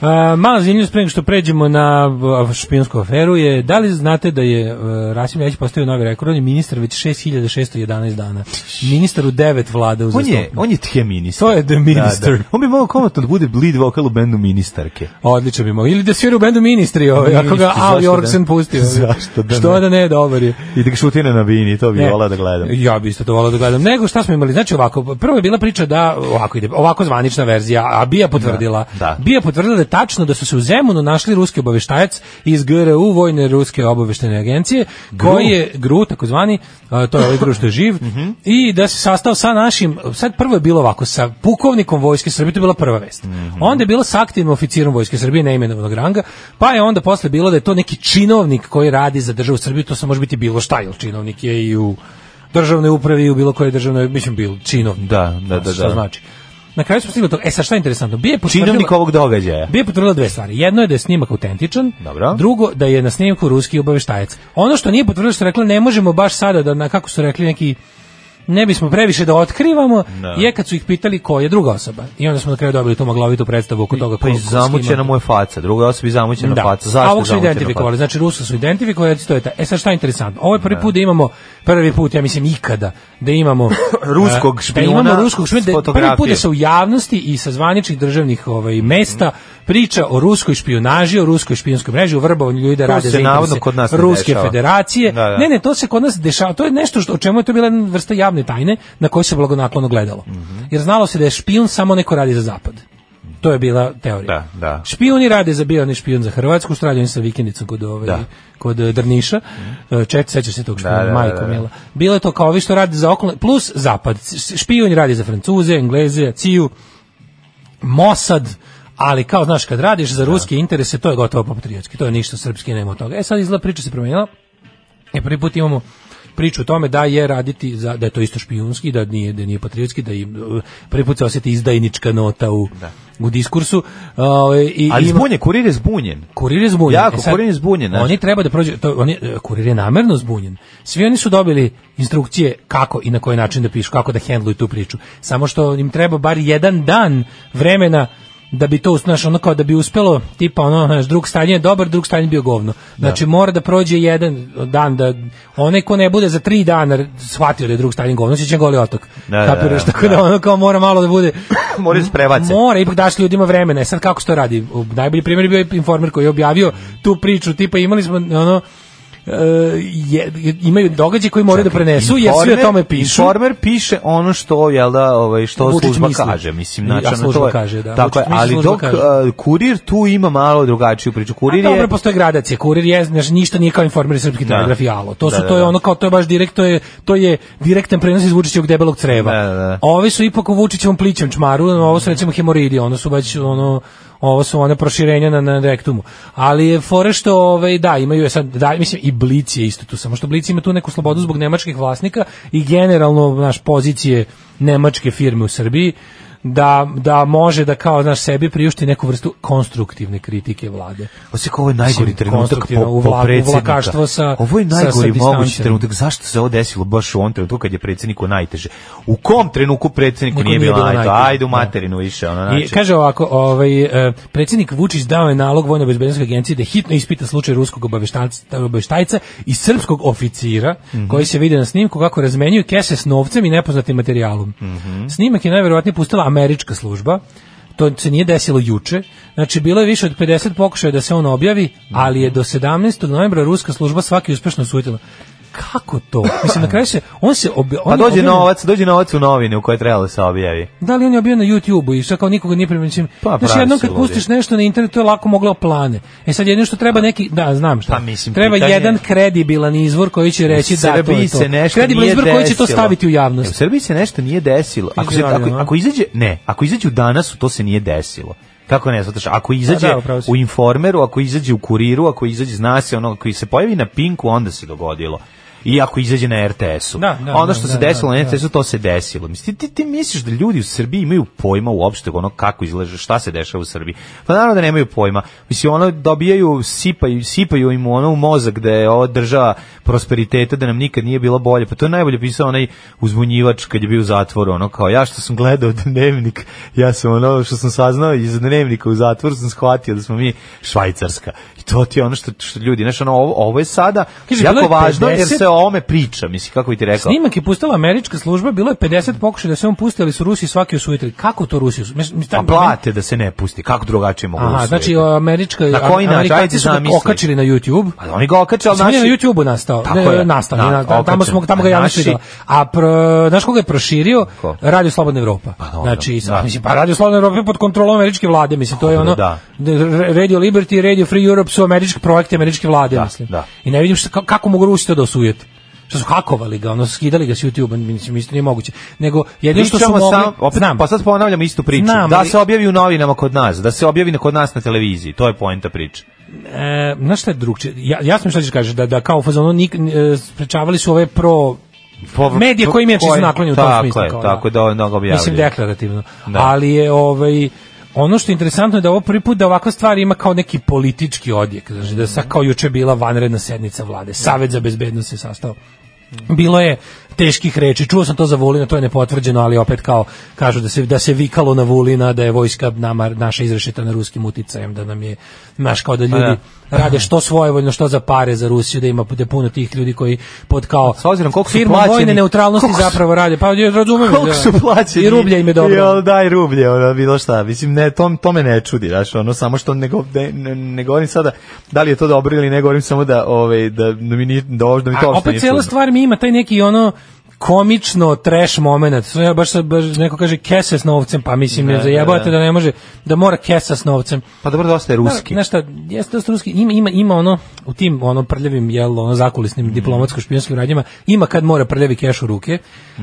F: Uh, mala zemlja pre nego što pređemo na v- špijunsku aferu je, da li znate da je uh, Rasim Ljajić postavio novi rekord, on je ministar već 6611 dana. Ministar u devet vlada
E: On je,
F: uzastopno.
E: on je tje ministar.
F: To je the minister.
E: Da, da. On bi mogao komotno da bude lead vokal u bendu ministarke.
F: Odlično bi mogao. Ili da svira u bendu ministri, ovaj, ako
E: Ministri,
F: ga Al
E: zašto da?
F: Jorgsen pustio.
E: Zašto da
F: Što
E: ne?
F: da ne, dobar je.
E: I da ga šutira na vini, to bi
F: Ne.
E: volao da gledam.
F: Ja bi isto to volao da gledam. Nego šta smo imali? Znači ovako, prvo je bila priča da ovako ide, ovako zvanična verzija, a Bija potvrdila.
E: Da, da.
F: Bija potvrdila da tačno da su se u Zemunu našli ruski obaveštajac iz GRU, Vojne ruske obaveštajne agencije, koji je GRU, takozvani, a, to je ovaj GRU što je živ,
E: Mhm.
F: i da se sastao sa našim, sad prvo je bilo ovako, sa pukovnikom Vojske Srbije, to je bila prva vest.
E: Mhm.
F: Onda je bilo sa aktivnim oficirom Vojske Srbije, neimenovanog ranga, pa je onda posle bilo da je to neki činovnik koji radi za državu Srbiju, to se može biti bilo šta, jer činovnik je i u državnoj upravi i u bilo kojoj državnoj, mislim, bilo činovnik.
E: Da, da, da,
F: Znaš
E: da.
F: Šta znači? Na kraju smo stigli do toga. E sad šta je interesantno? Bije potvrdila,
E: Činovnik ovog događaja.
F: Bije potvrdila dve stvari. Jedno je da je snimak autentičan,
E: Dobro.
F: drugo da je na snimku ruski obaveštajac. Ono što nije potvrdila što je rekla, ne možemo baš sada da, na, kako su rekli neki, ne bismo previše da otkrivamo, je kad su ih pitali ko je druga osoba. I onda smo na kraju dobili tu maglovitu predstavu oko toga ko,
E: Pa
F: ko
E: i
F: s kim je.
E: zamućena mu je faca, druga osoba i zamućena faca.
F: Da. A
E: Zašto je
F: ovog su
E: zamućena
F: identifikovali,
E: faca?
F: znači Rusa su identifikovali, recito je ta. E sad šta je interesantno? Ovo je prvi put da imamo, prvi put, ja mislim ikada, da imamo...
E: Ruskog
F: e,
E: špijuna
F: Da imamo ruskog špijuna,
E: s
F: da je prvi put da
E: fotografijom.
F: se u javnosti i sa zvaničnih državnih ovaj, mesta priča o ruskoj špijunaži, o ruskoj špijunskoj mreži, o vrbovanju ljudi da
E: To
F: rade
E: se
F: za interese
E: navodno kod nas ne
F: Ruske
E: dešava.
F: federacije.
E: Da, da.
F: Ne, ne, to se kod nas dešava. To je nešto što, o čemu je to bila jedna vrsta javne tajne na koju se blagonaklono gledalo.
E: Mhm.
F: Jer znalo se da je špijun samo neko radi za zapad. To je bila teorija.
E: Da, da.
F: Špijuni rade za bio, on je špijun za Hrvatsku, stradio sa vikendicom kod, ovaj,
E: Da. Mhm.
F: kod eh, Drniša. Eh, Čet, sećaš se tog špijuna,
E: da, da,
F: majko
E: da.
F: mila. Bilo je to kao ovi što rade za okolne, plus zapad. S- Špijun radi za Francuze, Engleze, Ciju, Mosad, ali kao, znaš, kad radiš
E: Da.
F: za ruske interese, to je gotovo patriotski, to je ništa srpski, nema od toga. E sad izgleda priča se promijenila, E prvi put imamo priču o tome da je raditi za da je to isto špijunski, da nije da nije patriotski, da im eh, prvi put se osjeti izdajnička nota u u diskursu. ovaj, i
E: Da. Ali
F: ima-
E: zbunjen, kurir je zbunjen.
F: Kurir je zbunjen. E
E: Jako, kurir je zbunjen, znaš.
F: Oni treba da prođu, to, oni, e, kurir je namerno zbunjen. Svi oni su dobili instrukcije kako i na koji način da pišu, kako da hendluju tu priču. Samo što im treba bar jedan dan vremena da bi to, znaš, ono kao da bi uspelo, tipa ono, znaš, drug stanje je dobar, drug stanje je bio govno. Znači, mora da prođe jedan dan, da onaj ko ne bude za tri dana shvatio da je drug stanje govno, će goli otok.
E: Da, da,
F: Kapiraš,
E: da,
F: tako da.
E: da.
F: ono kao mora malo da bude...
E: Moraju se prebace.
F: Mora, ipak daš ljudima vremena. E sad kako se to radi? U- Najbolji primjer je bio informer koji je objavio tu priču, tipa imali smo ono, e, je, imaju događaj koji moraju da prenesu, jer svi o tome pišu.
E: Informer piše ono što jel da, ovaj što
F: Vučić
E: služba
F: misli.
E: kaže, mislim
F: I-
E: znači
F: a
E: ono,
F: služba
E: to je.
F: kaže, da.
E: Tako je,
F: Vučić misli,
E: ali
F: služba
E: dok
F: kaže.
E: a, kurir tu ima malo drugačiju priču. Kurir
F: A
E: je
F: dobro, postoje gradacije. Kurir je, znaš, ništa nije kao informer srpski da. telegraf i alo. To, su,
E: Da, da,
F: to je
E: da.
F: ono kao, to je baš direkt, to je, to je direktan prenos iz Vučićevog debelog creva.
E: Da, da, da.
F: Ovi su ipak u Vučićevom plićem čmaru, ovo su recimo hemoridi, ono su baš, ono, ovo su one proširenja na, na rektumu. Ali je fore što, ovaj, da, imaju je sad, da, mislim, i Blic je isto tu, samo što Blic ima tu neku slobodu zbog nemačkih vlasnika i generalno, naš, pozicije nemačke firme u Srbiji, da, da može da kao naš sebi priušti neku vrstu konstruktivne kritike vlade.
E: Osjek, ovo je ovaj najgori
F: Mislim,
E: trenutak po,
F: konstruktivno,
E: po
F: uvla-
E: predsjednika.
F: uvlakaštvo sa-
E: ovo je
F: sa- sa
E: najgori mogući
F: distancom.
E: trenutak. Zašto se ovo desilo baš u ovom trenutku kad je predsjedniku najteže? U kom trenutku predsjedniku
F: Nikom
E: nije
F: nije
E: bilo
F: bilo
E: najteže?
F: najteže. da.
E: Ajde u materinu više. Ono,
F: I
E: znači.
F: kaže ovako, ovaj, e, predsjednik Vučić dao je nalog Vojno bezbednostnoj agenciji da hitno ispita slučaj ruskog obaveštajca, obaveštajca i srpskog oficira
E: Mhm.
F: koji se vide na snimku kako razmenjuju kese s novcem i nepoznatim materijalom.
E: Mhm.
F: Snimak je najverovatnije pustila američka služba. To se nije desilo juče. Znači, bilo je više od 50 pokušaja da se on objavi, ali je do 17. novembra ruska služba svaki uspešno osudila. Kako to? Mislim, na kraju se... On se obja-
E: pa
F: on
E: dođe
F: objavio-
E: novac, dođe novac u novine u koje je trebalo da se objavi.
F: da li on je bio na YouTubeu i sve kao nikoga nije primećen.
E: Pa,
F: Znaš,
E: pravi
F: jednom
E: su
F: kad
E: ludi.
F: pustiš nešto na internetu, to je lako moglo plane. E sad jedino što treba neki, da, znam šta.
E: Pa, mislim,
F: treba
E: pitanje-
F: jedan kredibilan izvor koji će
E: Znači,
F: reći
E: U
F: da to je
E: Srbiji
F: to.
E: se nešto
F: kredibilan
E: nije
F: izvor koji će to
E: desilo.
F: staviti
E: E,
F: u
E: U
F: javnost.
E: Srbiji se nešto nije desilo. Ako, se,
F: Izjavljeno,
E: ako,
F: a?
E: ako izađe, ne, ako izađe u danasu, to se nije desilo. Kako ne, zato što ako izađe
F: A da, upravo si.
E: u informeru, ako izađe u kuriru, ako izađe, zna se, ono, ako se pojavi na Pinku, onda se dogodilo. I ako izađe na RTS-u.
F: Da, da,
E: ono
F: da,
E: što
F: da,
E: se
F: da,
E: desilo na
F: da.
E: RTS-u, to se desilo. Mislim, ti, ti, ti misliš da ljudi u Srbiji imaju pojma uopšte ono kako izlaže, šta se dešava u Srbiji? Pa naravno da nemaju pojma. Mislim, ono dobijaju, sipaju, sipaju im ono u mozak da je ova država prosperiteta, da nam nikad nije bilo bolje. Pa to je najbolje pisao onaj uzbunjivač kad je bio u zatvoru, ono kao ja što sam gledao dnevnik, ja sam ono što sam saznao iz dnevnika u zatvoru sam shvatio da smo mi Švajcarska. I to ti je ono što, što ljudi, znaš, ono, ovo, ovo je sada
F: Kaže, bilo
E: jako
F: je
E: važno jer
F: 50
E: se o ome priča, mislim, kako bi ti rekao.
F: Snimak je pustila američka služba, bilo je 50 pokušaja da se on pusti, ali su Rusi svaki osvojitelji. Kako to Rusi? Mis, mis,
E: Pa plate da se ne pusti, kako drugačije mogu da
F: Aha,
E: usvojiti?
F: znači američka
E: Na koji način? Ajde
F: Amerikanci su ga
E: zamisli.
F: okačili na YouTube.
E: Pa oni ga okače, ali
F: Mislim,
E: naši...
F: nije na YouTubeu nastao.
E: Tako
F: Ne,
E: je.
F: nastao,
E: Da,
F: nije nastao. tamo
E: okačen.
F: smo tamo ga
E: A
F: ja
E: naši-
F: naši... A pro, znaš koga je proširio?
E: Ko?
F: Radio Slobodna Evropa.
E: dobro,
F: znači,
E: da.
F: da. mislim, pa Radio Slobodna Evropa je pod kontrolom američke vlade, mislim, to je
E: Dobro,
F: ono
E: da.
F: re- Radio Liberty i Radio Free Europe su američki projekti američke vlade,
E: Da,
F: mislim.
E: da.
F: I ne vidim šta, ka- kako mogu Rusi to da osujete. Što su hakovali ga, ono, skidali ga s YouTube-a, mislim, isto nije moguće. Nego, jedino što su
E: Pričamo
F: mogli...
E: sam, opet,
F: znam,
E: pa sad ponavljamo istu priču.
F: Znam,
E: da
F: ali-
E: se objavi u novinama kod nas, da se objavi kod nas na televiziji. To je poenta priče.
F: E, znaš šta je drugčije? Ja, jasno mi šta ćeš kažeš, da, da kao u fazonu nik, e, sprečavali su ove pro
E: Po-
F: Pa, medije
E: po-
F: koji im je čisto
E: koje-
F: naklonjen u tom
E: tako
F: smislu.
E: je,
F: kao,
E: tako da ono ga objavljuje.
F: Mislim deklarativno.
E: Da.
F: Ali je ovaj, ono što je interesantno je da ovo prvi put da ovakva stvar ima kao neki politički odjek. Znači da sad kao juče je bila vanredna sednica vlade. Savet za bezbednost se sastao. Bilo je teških reči. Čuo sam to za Vulina, to je nepotvrđeno, ali opet kao kažu da se da se vikalo na Vulina da je vojska nama naša izrešeta na ruskim uticajem, da nam je naš kao da
E: Pa
F: ljudi rade što svojevoljno, što za pare za Rusiju, da ima da je puno tih ljudi koji pod kao
E: S obzirom koliko su
F: firmom
E: plaćeni-
F: vojne neutralnosti
E: koliko su-
F: zapravo rade. Pa ja razumem.
E: Koliko
F: da.
E: su plaćeni?
F: I rublja im je dobro.
E: Jel, daj rublje, ono, bilo šta. Mislim, ne, to, to me ne čudi, znaš, ono, samo što ne, go- ne, ne, ne govorim sada da li je to dobro ili ne, govorim samo da, ovaj, da, da mi, nije, da, ovo- da mi to
F: A
E: uopšte
F: opet
E: nije
F: cijela
E: čudno.
F: stvar mi ima taj neki ono komično trash moment. Sve ja baš, sad- baš neko kaže kese s novcem, pa mislim ne, zajebate
E: ne.
F: da ne može da mora kesa s novcem.
E: Pa dobro, dosta
F: Da,
E: je ruski.
F: Na, šta, jeste dosta ruski, ima, ima, ima ono, u tim ono prljavim, jel, ono zakulisnim diplomatsko-špionskim radnjama, ima kad mora prljavi keš u ruke,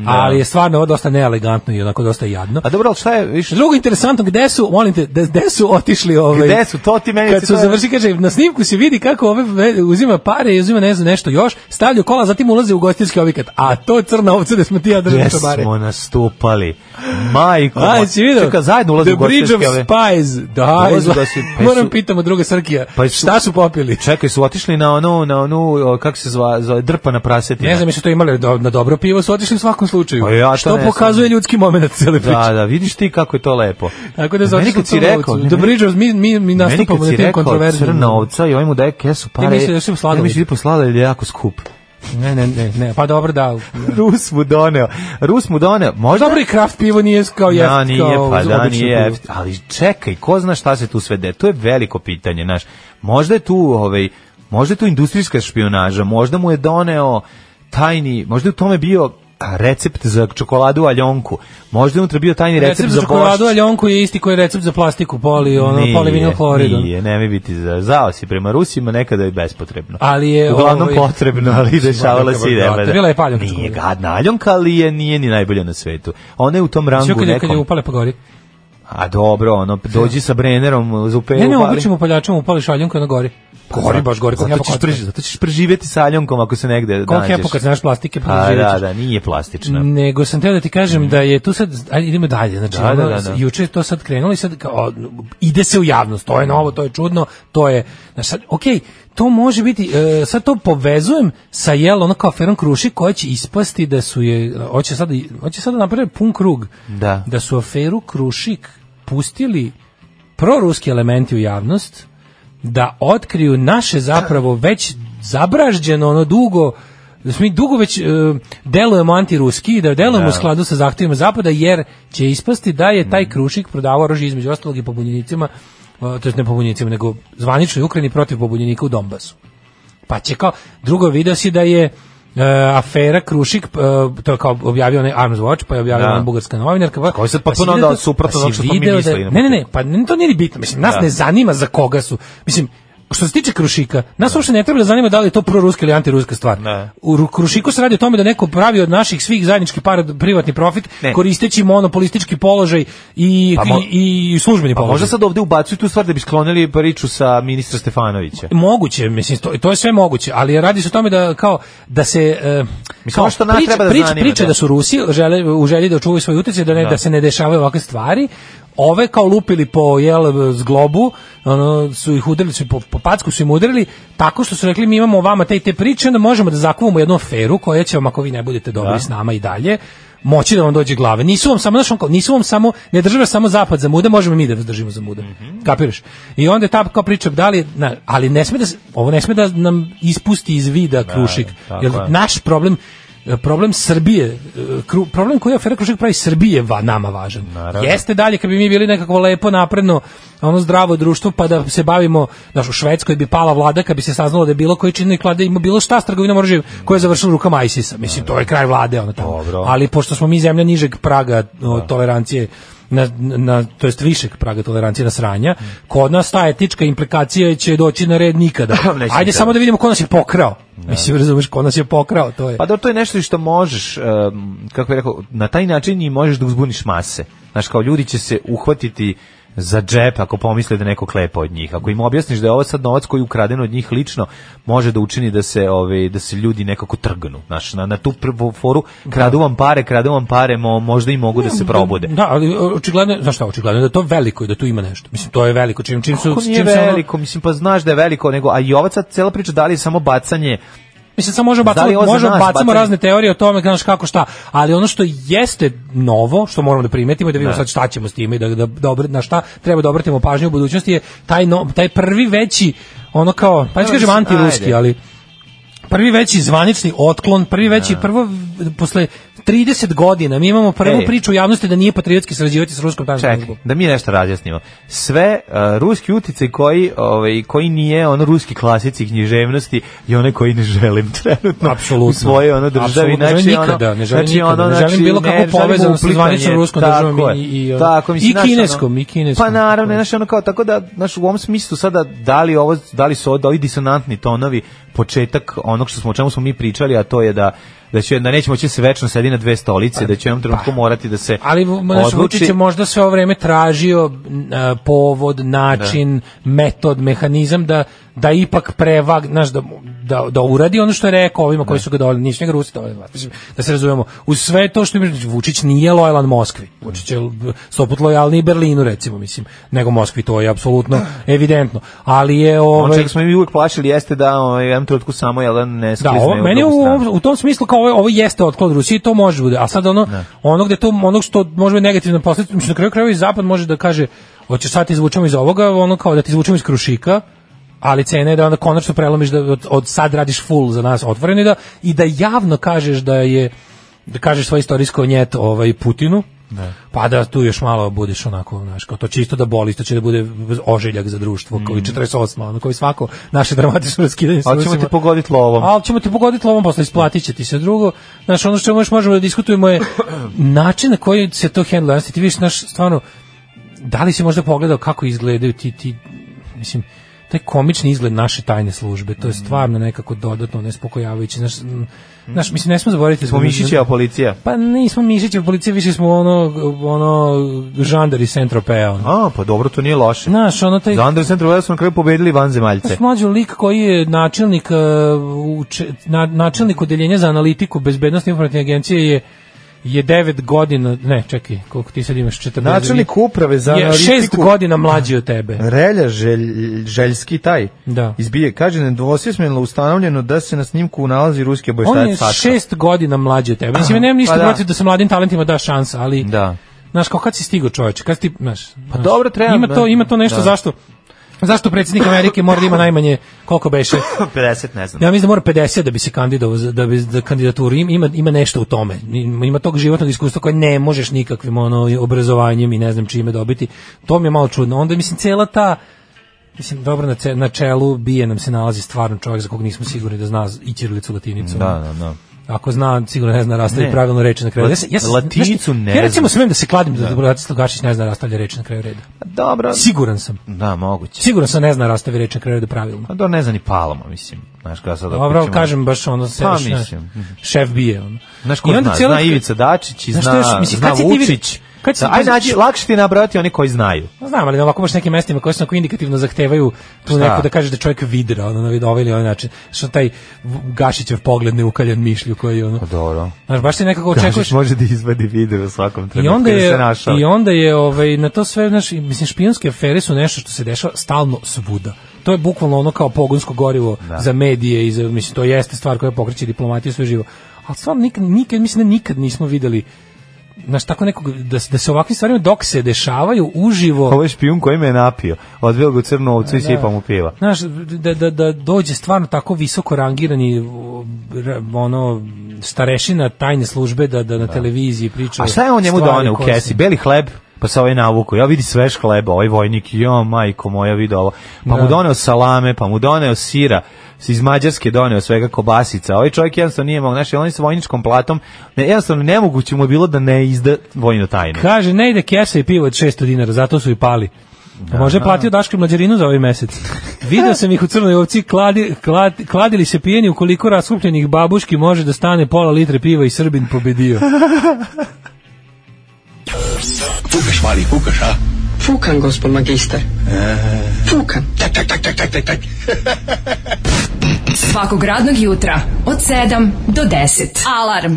F: ali je stvarno ovo dosta neelegantno i onako dosta jadno.
E: A dobro, ali šta je, više,
F: Drugo interesantno, gde su, molim te, gde, gde su otišli ovaj...
E: Gde su? To ti meni
F: Kad
E: se
F: su
E: to-
F: završi, kaže, na snimku se vidi kako ove ve- uzima pare i uzima ne znam nešto još, stavljaju kola, zatim ulaze u gostinski objekat. A to je crna ovca da smo ti ja držali
E: gde
F: to bare.
E: smo nastupali? Majko,
F: Aj,
E: moja.
F: si vidio? da
E: Čekaj, zajedno ulaze
F: The
E: u gostinske
F: Bridge of
E: ove.
F: Spies. Da,
E: Ulaze
F: izla...
E: da si- pa
F: moram
E: su-
F: pitamo druga Srkija.
E: Pa su-
F: šta su popili?
E: Čekaj, su otišli na onu, na onu, o, kako se zva, zove, drpa na prasetina.
F: Ne znam, jesu to imali do, na dobro pivo, su otišli u svakom slučaju.
E: Pa ja to
F: što
E: ne znam.
F: pokazuje ljudski moment cele priče.
E: Da, da, vidiš ti kako je to lepo.
F: Tako da su
E: Meni
F: otišli
E: kad
F: u
E: si
F: crnu
E: rekao,
F: ovcu.
E: ne,
F: The
E: meni-
F: Bridge of mi, mi, mi
E: Meni
F: nastupamo
E: kad
F: na
E: si
F: tim
E: rekao
F: kontroverznim.
E: crna ovca i ovaj mu daje kesu pare.
F: misliš da je sve sladoled?
E: Ne misliš da je po sladoled ili je jako skup.
F: Ne, ne, ne, ne, pa dobro da.
E: Rus mu doneo. Rus mu doneo. Možda
F: Dobro i kraft pivo nije kao jeft.
E: Da, nije,
F: kao
E: pa da,
F: obično
E: nije
F: pivo.
E: jeftin. Ali čekaj, ko zna šta se tu sve de? To je veliko pitanje, znaš. Možda je tu, ovaj, možda je tu industrijska špionaža, možda mu je doneo tajni, možda je u tome bio a, recept za čokoladu aljonku, možda je unutra bio tajni recept,
F: Recept za čokoladu
E: bošć.
F: aljonku je isti koji je recept za plastiku poli, ono,
E: Nije,
F: polivinil hlorid. ono.
E: Nije, ne mi biti za zao si prema Rusima, nekada je bespotrebno.
F: Ali je,
E: Uglavnom
F: ovaj,
E: potrebno, ali dešavala se i
F: da,
E: nebada.
F: bila je paljanka
E: Nije
F: čokolada.
E: gadna aljonka, ali je nije ni najbolja na svetu. Ona je u tom rangu
F: Sve kad je, kad je
E: nekom.
F: upale pa gori.
E: A dobro, ono, dođi sa Brennerom, zupe
F: Ne, ne,
E: upali.
F: običnim upaljačom upališ aljonku i ona gori. Gori baš gori, kako
E: Zato ćeš, preži, zato ćeš preživjeti sa aljonkom ako se negde
F: Kako
E: nađeš.
F: hepo kad znaš plastike, pa
E: A,
F: živjet
E: da,
F: ćeš.
E: da, nije plastična.
F: Nego sam teo da ti kažem da je tu sad, ajde idemo dalje, znači
E: Mhm. Da,
F: da,
E: da, da, da.
F: juče je to sad krenulo i sad kao, o, ide se u javnost, to je novo, to je čudno, to je, znači sad, okej, to može biti, e, sad to povezujem sa jel, ono kao aferom Kruši koja će ispasti da su je, hoće sad, hoće sad da naprave pun krug,
E: Da.
F: da su aferu Krušik pustili proruski elementi u javnost, da otkriju naše zapravo već zabražđeno ono dugo da smo mi dugo već e, delujemo antiruski, da delujemo u skladu sa zahtjevima Zapada, jer će ispasti da je taj Krušik prodavao oružje između ostalog i pobunjenicima, e, to jest ne pobunjenicima, nego zvaničnoj Ukrajini protiv pobunjenika u Donbasu. Pa će kao, drugo video si da je e, afera Krušik, e, to je kao objavio onaj Arms Watch, pa je objavio
E: Da.
F: ona bugarska novinarka. Pa,
E: Koji sad
F: si
E: potpuno
F: video
E: onda
F: da-
E: suprotno
F: si
E: od onog što smo mi
F: video
E: mislili Da. na
F: Ne, ne, ne, pa ne, to nije ni bitno, mislim, nas ne zanima za koga su, mislim, Što se tiče Krušika, nas uopšte ne treba da zanima da li je to proruska ili antiruska stvar.
E: Ne.
F: U Ru- Krušiku se radi o tome da neko pravi od naših svih zajednički par privatni profit
E: Ne.
F: koristeći monopolistički položaj i,
E: Pa mo-
F: i, i službeni
E: Pa
F: položaj.
E: možda sad ovde ubacuju tu stvar da bi sklonili priču sa ministra Stefanovića.
F: moguće mislim to, to je sve moguće ali radi se o tome da kao da se e,
E: Mislim, ono što nas treba da zanima,
F: priče
E: da.
F: da su Rusi žele u želji da očuvaju svoj utjecaj da ne
E: Da.
F: da. se ne dešavaju ovakve stvari ove kao lupili po jel zglobu ono su ih udarili su ih po, po packu su im udarili tako što su rekli mi
E: Da.
F: imamo vama te i te priče onda možemo da zakuvamo jednu aferu koja će vam ako vi ne budete dobri s nama i dalje moći da vam dođe glave. Nisu vam samo, znaš, on kao, nisu vam samo, ne drži vas samo zapad za muda, možemo i mi da vas držimo za muda.
E: Mhm.
F: Kapiraš? I onda je ta kao priča, da li, na, ali ne sme da, se- ovo ne sme da nam ispusti iz vida Krušik.
E: Da, tako
F: Jer
E: je.
F: naš problem, problem Srbije, e, kru- problem koji je afera Krušik pravi Srbije va, nama važan. Jeste dalje kad bi mi bili nekako lepo napredno, ono zdravo društvo pa da se bavimo, znaš, u Švedskoj bi pala vlada kad bi se saznalo da je bilo koji činnik vlade ima bilo šta s trgovinom oružjem koja je završila u rukama ISIS-a. Mislim, to je kraj vlade, ono tamo.
E: Dobro. Da.
F: Ali pošto smo mi zemlja nižeg praga o, tolerancije na, na, to jest višeg praga tolerancije na sranja, kod nas ta etička implikacija će doći na red nikada.
E: Neće
F: Ajde
E: nikada.
F: samo da vidimo ko nas je pokrao. Mislim, razumeš, ko nas je pokrao, to je.
E: Da. Pa da, to je nešto što možeš, em, kako bih rekao, na taj način i možeš da uzbuniš mase. Znaš, kao ljudi će se uhvatiti za džep ako pomisle da neko klepa od njih. Ako im objasniš da je ovo sad novac koji je ukraden od njih lično, može da učini da se ove, da se ljudi nekako trgnu. Znaš, na, na tu prvu foru kradu vam pare, kradu vam pare, mo, možda i mogu da se probode.
F: Da, ali očigledno, je- znaš šta, očigledno je da je to veliko i da tu ima nešto. Mislim, to je veliko. Čim, čim su,
E: Kako nije
F: čim se ono-
E: veliko, mislim, pa znaš da je veliko, nego, a i ova sad cela priča, da li je samo bacanje
F: Mislim, samo možemo
E: Da li je
F: bacamo,
E: ovo za
F: možemo
E: nas
F: bacamo
E: bacanje?
F: razne teorije o tome, znaš kako šta, ali ono što jeste novo, što moramo da primetimo i da vidimo sad šta ćemo s time i da, da, da obr- na šta treba da obratimo pažnju u budućnosti je taj, no, taj prvi veći, ono kao, pa
E: Dobro,
F: neću kažem
E: mislim,
F: antiruski,
E: ajde.
F: ali prvi veći zvanični otklon, prvi
E: Da.
F: veći, prvo v- posle 30 godina mi imamo prvu
E: Ej.
F: priču u javnosti da nije patriotski sarađivati s ruskom tajnom
E: Ček,
F: službom.
E: da mi nešto razjasnimo. Sve uh, ruski uticaj koji, ovaj, koji nije on ruski klasici književnosti i one koji ne želim trenutno
F: Apsolutno.
E: u svojoj ono znači, državi.
F: Apsolutno, ne želim nikada, ne želim nikada, ne želim bilo kakvu
E: želim
F: povezanost sa
E: uplitanje,
F: zvaničnom ruskom
E: tako
F: državom i-
E: je.
F: i, i, ono,
E: Tako, mislim,
F: i
E: znaš, ono-
F: kineskom, i kineskom,
E: Pa naravno,
F: tako je.
E: znaš, ono kao, tako da, znaš, u ovom smislu sada, da li, ovo, da li su ovo- da ovi disonantni tonovi početak onog što smo, o čemu smo mi pričali, a to je da da će da nećemo će se večno sedi na dve stolice, da će u jednom trenutku morati da se
F: Pa, Ali naš Vučić je možda sve ovo vreme tražio m, e, povod, način, metod, mehanizam da da ipak prevag, znaš, da, da, da uradi ono što je rekao ovima koji su ga dovoljni, nisu njega Rusi dovoljni, mislim, da se razumemo. Uz sve to što ima, Vučić nije lojalan Moskvi, Vučić je stoput lojalni Berlinu, recimo, mislim, nego Moskvi, to je apsolutno evidentno, ali je... Ovaj,
E: Ono čega smo mi uvijek plašili jeste da ovaj, u jednom trenutku samo jedan ne
F: Da,
E: sklizne
F: ovo,
E: u
F: meni je
E: drugu
F: u,
E: stranu.
F: ovom- u tom smislu kao ovo, ovo jeste otklon Rusije, to može bude. A sad ono,
E: Da.
F: ono gde to, ono što može biti negativna posljedica, mislim na kraju krajeva i zapad može da kaže, hoćeš sad ti izvučemo iz ovoga, ono kao da ti izvučemo iz krušika, ali cena je da onda konačno prelomiš da od, od sad radiš full za nas otvoreno i da, i da javno kažeš da je da kažeš svoje istorijsko njet ovaj Putinu. Pa da tu još malo budeš onako, znaš, kao to čisto da boli, to će da bude ožiljak za društvo, koji
E: Mhm.
F: 48, ono koji svako naše dramatično raskidanje. sa
E: Ali ćemo
F: Rusima-
E: ti pogoditi lovom.
F: ali ćemo ti pogoditi lovom posle isplatit će ti se drugo. Znaš, ono što još možemo da diskutujemo je način na koji se to hendla. Ti vidiš, znaš, stvarno, da li si možda pogledao kako izgledaju ti, ti mislim, taj komični izgled naše tajne službe, to je
E: Mm.
F: stvarno nekako dodatno nespokojavajuće. Znaš, m, znaš mislim, ne smo zaboraviti... da-
E: Smo mišićeva policija.
F: Pa nismo mišiće policije, više smo ono, ono, žandari Saint-Tropea. ono.
E: A, pa dobro, to nije loše.
F: Znaš, ono taj...
E: Za Andres Centru Vela smo na kraju pobedili vanzemaljce.
F: Znaš, mlađi lik koji je načelnik e, uče- na, načelnik odeljenja za analitiku bezbednosti informativne agencije je je 9 godina, ne, čekaj, koliko ti sad imaš 14.
E: Načelnik uprave za
F: je 6
E: analitiku- E.
F: godina mlađi od tebe.
E: Relja želj- Željski taj
F: Da.
E: izbije, kaže, nedvosmisleno ustanovljeno da se na snimku nalazi ruski
F: On je
E: obaveštajac Saška.
F: 6 godina mlađi od tebe. Mislim, ja nemam ništa
E: Pa da.
F: protiv da se mladim talentima da šansa, ali
E: Da.
F: Znaš, kao kad si stigo čoveče, kad si ti, znaš, pa
E: dobro, treba,
F: Ima
E: da.
F: to, ima to nešto
E: Da.
F: zašto Zašto predsjednik Amerike mora da ima najmanje koliko beše
E: 50, ne znam.
F: Ja mislim da mora 50 da bi se kandidovao za- da bi za kandidaturu Im- ima ima nešto u tome. Ima ima tog životnog iskustva koje ne možeš nikakvim ono obrazovanjem i ne znam čime dobiti. To mi je malo čudno. Onda mislim cela ta Mislim, dobro, na, ce- na čelu bije nam se nalazi stvarno čovjek za kog nismo sigurni da zna i ćirilicu latinicu.
E: Da, da, da.
F: Ako zna, sigurno ne zna rastaviti
E: Ne.
F: pravilno reči na kraju.
E: La-
F: Ja, se- ja se-
E: latinicu
F: znaš ti,
E: ne
F: Ja recimo
E: zna.
F: smem da se kladim da, da Bratis Lugašić ne zna rastavlja reči na kraju reda.
E: Dobro.
F: Siguran sam.
E: Da, moguće.
F: Siguran sam ne zna rastavi reči na kraju reda pravilno.
E: Pa to ne zna ni Paloma, mislim. Znaš, kada sad
F: Dobro,
E: opet ćemo-
F: kažem baš ono se
E: Pa,
F: znaš,
E: mislim.
F: šef bije ono.
E: Znaš ko
F: I onda
E: zna,
F: cijela-
E: zna Ivica Dačić i
F: Znaš
E: zna,
F: šta još, mislim,
E: zna
F: kad si ti vidi-
E: Vučić.
F: kad si
E: Da,
F: ti-
E: Ajde, nađi, lakše ti je nabrojati oni koji znaju.
F: No, znam, ali na ovako baš nekim mestima koje se onako indikativno zahtevaju tu
E: Šta?
F: neko da kažeš da je čovjek vidra, ono, na vid- ovaj ili onaj način. Što taj Gašićev pogled neukaljan mišlju koji je ono...
E: Pa Dobro.
F: Znaš, baš se nekako očekuješ...
E: Kažeš, može da izvadi video u svakom
F: I
E: trenutku.
F: onda
E: jer se
F: je
E: našao.
F: i onda je ovaj na to sve znaš, i, mislim špijunske afere su nešto što se dešava stalno svuda. To je bukvalno ono kao pogonsko gorivo za medije i za mislim to jeste stvar koja pokreće diplomatiju sve živo. Ali stvarno nikad, nikad mislim da nikad da nismo videli znaš, tako nekog, da, da se ovakvim stvarima dok se dešavaju uživo,
E: Ovo je špijun koji me je napio. Odveo ga u crnu ovcu i sipao mu piva.
F: znaš, da, da, da dođe stvarno tako visoko rangirani o, ra- ono starešina tajne službe da, da na televiziji priča
E: A šta je on njemu
F: stvari
E: done u
F: koje
E: kesi?
F: se-
E: Beli hleb, pa sa ovaj navuku. Ja vidi svež hleba, ovaj vojnik, jo majko moja, vidi ovo. Pa mu
F: Da.
E: doneo salame, pa mu doneo sira, s- iz Mađarske doneo svega kobasica. Ovaj čovjek jednostavno nije mogao, znaš, on je sa vojničkom platom, ne, jednostavno nemoguće mu je bilo da ne izda vojnu tajnu.
F: Kaže, ne ide kesa i pivo od 600 dinara, zato su i pali. Da, Može je platio Daško i mlađarinu za ovaj mesec. Video sam ih u crnoj ovci, kladi, klad, kladili se pijeni u koliko raskupljenih babuški može da stane pola litre piva i Srbin pobedio.
I: Fukaš, mali, fukaš, a?
D: Fukan, gospod magister.
A: Eh.
D: Fukan.
I: Tak, tak, tak, tak, tak, tak, tak.
D: Svakog radnog jutra od 7 do 10. Alarm.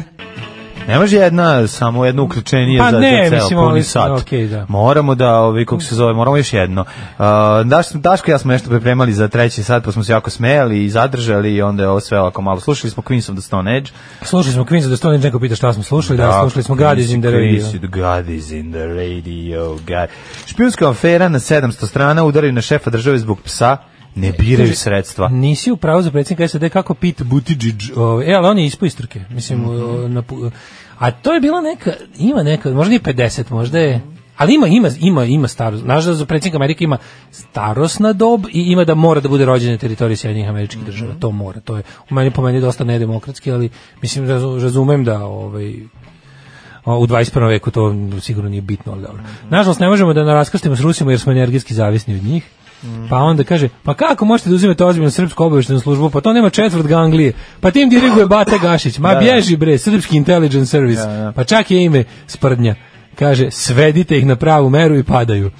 E: Ne može jedna, samo jedno uključenije
F: Pa
E: za,
F: ne,
E: za ceo
F: mislim,
E: puni
F: ali-
E: sat.
F: okej, da.
E: Moramo da, ovi, kako se zove, moramo još jedno. Uh, Daš, Daško i ja smo nešto pripremali za treći sat, pa smo se jako smejali i zadržali i onda je ovo sve ovako malo. Slušali smo Queens of the Stone Edge.
F: Slušali smo da Queen's of the Stone Age, neko pita šta smo slušali, da, slušali smo God is in the Radio.
E: Queens of- God is in the radio. God. Špijunska afera na 700 strana udari na šefa države zbog psa, ne biraju sredstva.
F: Nisi u pravu za predsjednika SAD kako Pete Buttigieg, ovaj, e, ali on je ispao iz trke, mislim, o, na, pu- a to je bila neka, ima neka, možda nije 50, možda je, ali ima, ima, ima, ima starost, znaš da za predsjednika Amerike ima starosna dob i ima da mora da bude rođen na teritoriji Sjedinjenih američkih država, to mora, to je, u meni po meni dosta nedemokratski, ali mislim, razu- razumem da, ovaj, O, u 21. veku to sigurno nije bitno, ali dobro. Nažalost, ne možemo da naraskrstimo s Rusima jer smo energijski zavisni od njih. Pa onda kaže, pa kako možete da uzimate ozbiljno srpsku obaveštenu službu, pa to nema četvrt ganglije, pa tim diriguje Bata Gašić, ma bježi bre, srpski intelligence service, pa čak je ime sprdnja. Kaže, svedite ih na pravu meru i padaju.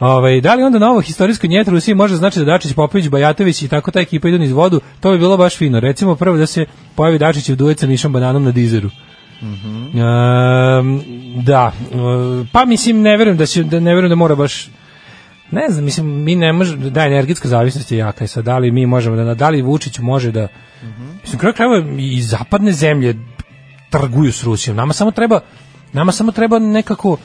F: Ovaj, da li onda na ovo historijsko njetru Rusiji može znači da Dačić, Popović, Bajatović i tako ta ekipa idu niz vodu, to bi bilo baš fino. Recimo prvo da se pojavi Dačić u duet sa Mišom Bananom na dizeru. Ehm, da, e, pa mislim ne verujem da će da ne verujem da mora baš ne znam, mislim mi ne možemo da energetska zavisnost je jaka i sad da li mi možemo da da li Vučić može da mislim kraj krajeva i zapadne zemlje trguju s Rusijom. Nama samo treba nama samo treba nekako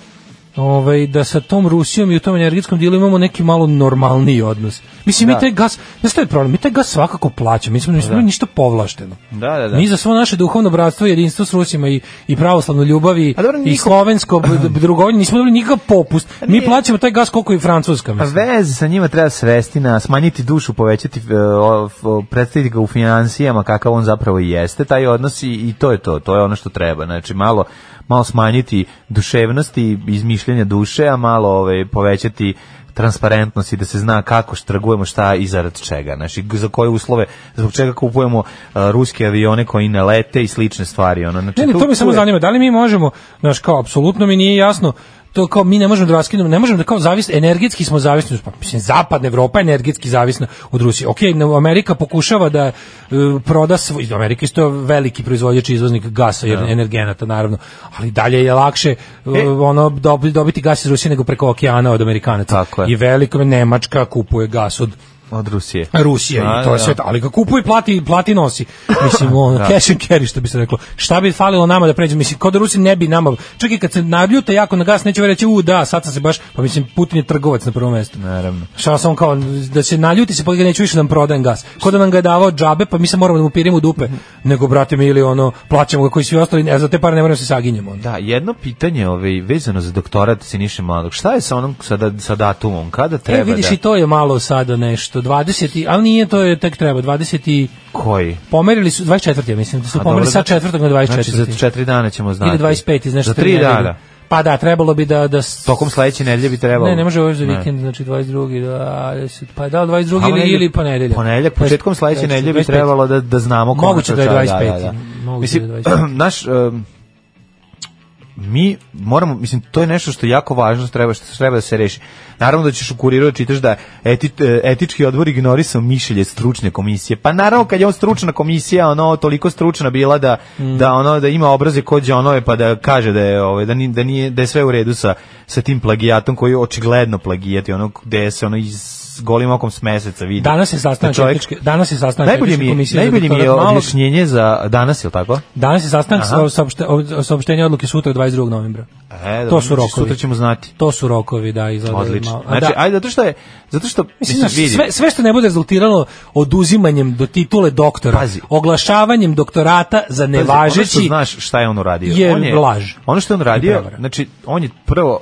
F: ovaj da sa tom Rusijom i u tom energetskom dijelu imamo neki malo normalniji odnos. Mislim
E: Da.
F: mi taj gas, ne staje problem, mi taj gas svakako plaćamo. Mi smo mi smo ništa povlašteno.
E: Da, da, da.
F: Mi za svo naše duhovno bratstvo i jedinstvo s Rusima i, i pravoslavnu ljubav i,
E: A dobro,
F: i
E: niko-
F: slovensko b- b- drugovanje, nismo dobili nikakav popust. Mi plaćamo taj gas koliko i Francuska.
E: Pa
F: Mislim.
E: veze sa njima treba svesti na smanjiti dušu, povećati, e, o- o- predstaviti ga u financijama kakav on zapravo i jeste, taj odnos i, i to je to, to je ono što treba. Znači malo, malo smanjiti duševnosti, izmišljanja duše, a malo ovaj, povećati transparentnost i da se zna kako štragujemo šta i zarad čega. Znači, g- za koje uslove, zbog čega kupujemo e, ruske avione koji ne lete i slične stvari. Ono. Znači,
F: Ne, ne,
E: tu-
F: to me
E: tu
F: samo
E: je-
F: zanima. Da li mi možemo, znaš, kao, apsolutno mi nije jasno, to kao mi ne možemo da raskinemo, ne možemo da kao zavis, energetski smo zavisni, pa mislim zapadna Evropa je energetski zavisna od Rusije. Okej, okay, Amerika pokušava da e, proda svoj Amerika isto je veliki proizvođač i izvoznik gasa i
E: Da.
F: energenata naravno, ali dalje je lakše e, ono dobi- dobiti gas iz Rusije nego preko okeana od Amerikanaca.
E: Tako je.
F: I velika Nemačka kupuje gas od
E: Od Rusije.
F: Rusija
E: A,
F: i to
E: da.
F: je sve, to. ali ga kupuje, plati, plati i nosi. Mislim, ono, cash and carry, što bi se reklo. Šta bi falilo nama da pređemo? Mislim, kao da Rusi ne bi nama, čak i kad se naljute jako na gas, neće ovaj reći, u da, sad sam se baš, pa mislim, Putin je trgovac na prvom mestu.
E: Naravno.
F: Šta sam kao, da se naljuti se, pa ga neću više da nam prodajem gas. Ko da nam ga je davao džabe, pa mi se moramo da mu pirimo u dupe. Nego, brate mi, ili ono, plaćamo ga koji svi ostali, a za te pare ne moramo da se saginjemo. ono.
E: Da, jedno pitanje ovaj, vezano za doktorat Siniše Mladog. Šta je sa onom sa, da, sa datumom? Kada treba
F: e, vidiš
E: da...
F: i to je malo sada nešto, 20, i- ali nije, to je tek treba, 20 i-
E: Koji?
F: Pomerili su 24. ja mislim da su
E: A,
F: pomerili
E: dobro,
F: sa
E: znači-
F: četvrtog na 24.
E: Znači, za četiri dana ćemo znati.
F: ili 25 iz nešto
E: Za tri
F: nedelje.
E: dana.
F: Pa da, trebalo bi da da s-
E: Tokom sledeće nedelje bi trebalo.
F: Ne, ne može ovo za
E: Ne.
F: vikend, znači 22. 20, pa da, 22.
E: Tamo
F: ili,
E: negde-
F: ili ponedeljak. Znači,
E: Ponedeljak, početkom sledeće nedelje bi
F: 25.
E: trebalo da, da znamo konačno
F: Moguće da je
E: šta-
F: 25. Moguće
E: Mislim,
F: da je 25.
E: naš, em, mi moramo, mislim, to je nešto što je jako važno, što treba, što treba da se reši. Naravno da ćeš u kuriru da čitaš da je eti, e, etički odbor ignorisao mišljenje stručne komisije. Pa naravno kad je on stručna komisija, ono toliko stručna bila da,
F: Mm.
E: da ono da ima obraze kod Đonove pa da kaže da je ovaj da ni- da nije da je sve u redu sa sa tim plagijatom koji je očigledno plagijat i ono gde se ono iz s golim okom s meseca vidi.
F: Danas je sastanak
E: Da čovjek-
F: etičke- danas je sastanak
E: Najbolje mi
F: etičke
E: je,
F: komisije za
E: najbolje mi je
F: doktorat Malog.
E: objašnjenje za danas, je li tako?
F: Danas je sastanak
E: Aha.
F: sa saopšte, o- saopštenje odluke sutra 22. novembra.
E: E,
F: to su
E: znači,
F: rokovi.
E: Sutra ćemo znati.
F: To su rokovi, da, izgleda.
E: Odlično.
F: malo- a
E: Znači,
F: da.
E: ajde, zato što je, zato što,
F: Mislim,
E: mislim,
F: znaš,
E: vidi,
F: sve, sve što ne bude rezultiralo oduzimanjem do titule doktora,
E: Pazi.
F: oglašavanjem doktorata za
E: Pazi, ono što
F: nevažeći,
E: znaš šta je on uradio.
F: je
E: on je,
F: laž.
E: Ono što je on
F: I
E: radio,
F: prevara.
E: znači, on je prvo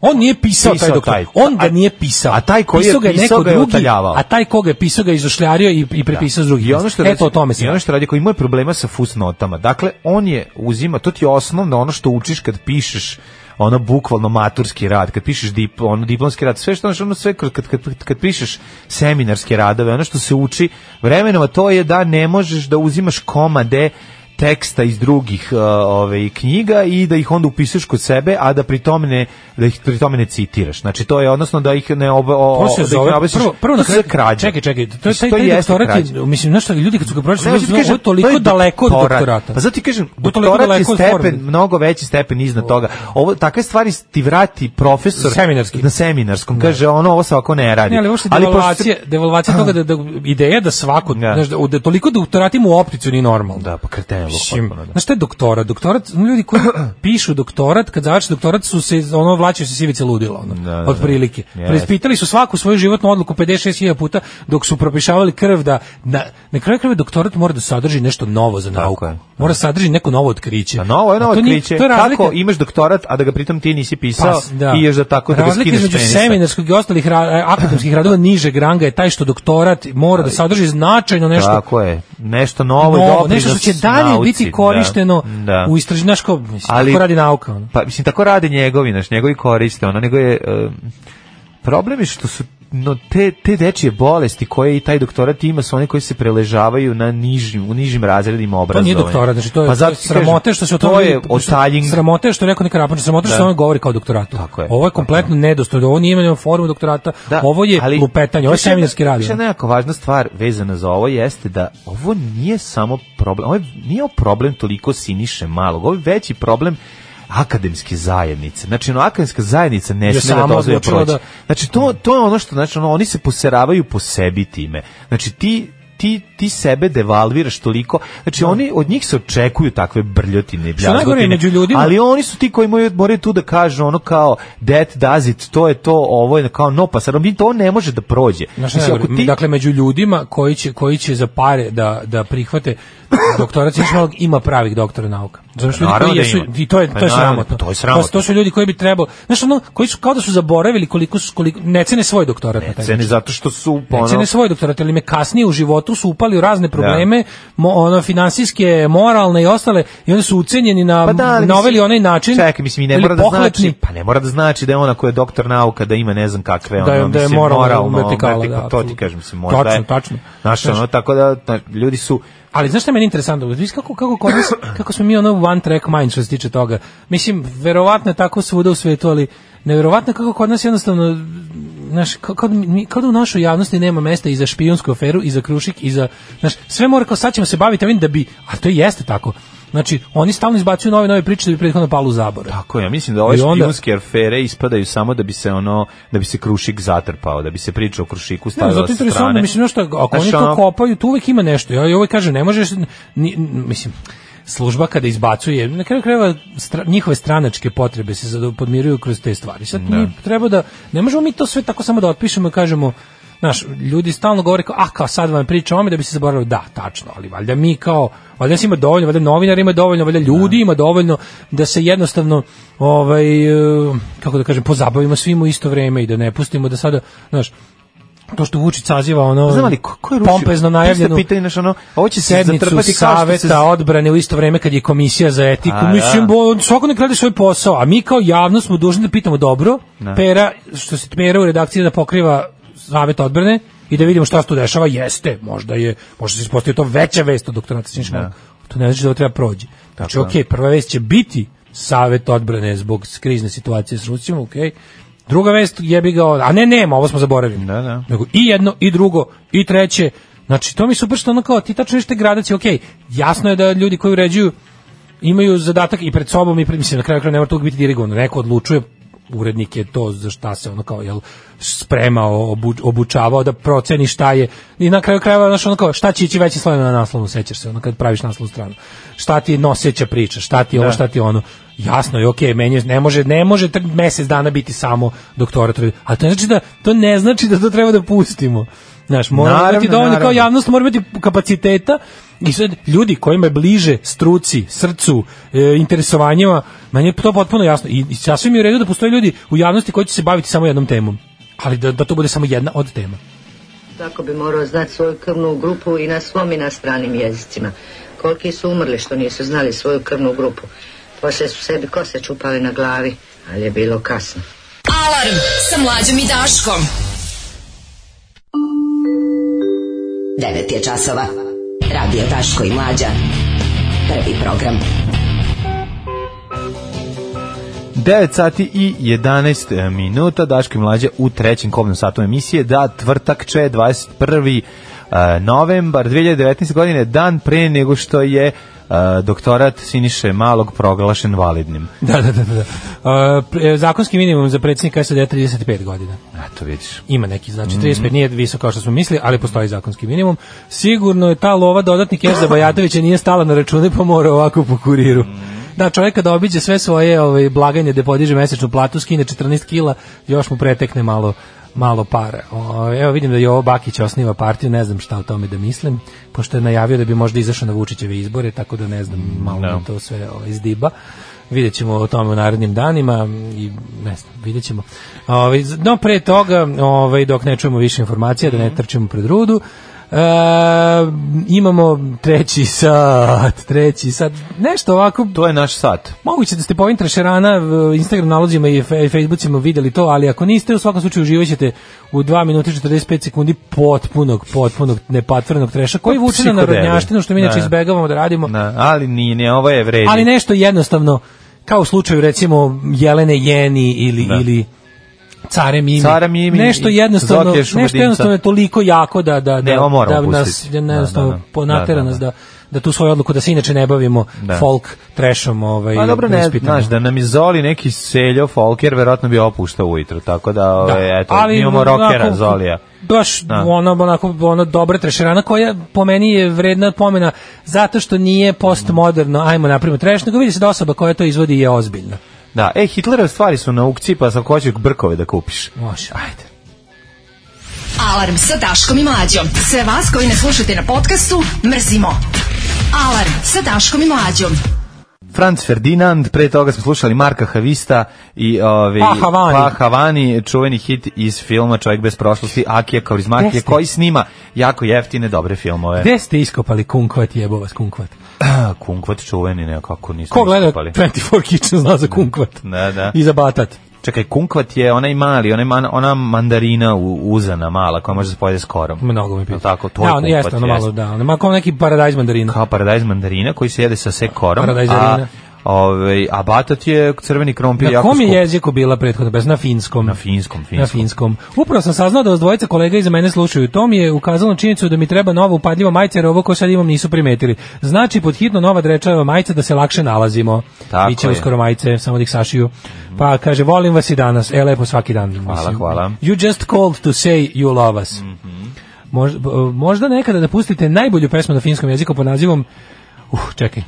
F: on nije pisao,
E: Pisao
F: taj doktor,
E: taj.
F: on ga
E: A-
F: nije pisao.
E: a taj koji je pisao ga je otaljavao. Da.
F: A taj koga je pisao ga je izošljario i, i prepisao s drugim.
E: I ono što
F: Eto
E: radi-
F: o tome se
E: I ono
F: radi.
E: što radi koji ima problema sa fusnotama. Dakle, on je uzima, to ti je osnovno ono što učiš kad pišeš ono bukvalno maturski rad, kad pišeš dip, ono diplomski rad, sve što znaš, ono sve kad, kad, kad, kad pišeš seminarske radove, ono što se uči vremenom, a to je da ne možeš da uzimaš komade teksta iz drugih uh, ove knjiga i da ih onda upisuješ kod sebe, a da pri tome ne da ih pri tome ne citiraš. Znači to je odnosno da ih ne ob, o,
F: To se
E: da ih
F: zove
E: ne obesiš.
F: prvo prvo na
E: To se zove
F: kraju
E: krađa.
F: Čekaj, čekaj, to je
E: Mislim,
F: taj, taj
E: jeste
F: doktorat je,
E: krađa.
F: mislim znaš šta ljudi kad su ga pročitali,
E: Ne, ja ti
F: mislim, ovo je
E: kažem,
F: toliko
E: to je
F: daleko od
E: doktorat.
F: doktorata.
E: Pa zato ti kažem,
F: je toliko
E: doktorat je
F: daleko od
E: stepen,
F: forme.
E: mnogo veći stepen iznad toga. Ovo, takve stvari ti vrati profesor
F: Seminarski.
E: na seminarskom. Kaže, ono, ovo se ovako ne radi.
F: Da. Ne, ali uopšte
E: pošto-
F: devalvacija, devalvacija toga da, da ideja da svako,
E: Da.
F: znaš, da, da toliko doktoratima u opticu nije normalno.
E: Da, pa kretenje.
F: Mislim, znači, znaš šta je doktorat? Doktorat, ono, ljudi koji pišu doktorat, kad završe doktorat su se, ono, vlačaju se sivice ludila, ono,
E: Da, da, da.
F: otprilike.
E: Jeste.
F: Prespitali su svaku svoju životnu odluku 56.000 puta, dok su propišavali krv da, na, na kraju krve doktorat mora da sadrži nešto novo za
E: Tako
F: nauku.
E: je.
F: Mora da sadrži neko novo otkriće.
E: Da, novo je novo
F: A to nije-
E: otkriće.
F: To je razlika,
E: Kako imaš doktorat, a da ga pritom ti nisi pisao
F: s- da.
E: i još da tako da ga
F: Razlika
E: skineš
F: između
E: penisa.
F: seminarskog i ostalih ra- e, akademskih radova nižeg ranga je taj što doktorat mora da sadrži značajno nešto
E: Tako je. Nešto novo, i
F: novo,
E: doprinos
F: nešto što će dalje
E: nauci,
F: biti
E: da.
F: korišteno
E: Da.
F: u istraživanju, znaš kao, mislim,
E: Ali-
F: tako radi nauka. Ono.
E: Pa mislim tako rade njegovi, naš njegovi koriste, ono nego je em, problem je što su no te te dečije bolesti koje i taj doktorat ima su oni koji se preležavaju na nižim u nižim razredima
F: To
E: obrazovanja.
F: nije doktorat, znači to je,
E: Pa
F: to je
E: zato ti kažem,
F: sramote što se o tome...
E: to je
F: što-
E: otaljing.
F: Sramote što je rekao neka rapača, sramote što
E: Da.
F: on govori kao doktoratu.
E: Tako je.
F: Ovo je kompletno nedostojno, ovo nije imeno formu doktorata, ovo je
E: Da, ali-
F: lupetanje, ovo je
E: Još jedna-
F: seminarski rad.
E: Još
F: ono.
E: jedna jako važna stvar vezana za ovo jeste da ovo nije samo problem, ovo je, nije ovo problem toliko siniše malog, ovo je veći problem akademske zajednice. Znači, ono, akademska zajednica ne
F: Je
E: sme da
F: sama
E: dozvoje
F: odlučila
E: proći.
F: da-
E: Znači, to, to je ono što, znači, ono, oni se poseravaju po sebi time. Znači, ti ti ti sebe devalviraš toliko. Znači oni od njih se očekuju takve brljotine,
F: Da. Što najgore,
E: bljazgotine,
F: među ljudima-
E: Ali oni su ti koji moraju, moraju tu da kažu ono kao that does it, to je to, ovo je kao no pa sad mi to ne može da prođe.
F: Znaš,
E: Mislim,
F: najgore,
E: ako ti-
F: Dakle, među ljudima koji će, koji će za pare da, da prihvate doktorat siniše malog, ima pravih doktora nauka. Znaš, ljudi
E: Naravno
F: koji
E: da
F: jesu,
E: ima.
F: I to je,
E: Pa
F: to je
E: naravno,
F: sramotno.
E: to je sramotno.
F: To, su ljudi koji bi trebalo... Znaš, ono, koji su kao da su zaboravili koliko, su, koliko ne cene svoj doktorat na taj
E: cene zato što su
F: Ne
E: ono, Da.
F: cene svoj doktorat, ali me kasnije u životu su upali u razne probleme, mo, ono, finansijske, moralne i ostale, i oni su ucenjeni na,
E: Pa da, ali
F: na ovaj
E: mislim-
F: ili onaj način.
E: Čekaj, mislim, i ne
F: ili
E: mora da
F: pohlepni.
E: znači, pa ne mora da znači da je ona koja je doktor nauka, da ima ne znam kakve,
F: Da je-
E: ono,
F: da je
E: mislim,
F: moralno
E: moralno,
F: vertikala,
E: vertik-
F: da,
E: pa to ti
F: apsolutno.
E: kažem, mislim, možda
F: Tačno,
E: je,
F: tačno.
E: znaš, ono, tako da, znaš, ljudi su,
F: Ali znaš šta je meni interesantno? Vidiš kako, kako, kod nas, kako smo mi ono one track mind što se tiče toga. Mislim, verovatno je tako svuda u svetu, ali neverovatno je kako kod nas jednostavno znaš, kao, kao, da mi- kao da u našoj javnosti nema mesta i za špijunsku aferu, i za krušik, i za, znaš, sve mora kao sad ćemo se baviti ovim da bi, a to i jeste tako. Znači, oni stalno izbacuju nove, nove priče da bi prethodno palu u zabor.
E: Tako je, ja mislim da ove
F: I onda-
E: špijunske afere ispadaju samo da bi se ono da bi se krušik zatrpao, da bi se priča o krušiku
F: Ne,
E: stavila
F: zato
E: sa
F: je interesantno,
E: strane.
F: mislim, znaš šta, ako
E: Znaš,
F: oni to
E: ono-
F: kopaju, tu uvek ima nešto. Ja i ovaj kažem, ne možeš, ni- ni, mislim, služba kada izbacuje, na kraju krajeva stra, njihove stranačke potrebe se zado- podmiruju kroz te stvari. Sad mi treba da, ne možemo mi to sve tako samo da otpišemo i kažemo, Znaš, ljudi stalno govore kao, a kao sad vam priča o ome da bi se zaboravili, da, tačno, ali valjda mi kao, valjda se ima dovoljno, valjda novinara ima dovoljno, valjda ljudi ima dovoljno da se jednostavno, ovaj, eh, kako da kažem, pozabavimo svim u isto vreme i da ne pustimo da sada, znaš, to što Vučić saziva ono
E: Znam li, ko, ko je rušio?
F: pompezno najavljenu
E: Ti ste pitali, znaš, ono, a ovo će se
F: sednicu
E: zatrpati kao što
F: saveta
E: se...
F: odbrane u isto vreme kad je komisija za etiku.
E: A, da.
F: Mislim, bo, svako nek radi svoj posao, a mi kao javno smo dužni da pitamo dobro, pera, što se pera u redakciji da pokriva savet odbrane i da vidimo šta se tu dešava, jeste, možda je, možda se ispostavio to veća vest od doktorata Siniša Malog. To ne znači da ovo treba prođi. Znači, okej, prva vest će biti savet odbrane zbog krizne situacije s Rusijom, okej, Druga vest jebi ga, a ne nema, ovo smo zaboravili.
E: Da, da.
F: Nego i jedno, i drugo, i treće. Znači, to mi je super što ono kao, ti tačno vidiš te gradacije, okej, jasno je da ljudi koji uređuju imaju zadatak i pred sobom i pred, mislim, na kraju kraja ne mora tu biti dirigovano, neko odlučuje urednik je to za šta se ono kao jel spremao, obu, obučavao da proceni šta je i na kraju krajeva znaš ono kao šta će ići veći slovima na naslovnu sećaš se ono kad praviš naslovnu stranu šta ti je noseća priča, šta ti je ovo, šta ti je ono jasno je okej, meni je- ne može ne može tak mesec dana biti samo doktorat, a to ne znači da to ne znači da to treba da pustimo. Znaš, mora
E: Naravno,
F: biti dovoljno kao
E: naravno.
F: javnost mora imati kapaciteta i sad ljudi kojima je bliže struci, srcu, e, interesovanjima, meni je to potpuno jasno i, i sasvim je u redu da postoje ljudi u javnosti koji će se baviti samo jednom temom, ali da, da to bude samo jedna od tema.
J: Tako bi morao znati svoju krvnu grupu i na svom i na stranim jezicima. Koliki su umrli što nisu znali svoju krvnu grupu. Poslije su sebi kose čupali na glavi, ali je bilo kasno.
D: Alarm sa mlađom i Daškom.
J: 9 je časova. Radio Daško i Mlađa. Prvi program.
E: 9 sati i 11 minuta, Daško i Mlađe u trećem kobnom satu emisije, da, tvrtak će 21. e, novembar 2019. godine, dan pre nego što je e, doktorat Siniše Malog proglašen validnim.
F: Da, da, da, da. E, pre- zakonski minimum za predsjednika SAD je 35 godina.
E: Eto vidiš.
F: Ima neki, znači 35 nije visoko kao što smo mislili, ali postoji zakonski minimum. Sigurno je ta lova dodatni keš za Bajatovića nije stala na račune pa mora ovako po kuriru. Da, čovjek kada obiđe sve svoje ovaj, blaganje da podiže mesečnu platu, skine 14 kila, još mu pretekne malo malo para. O, evo vidim da je ovo Bakić osniva partiju, ne znam šta o tome da mislim, pošto je najavio da bi možda izašao na Vučićeve izbore, tako da ne znam, malo
E: Da.
F: mi to sve ovaj, zdiba. Vidjet ćemo o tome u narednim danima i ne znam, vidjet ćemo. Ovaj, z- no pre toga, ovaj, dok ne čujemo više informacija, da ne trčimo pred rudu, e, imamo treći sat, treći sat, nešto ovako
E: To je naš sat.
F: Moguće da ste po ovim trašerana v Instagram nalozima i fe- Facebookima videli to, ali ako niste, u svakom slučaju uživaćete u 2 minuta i 45 sekundi potpunog, potpunog, nepatvrnog treša koji vuče na
E: Psihodelije.
F: narodnjaštinu, što mi inače
E: Da.
F: izbegavamo da radimo,
E: Na, ali nije, ne, ovo je vredi.
F: ali nešto jednostavno, kao u slučaju recimo Jelene Jeni ili,
E: Da.
F: ili Care Mimi.
E: Cara Mimi
F: nešto
E: i
F: jednostavno,
E: Zokija
F: nešto
E: Šumadinca.
F: jednostavno je toliko jako da, da, da,
E: Ne, ovo moramo
F: da nas
E: pustiti.
F: da,
E: Da,
F: jednostavno
E: da, da.
F: ponatera
E: Da, da,
F: nas
E: da.
F: da da tu svoju odluku da se inače ne bavimo
E: Da.
F: folk trešom ovaj
E: Pa dobro, ne,
F: ispitamo.
E: znaš, da nam je Zoli neki seljo folker, verovatno bi opuštao ujutro, tako da,
F: Da,
E: ove, eto,
F: ali
E: mi imamo rokera
F: onako,
E: Zolija.
F: Baš
E: Da.
F: ono, onako, ono dobra trešerana koja po meni je vredna pomena zato što nije postmoderno, ajmo napravimo treš, nego vidi se da osoba koja to izvodi je ozbiljna.
E: Da, e, Hitlerove stvari su na aukciji, pa sam hoćeš brkove da kupiš.
F: Može. Ajde.
D: Alarm sa Daškom i Mlađom. Sve vas koji ne slušate na podcastu, mrzimo. Alarm sa Daškom i Mlađom.
E: Franz Ferdinand, pre toga smo slušali Marka Havista i ove,
F: Pa Havani.
E: Pa Havani, čuveni hit iz filma Čovjek bez prošlosti, Akija Kaurismakija,
F: Jeste.
E: koji snima jako jeftine dobre filmove.
F: Gde ste iskopali kunkvat jebo vas kunkvat?
E: Kunkvat čuveni, ne, kako nismo
F: Ko gleda
E: iskopali.
F: 24 Kitchen zna za kunkvat?
E: Da, da.
F: I za batat.
E: Čekaj, kunkvat je onaj mali, onaj man, ona mandarina u, uzana mala koja može da se pojede s korom.
F: Mnogo mi pita.
E: Jel Tako, to je
F: da, ono,
E: kunkvat.
F: jeste, ono malo,
E: jeste.
F: da. Ono, ma kao neki paradajz mandarina.
E: Kao paradajz mandarina koji se jede sa sek korom.
F: Paradajz
E: a,
F: mandarina.
E: ovaj, a batat je crveni krompir
F: Na
E: jako
F: kom je
E: skup.
F: jeziku bila prethodna pesma? Na finskom.
E: Na finskom, finskom.
F: Na finskom. Upravo sam saznao da vas dvojica kolega iza mene slušaju. To mi je ukazalo na činjenicu da mi treba nova upadljiva majica, jer ovo ko sad imam nisu primetili. Znači, pod hitno nova drečava majica da se lakše nalazimo.
E: Tako
F: Biće
E: je.
F: uskoro majice, samo da ih sašiju. Pa kaže, volim vas i danas. E, lepo svaki dan. Hvala,
E: hvala. Mhm.
F: You just called to say you love us. Možda, možda nekada da pustite najbolju pesmu na finskom jeziku pod nazivom Uh, čekaj.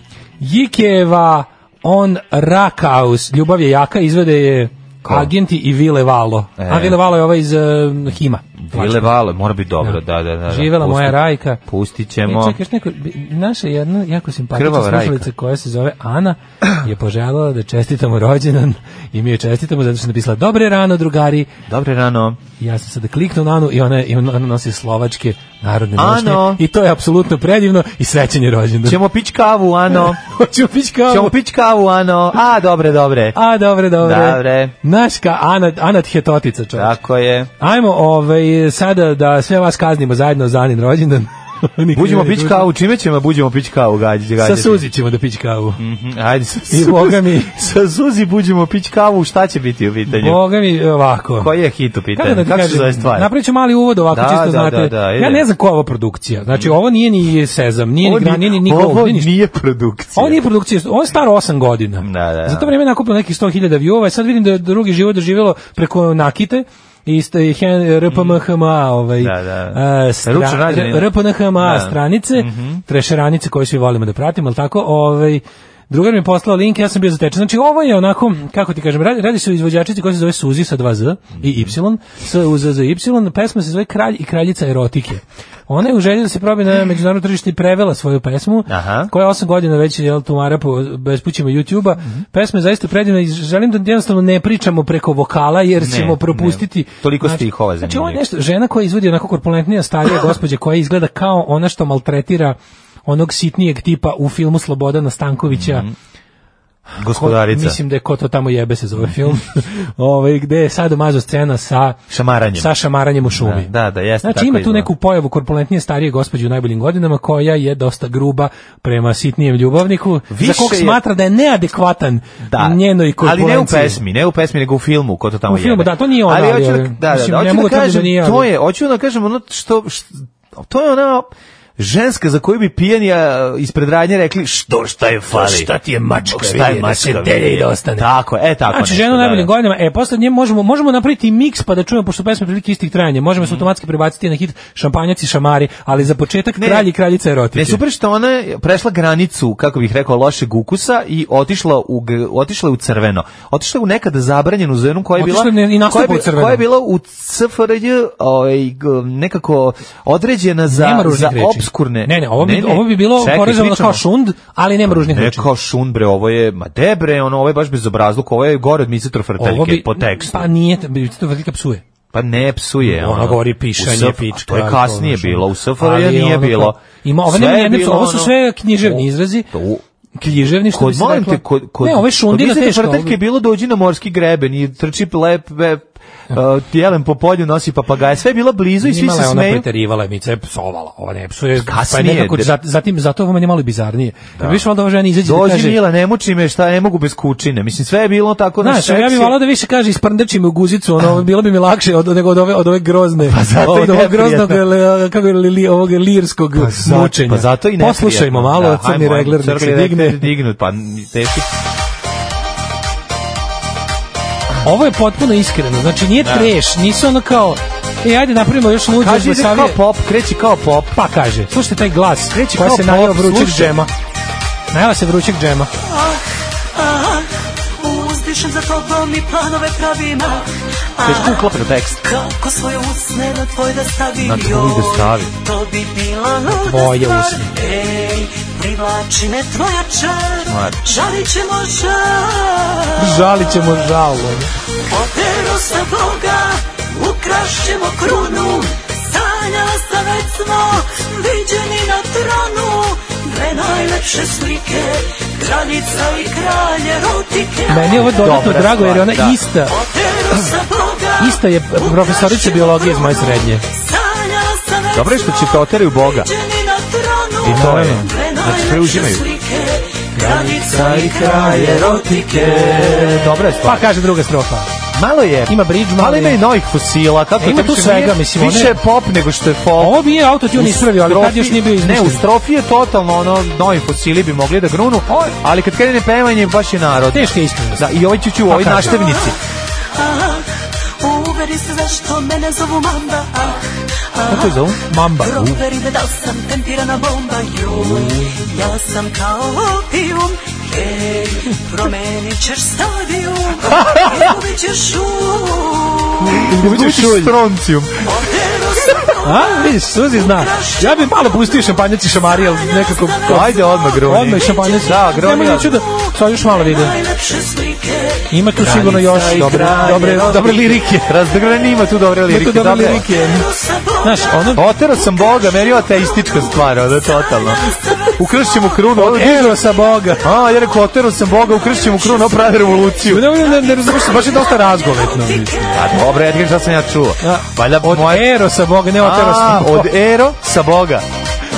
F: Jikeva on Rakaus. Ljubav je jaka, izvede je
E: Ko?
F: Agenti i Vile Valo.
E: E.
F: A Vile Valo je ovaj iz um, Hima.
E: Vile vale, mora biti dobro, da, da, da. da.
F: Živela
E: Pustit-
F: moja Rajka.
E: Pustit
F: E,
E: ćemo.
F: čekaj, još neko, bi- naša jedna jako simpatična
E: Krvava Rajka.
F: slušalica koja se zove Ana je poželjala da čestitamo rođendan i mi joj čestitamo zato što je napisala Dobre rano, drugari.
E: Dobre rano.
F: I ja sam sada kliknuo na Anu i ona, i ona nosi slovačke narodne nošnje.
E: Ano.
F: I to je apsolutno predivno i srećen je rođendan.
E: Ćemo pić kavu, ano.
F: Hoćemo pić kavu.
E: Ćemo pić kavu, ano. A, dobre, dobre.
F: A, dobre, dobre.
E: Dobre.
F: Naška Ana, Ana Tjetotica, čovječ.
E: Tako je.
F: Ajmo ovaj, sada da sve vas kaznimo zajedno za Anin rođendan. Nikad
E: Buđemo
F: ne
E: pić
F: dužan.
E: kavu, čime ćemo buđemo pić kavu, gađi, gađi.
F: Sa Suzi ćemo da pić kavu.
E: Mhm, Ajde, sa
F: I
E: Suzi-
F: boga mi-
E: Sa Suzi buđemo pić kavu, šta će biti u pitanju?
F: Boga mi, ovako.
E: Koji je hit u pitanju?
F: Kako da ti
E: Kako se zove
F: kažem,
E: stvar?
F: napravit ću mali uvod ovako,
E: Da,
F: čisto
E: da,
F: znate.
E: da, da, ide.
F: ja ne znam koja je ovo produkcija. Znači, ovo nije ni Sezam, nije ni
E: Ovo
F: Gran, nije ni Nikol,
E: ovo
F: nije ništa.
E: nije produkcija.
F: Ovo nije produkcija, ovo je staro 8 godina.
E: Da, da, da.
F: Za to vreme je nakupilo nekih 100.000 view-ova i sad vidim da je drugi život doživjelo preko Nakite i ste- i hen- RPMHMA ovaj
E: Da, da.
F: a, stra-
E: Ručno rađene.
F: RPNHMA
E: Da. Mhm.
F: stranice trešeranice koje svi volimo da pratimo al tako ovaj Drugar mi je poslao link, ja sam bio zatečen. Znači, ovo je onako, kako ti kažem, radi, radi se o izvođačici koja se zove Suzi sa 2Z i
E: Mhm.
F: Y, s u z z y, pesma se zove Kralj i kraljica erotike. Ona je u želji da se probi na međunarodno tržište i prevela svoju pesmu,
E: Aha.
F: koja je 8 godina već jel, tumara po bespućima YouTube-a.
E: Mhm.
F: Pesma je zaista predivna i želim da jednostavno ne pričamo preko vokala, jer ćemo propustiti...
E: ne. Toliko stihova
F: Znači, ovo je
E: zanimljivih.
F: nešto, žena koja izvodi onako korpulentnija starija gospođa koja izgleda kao ona što maltretira onog sitnijeg tipa u filmu Slobodana Stankovića.
E: Mhm. Gospodarica.
F: Mislim da je ko to tamo jebe se zove film. ovaj gde je sad mazo scena sa
E: Šamaranjem.
F: Sa šamaranjem u šumi.
E: Da, da, da, jeste,
F: Znači
E: tako
F: ima tu
E: izgleda.
F: neku pojavu korpulentnije starije gospođe u najboljim godinama koja je dosta gruba prema sitnijem ljubavniku,
E: Više
F: za kog
E: je-
F: smatra da je neadekvatan
E: da.
F: njenoj
E: Ali
F: korpulenciji.
E: ne u pesmi, ne u pesmi, nego u filmu, ko to tamo
F: U filmu,
E: jebe.
F: da, to nije ona,
E: Ali
F: ali,
E: hoću da,
F: ali,
E: da, da,
F: mislim,
E: da,
F: ne
E: hoću
F: mogu
E: da
F: da kažem
E: kažem,
F: da nije,
E: to
F: ali-
E: je, hoću da kažem ono što, š- to je ona ženska za koju bi pijani a, ispred radnje rekli što šta je fali šta ti je mačka šta je
F: vidi, da se
E: mačka
F: delje
E: vidi.
F: i da ostane.
E: tako je, e tako
F: Znači,
E: nešto,
F: žena u
E: da, da.
F: najboljim godinama, e, posle nje možemo, možemo napraviti miks pa da čujemo, pošto pesme prilike istih trajanja, možemo
E: Mhm.
F: se automatski prebaciti na hit šampanjac i šamari, ali za početak
E: Ne.
F: kralj i kraljica erotike.
E: Ne super što ona je prešla granicu, kako bih rekao, lošeg ukusa i otišla u g- otišla je u crveno. Otišla je u nekada zabranjenu zonu koja je bila
F: Otišla je i nastupa
E: koja je,
F: u
E: bi-
F: crveno.
E: koja je bila u CFRJ ovaj, g- nekako određena za
F: nema ružnih
E: za
F: reči.
E: obskurne.
F: Ne, ne, ovo bi, ovo bi bilo
E: čekaj,
F: porezovano
E: pričamo.
F: kao šund, ali nema ružnih
E: Ne
F: reči.
E: kao šund, bre, ovo je, ma de bre, ono, ovo je baš bezobrazluk, ovo je gore od Micitro
F: Ovo
E: Frteljke,
F: bi,
E: po tekstu.
F: Pa nije, bi to vrtlika psuje.
E: Pa ne psuje.
F: Ona govori
E: U
F: pišanje,
E: SFRJ,
F: pička,
E: To je kasnije
F: znaš, ono.
E: bilo, u SFRJ
F: Ali
E: nije
F: ono,
E: bilo.
F: kao- Ima, ovo
E: Sve
F: nema
E: je
F: jedne,
E: bilo
F: ovo su
E: ono-
F: sve književni
E: U-
F: izrazi.
E: to-
F: Književni, što bi
E: Kod
F: se
E: molim
F: reklo.
E: te, kod, kod, da
F: ne, ovo je šundina
E: kod
F: teško.
E: Mr. Frteljke
F: ovo-
E: je bilo dođi na morski greben i trči lep, lep uh, jelen po polju nosi papagaje. Sve je bilo blizu i svi
F: Imala
E: se
F: je ona
E: smeju.
F: preterivala, je Mica je psovala, ova ne psuje.
E: Kasnije,
F: Pa je nekako,
E: de-
F: za- zatim, zato ovo meni je malo i bizarnije. Da. Više valjda ova žena izađe da
E: Dođi
F: kaže...
E: Mila, ne muči me, šta, ne mogu bez kučine. Mislim, sve je bilo tako na
F: Znaš, ja bih volao da više kaže isprndači mi u guzicu, ono, bilo bi mi lakše od, nego od ove, od ove grozne,
E: Pa zato i
F: od ovog
E: neprijatno.
F: groznog, eh, le- kako je, li, li- ovog lirskog
E: Pa zato-
F: mučenja.
E: Pa zato i ne.
F: da Poslušajmo malo,
E: da,
F: crni
E: hajmo,
F: regler, nek
E: crni
F: se
E: regler
F: digne.
E: dignut, pa n- teški.
F: Ovo je potpuno iskreno, znači nije
E: Da.
F: treš, nisu ono kao, e, ajde napravimo još luđe,
E: Kaže, ide kao
F: basavije.
E: pop, kreći kao pop.
F: Pa kaže, slušajte taj glas,
E: Kreće
F: koja
E: kao
F: se najava
E: pop,
F: vrućeg
E: slušaj.
F: džema. Najava se vrućeg džema.
B: Uzdišem za tobom i planove pravim ah,
E: Teško uklapa na tekst.
B: Kako svoje usne na tvoj da stavim
E: Na tvoj da
B: joj,
E: stavim.
B: To bi bila luda
F: tvoje
B: stvar.
F: usne.
B: Ej, privlači me tvoja čar
E: Čar.
B: Žalit ćemo žar
F: Žalit ćemo žalo.
B: Oteru sa Boga Ukrašćemo krunu Sanjala sam već smo Viđeni na tronu Dve najlepše slike Kraljica i kralje erotike
F: Meni je ovo dodatno
E: Dobra
F: drago jer je ona
E: stvar, da.
F: ista.
B: Oteru sa Boga
F: Ista je profesorica biologije iz moje srednje.
B: Sanjala sam već
E: Dobro je što će
B: smo
E: te oteraju Boga.
B: Viđeni na tronu
E: I to je.
B: Dve
E: Znači,
B: najlepše
E: preuzimaju.
B: slike Kraljica i kralje erotike
E: Dobra je stvar.
F: Pa kaže druga strofa.
E: Malo je.
F: Ima bridge, malo
E: malo ima
F: je.
E: i novih fosila. Kako
F: E, ima
E: to
F: tu
E: više
F: svega,
E: nije-
F: mislim, one-
E: Više je pop nego što je folk.
F: Ovo bi je autotune ispravio, ali tad
E: Strofi-
F: još nije bio
E: Ne,
F: izmišljen.
E: u strofi je totalno ono, novi fosili bi mogli da grunu, ali kad krene pevanje, baš je narod.
F: Teška je Pa iskreno.
E: Da, i ovaj ćuću, ovi
F: kaže.
E: naštevnici.
B: Ah, Uveri se zašto mene zovu mamba ah, ah,
E: Kako je zovu? Mamba.
B: Proveri me da li sam tempirana bomba Joj, ja sam kao opium Hej, promenit ćeš stadium Izgubit ćeš um
E: Uđeš
F: šulj.
E: stroncijum.
B: Oteru sam
F: A, vidiš, Suzi zna. Ja bih malo pustio šampanjac i šamari, ali nekako...
E: Ajde odmah gruni.
F: Odmah i šampanjac.
E: Da, gruni.
F: Nemoj neću da... Sad još malo vide.
B: najlepše slike
F: Ima tu sigurno još dobre, dobre, dobre lirike.
E: Razgrani ima tu dobre da, lirike.
F: Ima tu dobre
E: dobra je.
F: lirike.
B: Oteru sa bomba
F: Znaš, ono...
E: Otero sam Boga, meni je ovo ateistička stvar, ono totalno. Ukršćem u krunu, ovo
F: Ero sa Boga.
E: A, ja rekao, otero sam Boga, ukršćem u krunu, ovo pravi revoluciju.
F: Ne, ne, ne, ne razumiješ, baš je dosta razgovetno. mislim.
E: A dobro, Edgar, šta sam ja čuo?
F: Da.
E: Valjda
F: Od
E: moje...
F: Ero sa Boga, ne od Ero sa
E: A,
F: Boga.
E: od Ero sa Boga.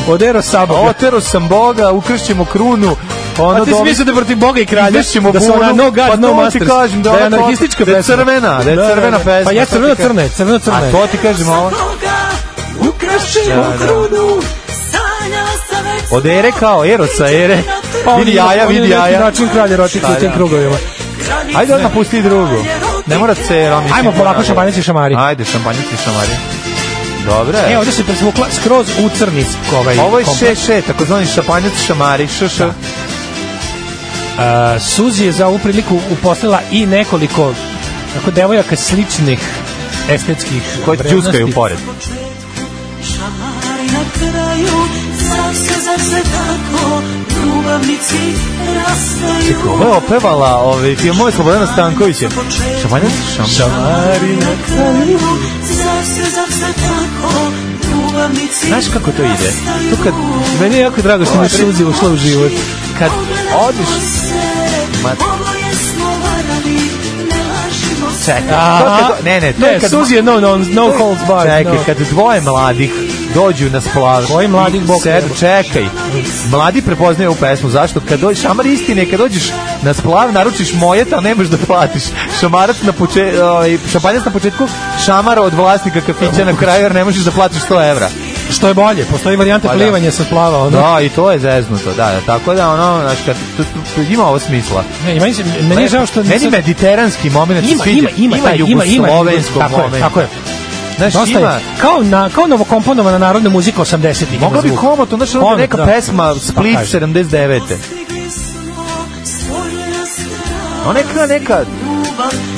F: Odero Sabo.
E: Otero sam Boga, ukršćemo krunu. Ono
F: A ti si
E: dom-
F: mislio da je protiv Boga i kralja,
E: Izvršćemo
F: da su
E: bunu.
F: ona no
E: Pa
F: god, no
E: to ti
F: masters,
E: kažem, da
F: da je
E: ona to-
F: anarhistička
E: da je
F: pesma.
E: crvena, da je crvena pesma,
F: Pa ja
E: to ti
F: crveno
E: kažem.
F: crne, crveno crne.
E: A to ti kažem ovo.
B: Koga ukrašimo
E: Da, da.
B: krunu, sanja sam već
E: Od ere kao Erosa ere.
F: Pa on
E: vidi
F: je-
E: jaja,
F: on je
E: vidi
F: na neki
E: jaja.
F: način kralj erotika
E: Šta
F: u tim
E: ja?
F: krugovima.
E: Ajde odmah pusti drugu. Ne mora cera, mislim.
F: Ajmo polako
E: ponavlja.
F: šampanjici šamari.
E: Ajde, šampanjici šamari. Dobre.
F: E, ovde se presvukla skroz u crni ovaj
E: Ovo je
F: kompleks. Da.
E: še, še, takozvani šampanjac šamari, š, š.
F: A, Suzi je za ovu priliku uposlila i nekoliko tako devojaka sličnih estetskih
E: Koje
F: vrednosti.
E: džuskaju pored.
B: Šamari na kraju, zar se, zar se tako, ljubavnici rastaju.
E: Čekaj, ovo je opevala, ovaj, ti je moj Slobodana Stankovića. Šampanjac šamari.
B: Šamari na kraju, zar se, zar se tako, ljubavnici
E: Znaš kako to ide?
B: rastaju.
E: Tu kad
F: Meni je jako drago što mi je Suzi ušla u život.
E: kad
B: Ogledamo
E: odiš
B: se,
E: Ma-
B: oboje smo varani, ne lažimo se.
E: Čekaj,
F: Aha.
E: to kad- ne, ne, to je
F: Ne,
E: kad-
F: Suzi je no, no, no holds barred,
E: Čekaj,
F: no.
E: kad dvoje mladih dođu na splav.
F: Koji mladih, Bog
E: Sed,
F: treba.
E: čekaj. Mladi prepoznaju ovu pesmu. Zašto? Kad dođeš, šamar istine, kad dođeš na splav, naručiš mojet, a nemaš da platiš. Šamarac na poče, ovaj, šampanjac na početku, šamar od vlasnika kafića na kraju, jer ne možeš da platiš 100 evra.
F: Što je bolje, postoji varijanta
E: Pa da.
F: plivanja sa plava, ono.
E: Da, i to je zeznuto, da, da. Tako da, ono, znači, kad, tu- tu- tu- ima ovo smisla.
F: Ne, meni, se, meni je žao što
E: Meni
F: nisam-
E: mediteranski moment se
F: ima,
E: sviđa.
F: ima, ima, taj, ima, ima,
E: jugoslovenskog
F: tako je,
E: momenta.
F: tako je.
E: Znaš,
F: Dosta je.
E: ima-
F: Kao, na, kao novokomponovana narodna muzika 80-ih. ima
E: Mogla bi
F: zvuk.
E: komotno, znači ono
F: Komot,
E: neka
F: da.
E: pesma Split
F: Pa kaže.
E: 79.
B: Postigli smo svoje strane.
E: Ona je kao neka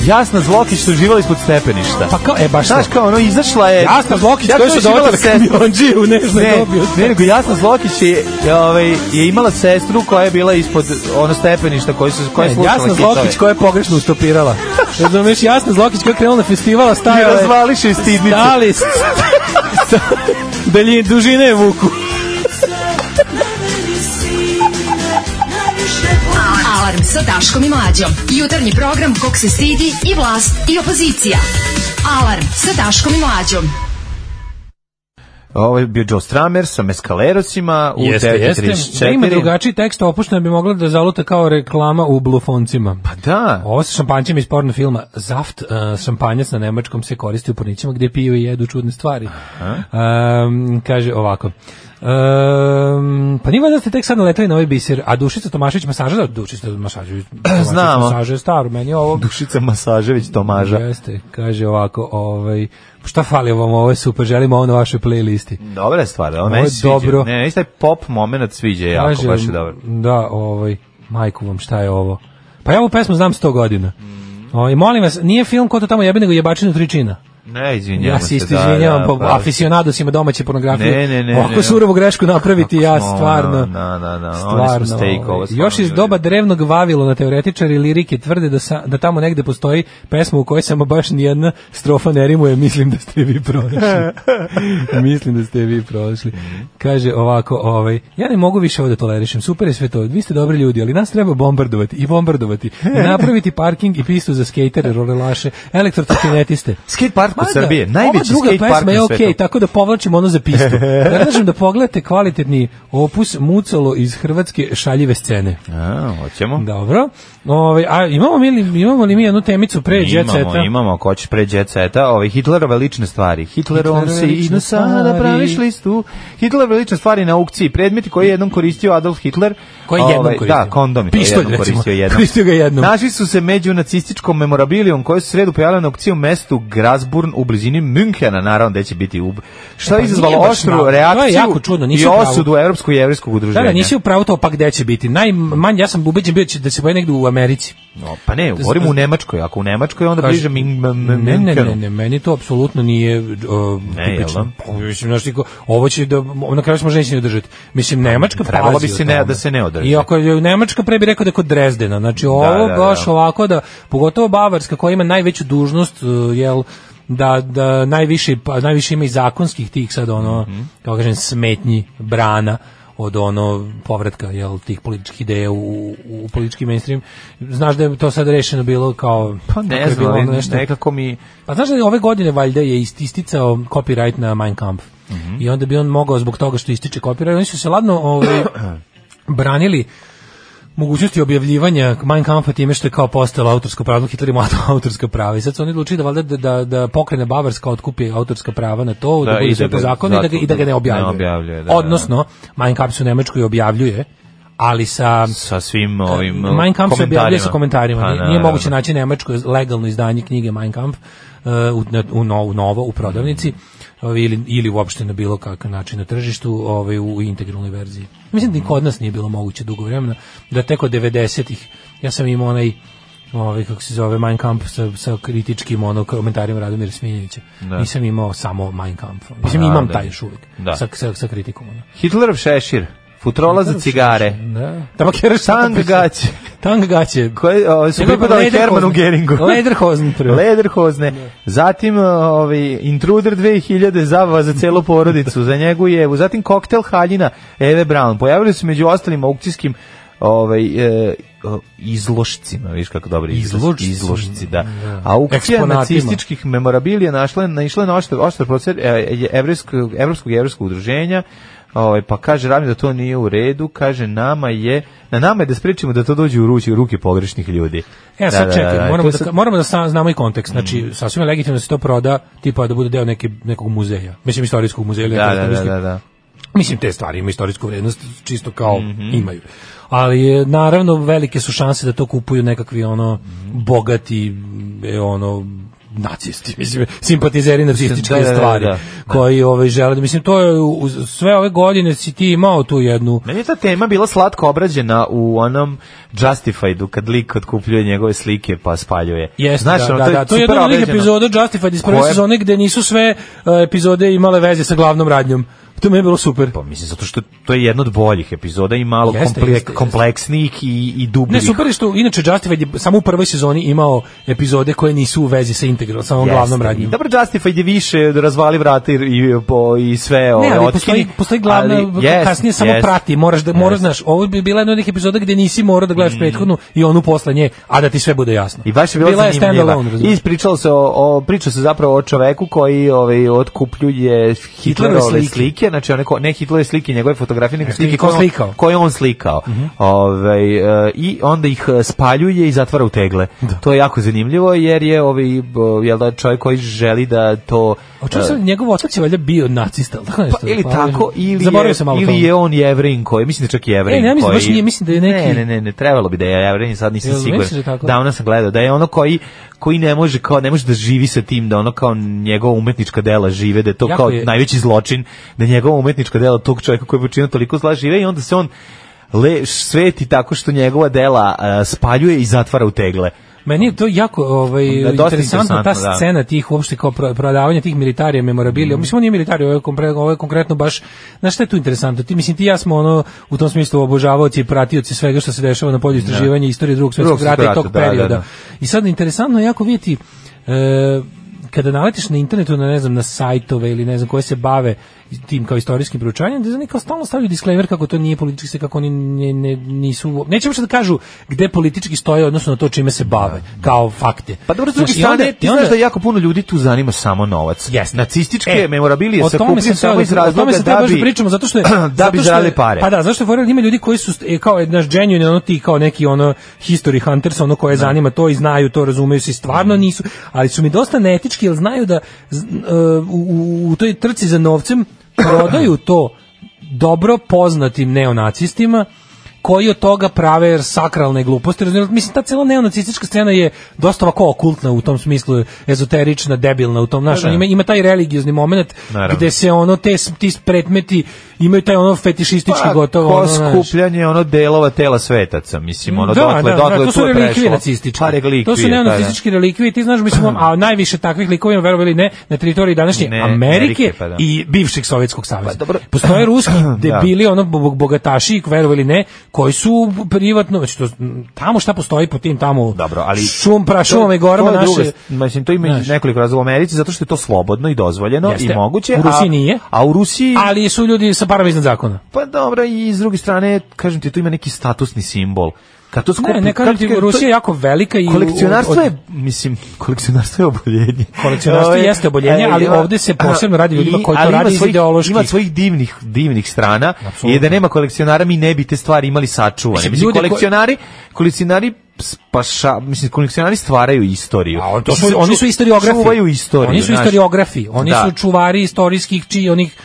E: jasna zlokić što živala ispod stepeništa.
F: Pa kao, e, baš
E: Znaš
F: to.
E: kao ono izašla je...
F: Jasna Zlokić,
E: Ja
F: to je što
E: imala
F: dovoljno
E: sestru.
F: kamionđi u nežnoj
E: Ne,
F: dobi.
E: ne, nego Jasna Zlokić je, je, ovaj, je imala sestru koja je bila ispod ono stepeništa koji su, koja je
F: Ne,
E: slušala
F: E, Jasna Zlokić koja je pogrešno ustopirala. Razumeš, Jasna Zlokić koja je krenula na festivala,
E: je
F: stajala je...
E: razvališe iz stidnice.
F: Stali... s- s- Daljine, dužine je vuku.
D: Alarm sa Daškom i Mlađom. Jutarnji program kog se stidi i vlast i opozicija. Alarm sa Daškom i Mlađom.
E: Ovo Ovaj je bio Joe Stramer sa Meskalerosima u
F: Jeste, jeste. Da ima
E: 9.34.
F: drugačiji tekst, opuštena bi mogla da zaluta kao reklama u blufoncima.
E: Pa da.
F: Ovo sa šampanjcima iz porno filma Zaft, uh, šampanjac na nemačkom se koristi u pornićima gdje piju i jedu čudne stvari. Um, kaže ovako. Um, pa nije valjda da ste tek sad naletali na ovaj biser, a Dušica Tomašević masaža, da, Dušica Tomašević, Tomašević
E: Znamo.
F: masaža je staro, meni je ovo...
E: Dušica Masažević Tomaža.
F: Jeste, kaže ovako, ovaj, šta fali vam, ovo je super, želimo ovo na vašoj playlisti.
E: Dobra je stvar, ovo
F: Ovo
E: meni
F: je
E: se sviđa.
F: dobro.
E: Ne, meni se taj pop moment sviđa jako,
F: Kaže,
E: baš je dobro.
F: Da, ovaj, majku vam, šta je ovo? Pa ja ovu pesmu znam 100 godina.
E: Mm.
F: Ovaj, molim vas, nije film ko to tamo jebe, nego jebačinu tričina.
E: Ne, izvinjavam
F: Ja se isto izvinjavam, da,
E: pravo.
F: aficionadosima domaće pornografije.
E: pa- Ne, ne, ne,
F: Ovako
E: ne, ne.
F: surovu grešku napraviti,
E: Kako
F: ja
E: smo,
F: stvarno...
E: na, na, na, oni su
F: stvarno,
E: mistake, ovo
F: ovaj,
E: stvarno
F: još iz
E: ljudi.
F: doba drevnog Vavilona teoretičari lirike tvrde da, sa, da tamo negde postoji pesma u kojoj sam baš nijedna strofa ne rimuje, mislim da ste vi prošli. mislim da ste vi prošli. Kaže ovako, ovaj, ja ne mogu više ovo da tolerišem, super je sve to, vi ste dobri ljudi, ali nas treba bombardovati i bombardovati, i napraviti parking i pistu za skejtere, rolelaše, elektrotrokinetiste.
E: Skate park u
F: Mada,
E: Srbiji, najveći
F: da, ova
E: skate
F: druga
E: park
F: pesma je
E: na
F: okej,
E: svetu.
F: tako da povlačim ono za pistu. Predlažem da pogledate kvalitetni opus Mucalo iz Hrvatske šaljive scene.
E: A, hoćemo.
F: Dobro. Ove, a imamo, mi, li- imamo li mi jednu temicu pre Jet
E: Imamo,
F: Seta?
E: imamo, ako hoćeš pre Jet Seta, ove Hitlerove lične stvari. Hitlerom
F: Hitlerove
E: se i
F: lične
E: na sada
F: stvari.
E: praviš listu. Hitlerove lične stvari na aukciji, predmeti koje je jednom koristio Adolf Hitler.
F: Koje je jednom
E: Ovaj,
F: koristio?
E: Da, kondomi.
F: Pištolj, recimo.
E: koristio jednom.
F: Koristio ga jednom.
E: Našli su se među nacističkom memorabilijom koje su sredu pojavile na aukciji u mestu Grasburn u blizini Münchena, naravno da će biti ub. Što je
F: pa
E: izazvalo
F: nije baš
E: oštru
F: malo. To je
E: reakciju
F: jako čudno, nisi
E: i
F: u pravu.
E: osudu Evropskog i Jevrijskog udruženja.
F: Da, da, nisi upravo to, pa gde će biti? Najmanj, ja sam ubeđen bio će- da se boje negde u Americi.
E: No, pa ne, govorimo u Nemačkoj. Ako u Nemačkoj, onda
F: Da, Kaži-
E: bliže Min- M- M-
F: Ne, ne, ne,
E: Münchenu.
F: ne, meni to apsolutno nije uh,
E: Ne, jel da?
F: tipično. Pa, Mislim, znaš, niko- ovo će da, na kraju se možda neće ni održati. Mislim, Nemačka
E: Trebalo Pa,
F: pazi
E: bi
F: o
E: se ne-
F: tome.
E: da se ne održi.
F: I ako je Nemačka pre bi rekao da je kod Drezdena, znači ovo
E: da, da.
F: baš ovako da, pogotovo Bavarska koja ima najveću dužnost, uh, jel, da, da najviše, pa, najviše ima i zakonskih tih sad ono,
E: Mhm.
F: kako kažem, smetnji, brana od ono povratka jel tih političkih ideja u, u, u politički mainstream znaš da je to sad rešeno bilo kao
E: Pa
F: kako
E: ne
F: je
E: znam,
F: bilo ono
E: ali nekako mi...
F: pa znaš da je ove godine valjda je ist- isticao copyright na Mein Kampf. I onda bi on mogao zbog toga što ističe kopiraj. Oni su se ladno ovaj, branili mogućnosti objavljivanja Mein Kampfa time što je kao postalo autorsko pravo, Hitler ima autorska prava i sad su oni odlučili da, valjda da, da, da pokrene Bavarska otkupi autorska prava na to, da,
E: Da, i
F: bude
E: da
F: sve po
E: ga
F: zakonu i da ga, i da ga ne
E: ne
F: objavljuje.
E: objavljuje, da, da.
F: Odnosno, Mein Kampf se u Nemačkoj objavljuje, ali sa
E: sa svim ovim uh,
F: Mein Kampf se objavljuje sa komentarima.
E: Pa,
F: Nije- Nije
E: naravno.
F: moguće naći nemačko legalno izdanje knjige Mein Kampf uh, u, na- u, no- u novo, u prodavnici ovaj, ili, ili uopšte na bilo kakav način na tržištu ovaj, u integralnoj verziji. Mislim da ni kod nas nije bilo moguće dugo vremena, da tek od 90-ih ja sam imao onaj ovaj, kako se zove, Mein Kampf sa, sa kritičkim ono, komentarima Radomira Sminjevića. Nisam imao samo Mein Kampf. Mislim,
E: da,
F: imam
E: da.
F: taj još uvijek.
E: Da.
F: Sa, sa, sa kritikom. Ono.
E: Hitlerov šešir, futrola za cigare,
F: Da. Tabakeraš
E: tang gaće,
F: Tang gaće.
E: koje o, su pripadale Hermanu Geringu.
F: Lederhosen prvo.
E: Da. Lederhozne. Zatim uh, ovaj Intruder 2000 zabava za celu porodicu, za njegu je, zatim koktel haljina Eve Brown. Pojavili su među ostalim aukcijskim ovaj e, o, izlošcima, viš kako dobro
F: Izlošci.
E: izlošci, da.
F: Da.
E: Aukcija
F: Eksponatima.
E: nacističkih memorabilija našla naišla na oštar oštar proces evropskog evropskog evropskog udruženja. Ovaj pa kaže Rami da to nije u redu, kaže nama je na nama je da sprečimo da to dođe u ruke, ruke pogrešnih ljudi.
F: E, sad čekaj,
E: i
F: moramo,
E: to Mm.
F: da,
E: sad-
F: moramo da sa- znamo i kontekst. Znači, sasvim je legitimno da se to proda, tipa da bude deo neke, nekog muzeja. Mislim, istorijskog muzeja. ili
E: Da,
F: nekog
E: da, da,
F: istorijskog-
E: da, da.
F: Mislim, te stvari imaju istorijsku vrednost, čisto kao
E: Mhm.
F: imaju. Ali, je, naravno, velike su šanse da to kupuju nekakvi, ono, bogati, e, ono, nacisti, mislim, simpatizeri nacističke
E: Da, da, da,
F: stvari,
E: da, da.
F: koji ovaj, žele da, mislim, to je, uz- sve ove godine si ti imao tu jednu,
E: Meni je ta tema bila slatko obrađena u onom Justifiedu kad lik otkupljuje njegove slike pa spaljuje.
F: Jeste, da,
E: ono,
F: da,
E: to
F: da, to
E: super
F: je jedna od onih
E: obrađeno.
F: epizoda Justified iz prve
E: Koje-
F: sezone gde nisu sve uh, epizode imale veze sa glavnom radnjom. To mi je bilo super.
E: Pa mislim, zato što to je jedna od boljih epizoda i malo
F: Jeste,
E: komple-
F: jeste, jeste.
E: kompleksnijih i, i dubljih.
F: Ne, super je što, inače, Justified je samo u prvoj sezoni imao epizode koje nisu u vezi sa integral, sa ovom
E: Jeste.
F: glavnom
E: I
F: radnjom.
E: Dobro, Justified je više razvali vrata i, i, po, i sve ove
F: Ne, ali
E: otkini,
F: postoji, postoji glavna,
E: ali jest,
F: kasnije samo
E: jest.
F: prati, moraš da, moraš,
E: Jest. Mm.
F: znaš, ovo bi bila jedna od onih epizoda gde nisi morao da gledaš prethodnu i onu posle nje, a da ti sve bude jasno.
E: I baš je bila,
F: bila je
E: zanimljiva.
F: standalone,
E: I
F: razumiješ.
E: ispričalo se o, o priča se zapravo o čoveku koji ovaj otkupljuje Hitlerove
F: slike.
E: slike. znači one ko, ne Hitlerove slike, njegove fotografije, nego slike
F: slike
E: koje
F: ko
E: on
F: slikao.
E: koje je on slikao. Mhm. Ovaj, e, i onda ih e, spaljuje i zatvara u tegle. To je jako zanimljivo jer je ovaj bo, jel da čovjek koji želi da to
F: O čemu
E: e,
F: se, njegov otac je valjda bio nacista, ali tako nešto.
E: pa, ili
F: Pa,
E: tako ili
F: zaboravio
E: je,
F: sam malo
E: ili
F: to.
E: je on jevrin koji mislim da čak i jevrin
F: E, ne, mislim,
E: koji
F: baš nije, mislim da je neki-
E: ne ne ne ne trebalo bi da je jevrin sad nisam
F: Jel
E: siguran
F: misliš da je tako?
E: davno sam gledao da je ono koji koji ne može kao ne može da živi sa tim da ono kao njegova umetnička dela žive da je to
F: Jako
E: kao
F: je-
E: najveći zločin da njegova umetnička dela tog čovjeka koji je počinio toliko zla žive i onda se on le sveti tako što njegova dela e, spaljuje i zatvara u tegle
F: Meni je to jako ovaj,
E: Da, dosta
F: interesantna ta
E: interesantno, da. Mm.
F: scena tih uopšte kao pro- prodavanja tih militarija, memorabilija. Mislim, on nije militarija, ovo je, kompre- ovo je konkretno baš, znaš šta je tu interesantno? Ti, mislim, ti i ja smo ono, u tom smislu obožavaoci i pratioci svega što se dešava na polju istraživanja istorije drugog svjetskog
E: Da. Drugog
F: rata i
E: svjetskog
F: tog
E: rata, da,
F: perioda.
E: da, da.
F: I sad interesantno je jako vidjeti e, kada naletiš na internetu na ne znam na sajtove ili ne znam koje se bave tim kao istorijskim proučavanjem, da oni kao stalno stavljaju disclaimer kako to nije politički se kako oni ne, ne, nisu neće uopšte da kažu gde politički stoje odnosno na to čime se bave kao fakte.
E: Pa dobro, s druge
F: Znaš, i onda-
E: strane, ti
F: i onda-
E: znaš da jako puno ljudi tu zanima samo novac.
F: Jeste.
E: Nacističke
F: E,
E: memorabilije
F: o
E: se
F: tome
E: kupuju
F: sam
E: samo
F: teo-
E: iz
F: O tome
E: razloga
F: sam teo
E: da
F: baš
E: bi,
F: pričamo, zato što je...
E: da bi
F: zato što je-
E: žrali pare.
F: Pa da, zašto je forel ima ljudi koji su, st- e, kao, e, znaš, genuine, ono ti, kao neki, ono, history hunters, ono koje zanima to i znaju, to razumeju se i stvarno nisu, ali su mi dosta neetički, jer znaju da z- e, u, u- u toj trci za novcem prodaju to dobro poznatim neonacistima, koji od toga prave sakralne gluposti. Razumiješ? Mislim, ta cela neonacistička scena je dosta ovako okultna u tom smislu, ezoterična, debilna u tom našem. Ima, ima taj religiozni moment
E: Naravno.
F: gde se ono, te, s- ti predmeti imaju taj ono fetišistički
E: Pa,
F: gotovo.
E: ko
F: ono, znaš.
E: skupljanje ono delova tela svetaca, mislim, ono
F: Da,
E: dotle,
F: da,
E: dotle
F: da, to su
E: tu je
F: relikvije
E: prešlo.
F: nacističke.
E: Pa, relikvije,
F: to su
E: da, da.
F: neonacističke relikvije, ti znaš, mislim, a najviše takvih likova, verovali ili ne, na teritoriji današnje
E: Ne,
F: Amerike,
E: Amerike, pa da. Pa,
F: i bivšeg Sovjetskog saveza.
E: dobro. Da.
F: Postoje ruski debili, ono bo- bo- bogataši, verovali ili ne, koji su privatno, znači to, tamo šta postoji po tim tamo
E: Dobro, ali
F: šum, pra,
E: To-
F: šumama i
E: to je
F: gorama naše...
E: druga st- mislim to ima
F: Znaš.
E: i nekoliko razloga u Americi zato što je to slobodno i dozvoljeno
F: Jeste.
E: i moguće.
F: U Rusiji
E: a,
F: nije.
E: A u Rusiji
F: Ali su ljudi sa parama iznad zakona.
E: Pa dobro, i s druge strane, kažem ti, tu ima neki statusni simbol. Kad to skupi,
F: Ne, ne kažem
E: kad-
F: ti,
E: kad to-
F: Rusija je jako velika i... u-
E: Kolekcionarstvo
F: od-
E: je, mislim, kolekcionarstvo je oboljenje.
F: Kolekcionarstvo
E: Ovo je-
F: jeste oboljenje,
E: e,
F: ali
E: ima-
F: ovde se posebno radi o ljudima
E: i-
F: koji to
E: ali ima
F: rade iz
E: svojih-
F: ideoloških-
E: Ima svojih divnih, divnih strana
F: Apsolutno.
E: i da nema kolekcionara mi ne bi te stvari imali sačuvane.
F: Mislim,
E: Mislim,
F: ljude ko-
E: kolekcionari, kolekcionari spaša, mislim, kolekcionari stvaraju istoriju.
F: A on- to su,
E: Mislim,
F: oni
E: ču-
F: su istoriografi.
E: Čuvaju istoriju.
F: Oni su
E: znaš.
F: istoriografi. Oni
E: Da.
F: su čuvari istorijskih čiji onih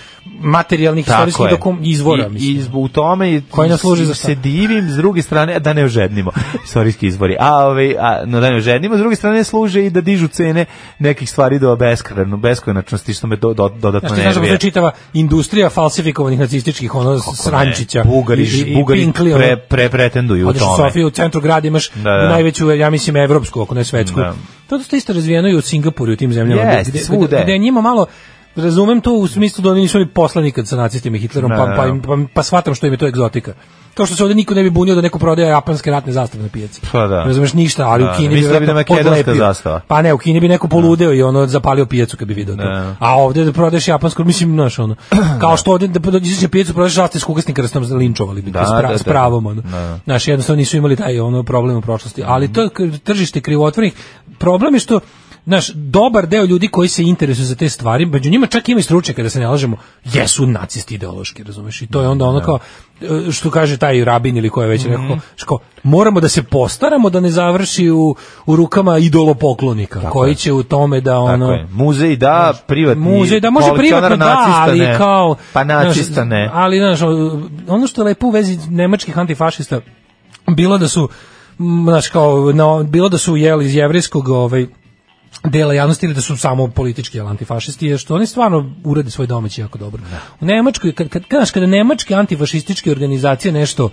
F: materijalnih
E: Tako
F: istorijskih
E: je.
F: dokum, izvora,
E: I,
F: mislim.
E: I zbog- u tome je-
F: Koji nas služi za šta?
E: se divim, s druge strane, da ne ožednimo, istorijski izvori, a, ovaj, a no, da ne ožednimo, s druge strane služe i da dižu cene nekih stvari do beskrajno, beskonačnosti, što me do, do, dodatno
F: Znaš ti
E: nervira.
F: znaš da postoji čitava industrija falsifikovanih nacističkih ono srančića.
E: E, Bugari,
F: i- i- i
E: Bugari
F: pinkli, ono.
E: pre, pre, pretenduju u
F: Odeš u
E: tome.
F: Sofiju, u centru grada imaš
E: Da, da.
F: najveću, ja mislim, evropsku, ako ne svetsku.
E: Da.
F: To je isto razvijeno i u Singapuru i u tim zemljama. gde-
E: Jeste,
F: gde-
E: svuda je.
F: gde je njima malo Razumem to u smislu da oni nisu ni poslani kad sa nacistima i Hitlerom,
E: Da,
F: pa,
E: da.
F: pa, im- pa, pa shvatam što im je to egzotika. Kao što se ovde niko ne bi bunio da neko prodaje japanske ratne zastave na pijaci.
E: Pa da.
F: Razumeš ništa, ali
E: Da,
F: u Kini bi
E: mislio bi da je
F: verovatno
E: makedonska
F: podlepio.
E: zastava.
F: Pa ne, u Kini bi neko poludeo i ono zapalio pijacu kad bi video to.
E: Da.
F: A ovde da prodaješ japansku, mislim, znaš, ono. Kao što ovde da izađeš na pijacu, prodaješ zastavu s kukasnim krstom, linčovali bi te,
E: Da,
F: s pra-
E: da, da.
F: s pravom, ono.
E: Da.
F: Znaš, jednostavno nisu imali taj ono problem u prošlosti, ali to je k- tržište krivotvorenih. Problem je što Naš dobar deo ljudi koji se interesuju za te stvari, među njima čak ima i stručnjaka da se ne lažemo, jesu nacisti ideološki, razumeš? I to je onda
E: Da.
F: ono kao e, što kaže taj rabin ili ko je
E: Mhm.
F: već rekao, što moramo da se postaramo da ne završi u, u rukama idolopoklonika, koji će u tome da ono
E: Tako je. Muzej da, privatni
F: muzej, da može
E: kolekcionar
F: privatno da,
E: nacista
F: ali
E: ne.
F: kao
E: Pa nacista
F: znaš,
E: ne.
F: Ali znaš, ono što je lepo u vezi nemačkih antifašista bilo da su m, znaš kao na, bilo da su jeli iz jevrejskog ovaj dela javnosti ili da su samo politički jel, antifašisti je što oni stvarno urade svoj domaći jako dobro. U Nemačkoj kad kad znaš, kada nemačke antifašističke organizacije nešto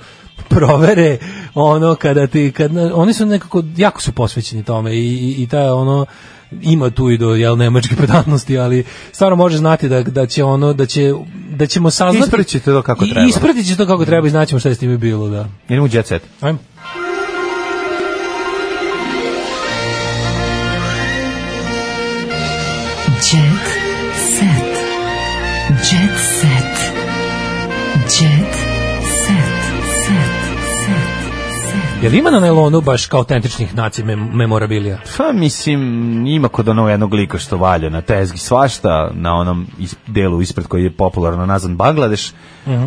F: provere ono kada ti kad oni su nekako jako su posvećeni tome i i, i ta ono ima tu i do jel nemačke pedantnosti, ali stvarno može znati da da će ono da će da ćemo saznati
E: Ispratiti ćete to kako
F: I-
E: treba.
F: Ispratit će to kako treba i znaćemo šta je s time bilo, da.
E: Idemo u jet set.
F: Ajmo.
D: Jet set. Jet set. Jet set. Set.
F: Jel ima na nailonu baš kao autentičnih naci mem- memorabilija?
E: Pa mislim, ima kod onog jednog lika što valja na tezgi svašta, na onom is, delu ispred koji je popularno nazvan Bangladeš,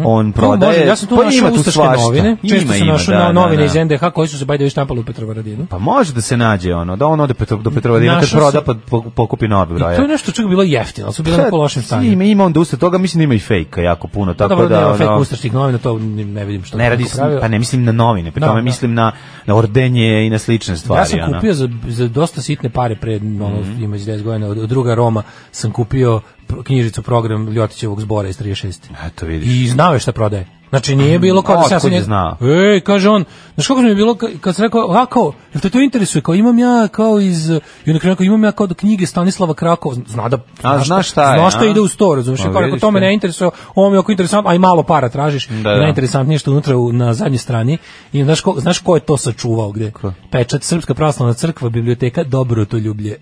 E: on
F: To
E: prodaje...
F: može, ja sam Mhm. tu
E: pa
F: našao
E: ima tu
F: ustaške
E: svašta.
F: novine, često
E: Ima,
F: sam
E: ima,
F: našao
E: da, da,
F: na- novine
E: da.
F: iz NDH koji su se bajde štampali u Petrovaradinu.
E: Pa može da se nađe ono, da on ode Petro, do Petrovaradina kad
F: Našao
E: proda
F: sam-
E: pa po- pokupi nove broje.
F: To je nešto čega je bilo jeftino, ali su bile na neko lošem stanju.
E: Ima, ima onda usta toga, mislim da ima i fejka jako puno, tako
F: Dobro, da,
E: da...
F: nema
E: ono,
F: fake ustaških novina, to ni- ne vidim što
E: ne radi se, pa ne mislim na novine, pri
F: Da,
E: tome
F: da.
E: mislim na, na ordenje i na slične stvari.
F: Ja sam
E: ono. Mhm.
F: kupio za, za dosta sitne pare pre ono, ima iz 10 godina, od, od druga Roma sam kupio pro- knjižicu program Ljotićevog zbora iz 36.
E: Eto, vidiš. Mm,
F: I znao je šta prodaje. Znači nije bilo kao da se ja
E: Otkud
F: sam
E: je
F: njega-
E: znao?
F: Ej, kaže on, znaš kako mi je bilo ka- kad sam rekao, a kao, jel te to interesuje, kao imam ja kao iz, i onda krenuo, kao imam ja kao do knjige Stanislava Krakova, zna da,
E: A, zna šta je,
F: zna šta
E: a?
F: ide uz to, razumiješ,
E: Pa,
F: kao rekao,
E: vidiš
F: to me
E: te.
F: ne interesuje, ovo mi je oko interesantno, a i malo para tražiš,
E: Da,
F: I
E: da.
F: najinteresantnije što je unutra u, na zadnjoj strani, i znaš ko, znaš ko je to sačuvao gde? Pečat Srpska pravoslavna crkva, biblioteka, dobro to ljublje,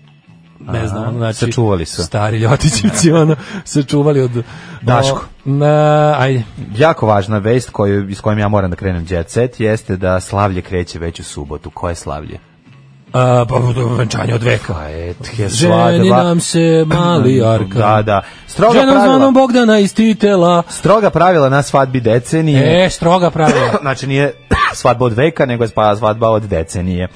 F: ne znam, ono, znači,
E: sačuvali su.
F: Stari Ljotićevci, ono, sačuvali od...
E: Daško.
F: O, na, ajde.
E: jako važna vest koju, iz kojom ja moram da krenem jet set jeste da slavlje kreće već u subotu. Koje slavlje?
F: A, pa, venčanje od veka.
E: Pa et, je
F: Ženi nam se mali Arkan.
E: Da, da. Stroga
F: Ženom
E: pravila.
F: zvanom Bogdana iz Titela.
E: Stroga pravila na svadbi decenije.
F: E, stroga pravila.
E: Znači nije svadba od veka, nego je spa- svadba od decenije.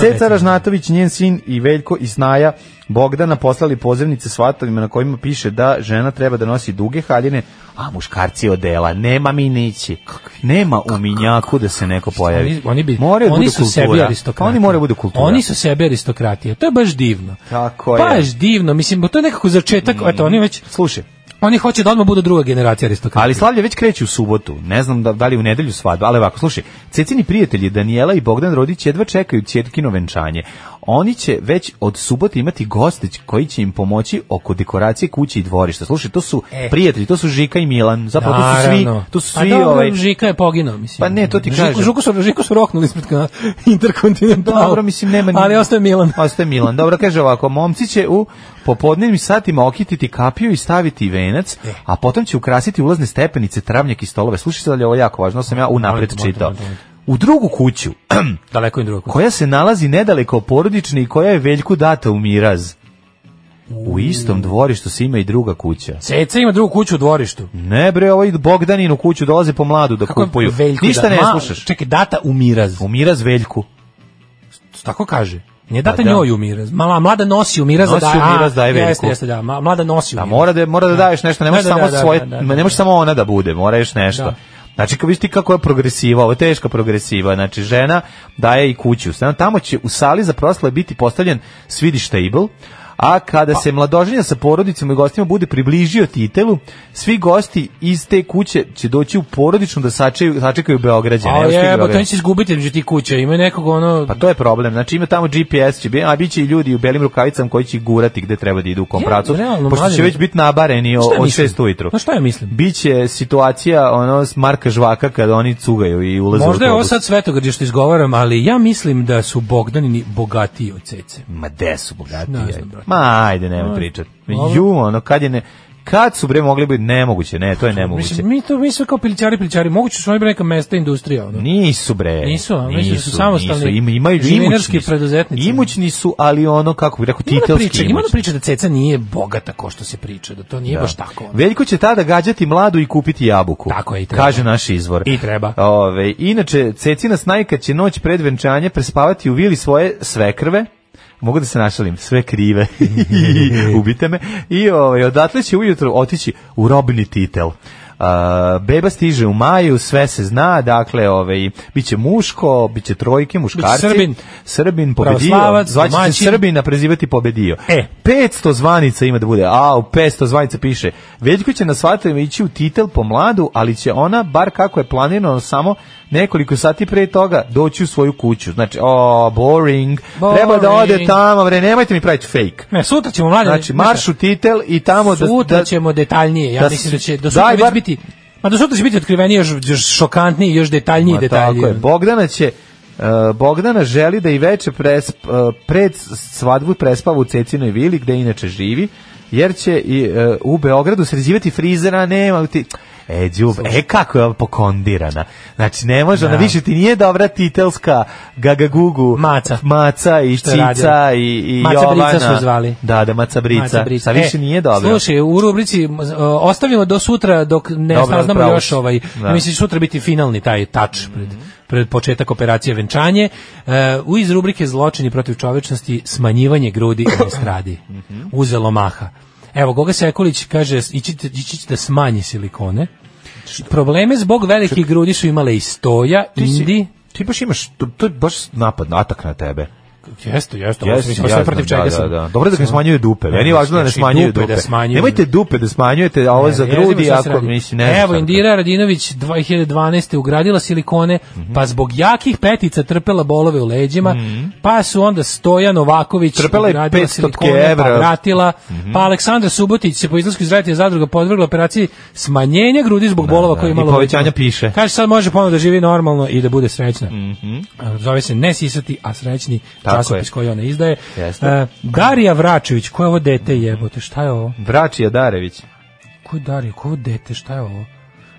E: Ceca Ražnatović, njen sin i Veljko i Snaja Bogdana poslali pozivnice svatovima na kojima piše da žena treba da nosi duge haljine, a muškarci odela. Nema minići. Nema u minjaku da se neko pojavi.
F: Oni, oni, bi,
E: Moraju da
F: oni
E: budu
F: su sebi
E: kultura.
F: aristokratija.
E: Oni moraju da budu kultura.
F: Oni su sebi aristokratija. To je baš divno.
E: Tako je. Mm.
F: Baš divno. Mislim, to je nekako začetak. Eto, oni već...
E: Slušaj,
F: Oni hoće da odmah budu druga generacija aristokratija.
E: Ali slavlje već kreće u subotu. Ne znam da, da li u nedelju svadba, ali ovako, slušaj, cecini prijatelji Daniela i Bogdan Rodić jedva čekaju cjetkino venčanje. Oni će već od subote imati gostić koji će im pomoći oko dekoracije kuće i dvorišta. Slušaj, to su prijatelji, to su Žika i Milan, zapravo to su svi,
F: E. Naravno.
E: to su
F: A
E: svi
F: dobro,
E: ovaj
F: Žika je poginuo, mislim.
E: Pa ne, to ti
F: Žiku-
E: kažem.
F: Žuku su, Žiku su roknuli ispred kana Interkontinental.
E: Dobro, mislim nema ni-
F: Ali ostaje Milan.
E: Ostaje Milan. Dobro, kaže ovako, momci će u popodnevnim satima okititi kapiju i staviti venac,
F: E.
E: a potom će ukrasiti ulazne stepenice, travnjak i stolove. Slušaj sad, ali ovo je jako važno, ovo sam ja unapred
F: Molim te, molim te,
E: čitao.
F: molim te, molim
E: u drugu kuću,
F: Daleko im drugo.
E: koja se nalazi nedaleko porodični i koja je Veljku data u miraz. U istom dvorištu se ima i druga kuća.
F: Ceca ima drugu kuću u dvorištu.
E: Ne bre, ovo idu Bogdaninu kuću, dolaze po mladu da kupuju.
F: Veljko
E: Ništa
F: da-
E: ne
F: Ma,
E: slušaš.
F: Čekaj, data u miraz.
E: U miraz Veljku.
F: Tako kaže. Nije data
E: Pa da.
F: njoj u miraz. Mala, mlada nosi u miraz. a
E: Nosi u
F: a,
E: miraz, daje
F: Jeste,
E: veliku.
F: jeste, da. Ma- Mlada nosi u
E: Da,
F: miraz.
E: mora da, mora da daješ nešto, ne
F: Da,
E: možeš
F: da,
E: samo
F: da, da,
E: svoje,
F: da, da, da.
E: ne možeš samo ona da bude, mora još nešto.
F: Da.
E: Znači, kao vidiš ti kako je progresiva, ovo je teška progresiva, znači žena daje i kuću. Znači, tamo će u sali za proslave biti postavljen Swedish table, a kada se mladoženja sa porodicama i gostima bude približio titelu, svi gosti iz te kuće će doći u porodičnu da sačekaju, sačekaju Beograđane.
F: A
E: Evo što je
F: jebo, to
E: Beograđan.
F: neće izgubiti među ti kuća. Ima nekog ono...
E: Pa to je problem. Znači ima tamo GPS će biti, a biće i ljudi u belim rukavicama koji će ih gurati gde treba da idu u kom
F: Ja,
E: pravcu.
F: realno,
E: Pošto će
F: mlađe-
E: već biti nabareni o-
F: Šta ja
E: od
F: mislim?
E: 6 ujutru.
F: Na šta ja mislim?
E: Biće situacija ono s Marka Žvaka kada oni cugaju i ulaze
F: Možda
E: u
F: je ovo
E: autobus.
F: sad svetogrđe što izgovaram, ali ja mislim da su Bogdanini bogatiji od Cece.
E: Ma de su bogati.
F: Ne znam,
E: ajde.
F: brate.
E: Ma ajde, nemoj pričat.
F: Ovo-
E: Ju, ono kad je ne... Kad su bre mogli biti nemoguće, ne, to je nemoguće.
F: Mislim, mi to mi sve kao pilićari, pilićari. Moguće su oni bre neka mesta industrija. Ono.
E: Nisu bre.
F: Nisu, a mislim da su
E: Nisu,
F: samostalni
E: nisu. Ima, imaju
F: živinarski
E: imućni su.
F: preduzetnici.
E: Imućni su, ali ono, kako bih rekao,
F: Ima da
E: titelski
F: priča, ima da
E: imućni.
F: priča da Ceca nije bogata ko što se priča, da to nije baš tako. ono.
E: Veljko će tada gađati mladu i kupiti jabuku.
F: Tako je, i treba.
E: Kaže naš izvor.
F: I treba.
E: Ove, inače, Cecina Snajka će noć pred venčanje prespavati u vili svoje svekrve, mogu da se našalim, sve krive, ubite me, i ovaj, odatle će ujutro otići u robni titel. A, beba stiže u maju, sve se zna, dakle, ovaj, bit će muško, bit će trojke, muškarci.
F: Srbin.
E: Srbin, pobedio.
F: Pravoslavac,
E: Zvaće se
F: domaćin.
E: Srbin, a prezivati pobedio.
F: E.
E: 500 zvanica ima da bude. A, u 500 zvanica piše. Veljko će na svatom ići u titel po mladu, ali će ona, bar kako je planirano, samo nekoliko sati pre toga doći u svoju kuću. Znači, o, boring.
F: Boring.
E: Treba da ode tamo, bre, nemojte mi praviti fake.
F: Ne, sutra ćemo mlađe.
E: Znači,
F: znaš šta,
E: marš u titel i tamo da...
F: sutra
E: da-
F: ćemo detaljnije. Ja
E: da
F: mislim da će do
E: daj
F: sutra već
E: bar-
F: biti Ma do sutra će biti otkriveni još, još šokantniji, još detaljniji
E: Ma,
F: detalji.
E: Tako je. Bogdana će e, Bogdana želi da i veče presp, e, pred svadbu prespava u Cecinoj vili gde inače živi, jer će i, e, u Beogradu sređivati frizera, nema ti... E, džub, e, kako je ova pokondirana. Znači, ne može,
F: Da.
E: ona više ti nije dobra titelska gagagugu.
F: Maca.
E: Maca i
F: Što je
E: Cica
F: radila.
E: i, i
F: Maca
E: Jovana.
F: Brica su zvali.
E: Da, da, Maca Brica.
F: Maca Brica.
E: Sa više
F: E,
E: nije dobra.
F: Slušaj, u rubrici uh, ostavimo do sutra dok ne
E: Dobro,
F: saznamo
E: pravo
F: još
E: si.
F: ovaj.
E: Da. Mhm.
F: Ja Mislim da će sutra biti finalni taj tač pred pred početak operacije venčanje. Uh, u iz rubrike zločini protiv čovečnosti smanjivanje grudi u estradi.
E: Mhm.
F: Uzelo maha. Evo, Goga Sekulić kaže, ići, ćete- ići ćete da smanji silikone. Probleme zbog velikih grudi su imale i Stoja,
E: Ti si-
F: Indi.
E: Ti baš imaš, to, to je baš napad, atak na tebe.
F: Jeste, jeste. ovo sam
E: Jesi,
F: mislio, sve
E: ja
F: protiv
E: znam,
F: čega
E: da,
F: sam.
E: da, da. Dobro da ne smanjuju dupe. Meni je važno da ne
F: znači,
E: smanjuju
F: dupe
E: dupe.
F: da smanjuju.
E: Nemojte dupe da smanjujete, a ovo za
F: Ne, ne znam
E: grudi
F: šta se
E: ako
F: radi.
E: mislim ne. znam
F: Evo
E: šta.
F: Indira Radinović 2012 ugradila silikone, pa zbog jakih petica trpela bolove u leđima, pa su onda Stojan Novaković
E: Mhm. Trpela je 500
F: pa
E: evra. Mhm.
F: vratila, pa Aleksandra Subotić se po izlasku iz radija zadruga podvrgla operaciji smanjenja grudi zbog bolova koje je
E: Da, i
F: imala. u
E: povećanja
F: leđima.
E: piše.
F: Kaže sad može ponovno da živi normalno i da bude srećna. Zove se ne sisati, a srećni
E: Mhm. Tako
F: časopis
E: je.
F: koji ona izdaje.
E: Jeste.
F: E, Darija Vračević, ko je ovo dete jebote, šta je ovo?
E: Vrači Jadarević.
F: Ko je Darija? Ko je ovo dete? Šta je ovo?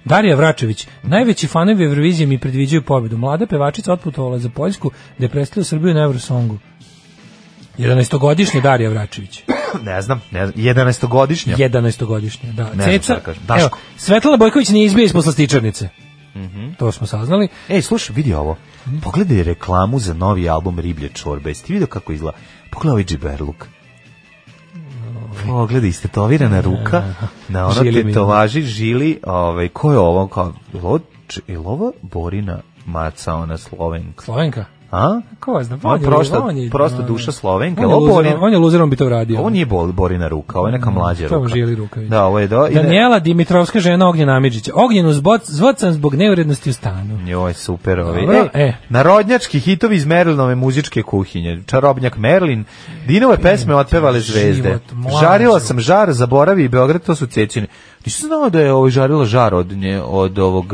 F: Darija Vračević. Najveći fanovi Eurovizije mi predviđaju pobjedu. Mlada pevačica otputovala za Poljsku da je predstavila Srbiju na Eurosongu. 11-godišnja Darija Vračević.
E: Ne znam, ne znam. 11-godišnja.
F: 11-godišnja, da.
E: znam šta
F: Ceca,
E: da kažem.
F: evo,
E: Daško. Mhm.
F: Svetlana Bojković nije izbija ispod slastičarnice. To smo saznali.
E: Ej, slušaj, vidi ovo. Pogledaj reklamu za novi album Riblje čorbe. Jesi ti vidio kako izgleda? Pogledaj ovaj džiberluk. Pogledaj, istetovirana ruka na ono
F: Žili mi.
E: tetovaži, žili, ovaj, ko je ovo? Kao, je li ovo č- je li ovo Borina Maca, ona Slovenka?
F: Slovenka.
E: A?
F: Ko zna,
E: On
F: on
E: je
F: je
E: prosta,
F: on je- da,
E: prosta
F: on je-
E: duša Slovenka.
F: On je,
E: Ovo Borin,
F: luzerom, on je luzerom bi to radio.
E: ovo nije bol, Borina ruka, ovo je neka mlađa
F: To mu
E: ruka.
F: želi rukavić.
E: Da, ovo je do... i ne-
F: Daniela Dimitrovska žena Ognjena Amidžića. Ognjenu zbog, zvocan zbog neurednosti u stanu.
E: Joj, super ovi.
F: Dobro,
E: Ej,
F: e.
E: Narodnjački hitovi iz Merlinove muzičke kuhinje. Čarobnjak Merlin. Dinove pesme otpevale zvezde.
F: E, život, mlađo.
E: Žarila sam žar, zaboravi i Beograd, to su cecine. Nisam znao da je ovo žarila žar od, nje, od ovog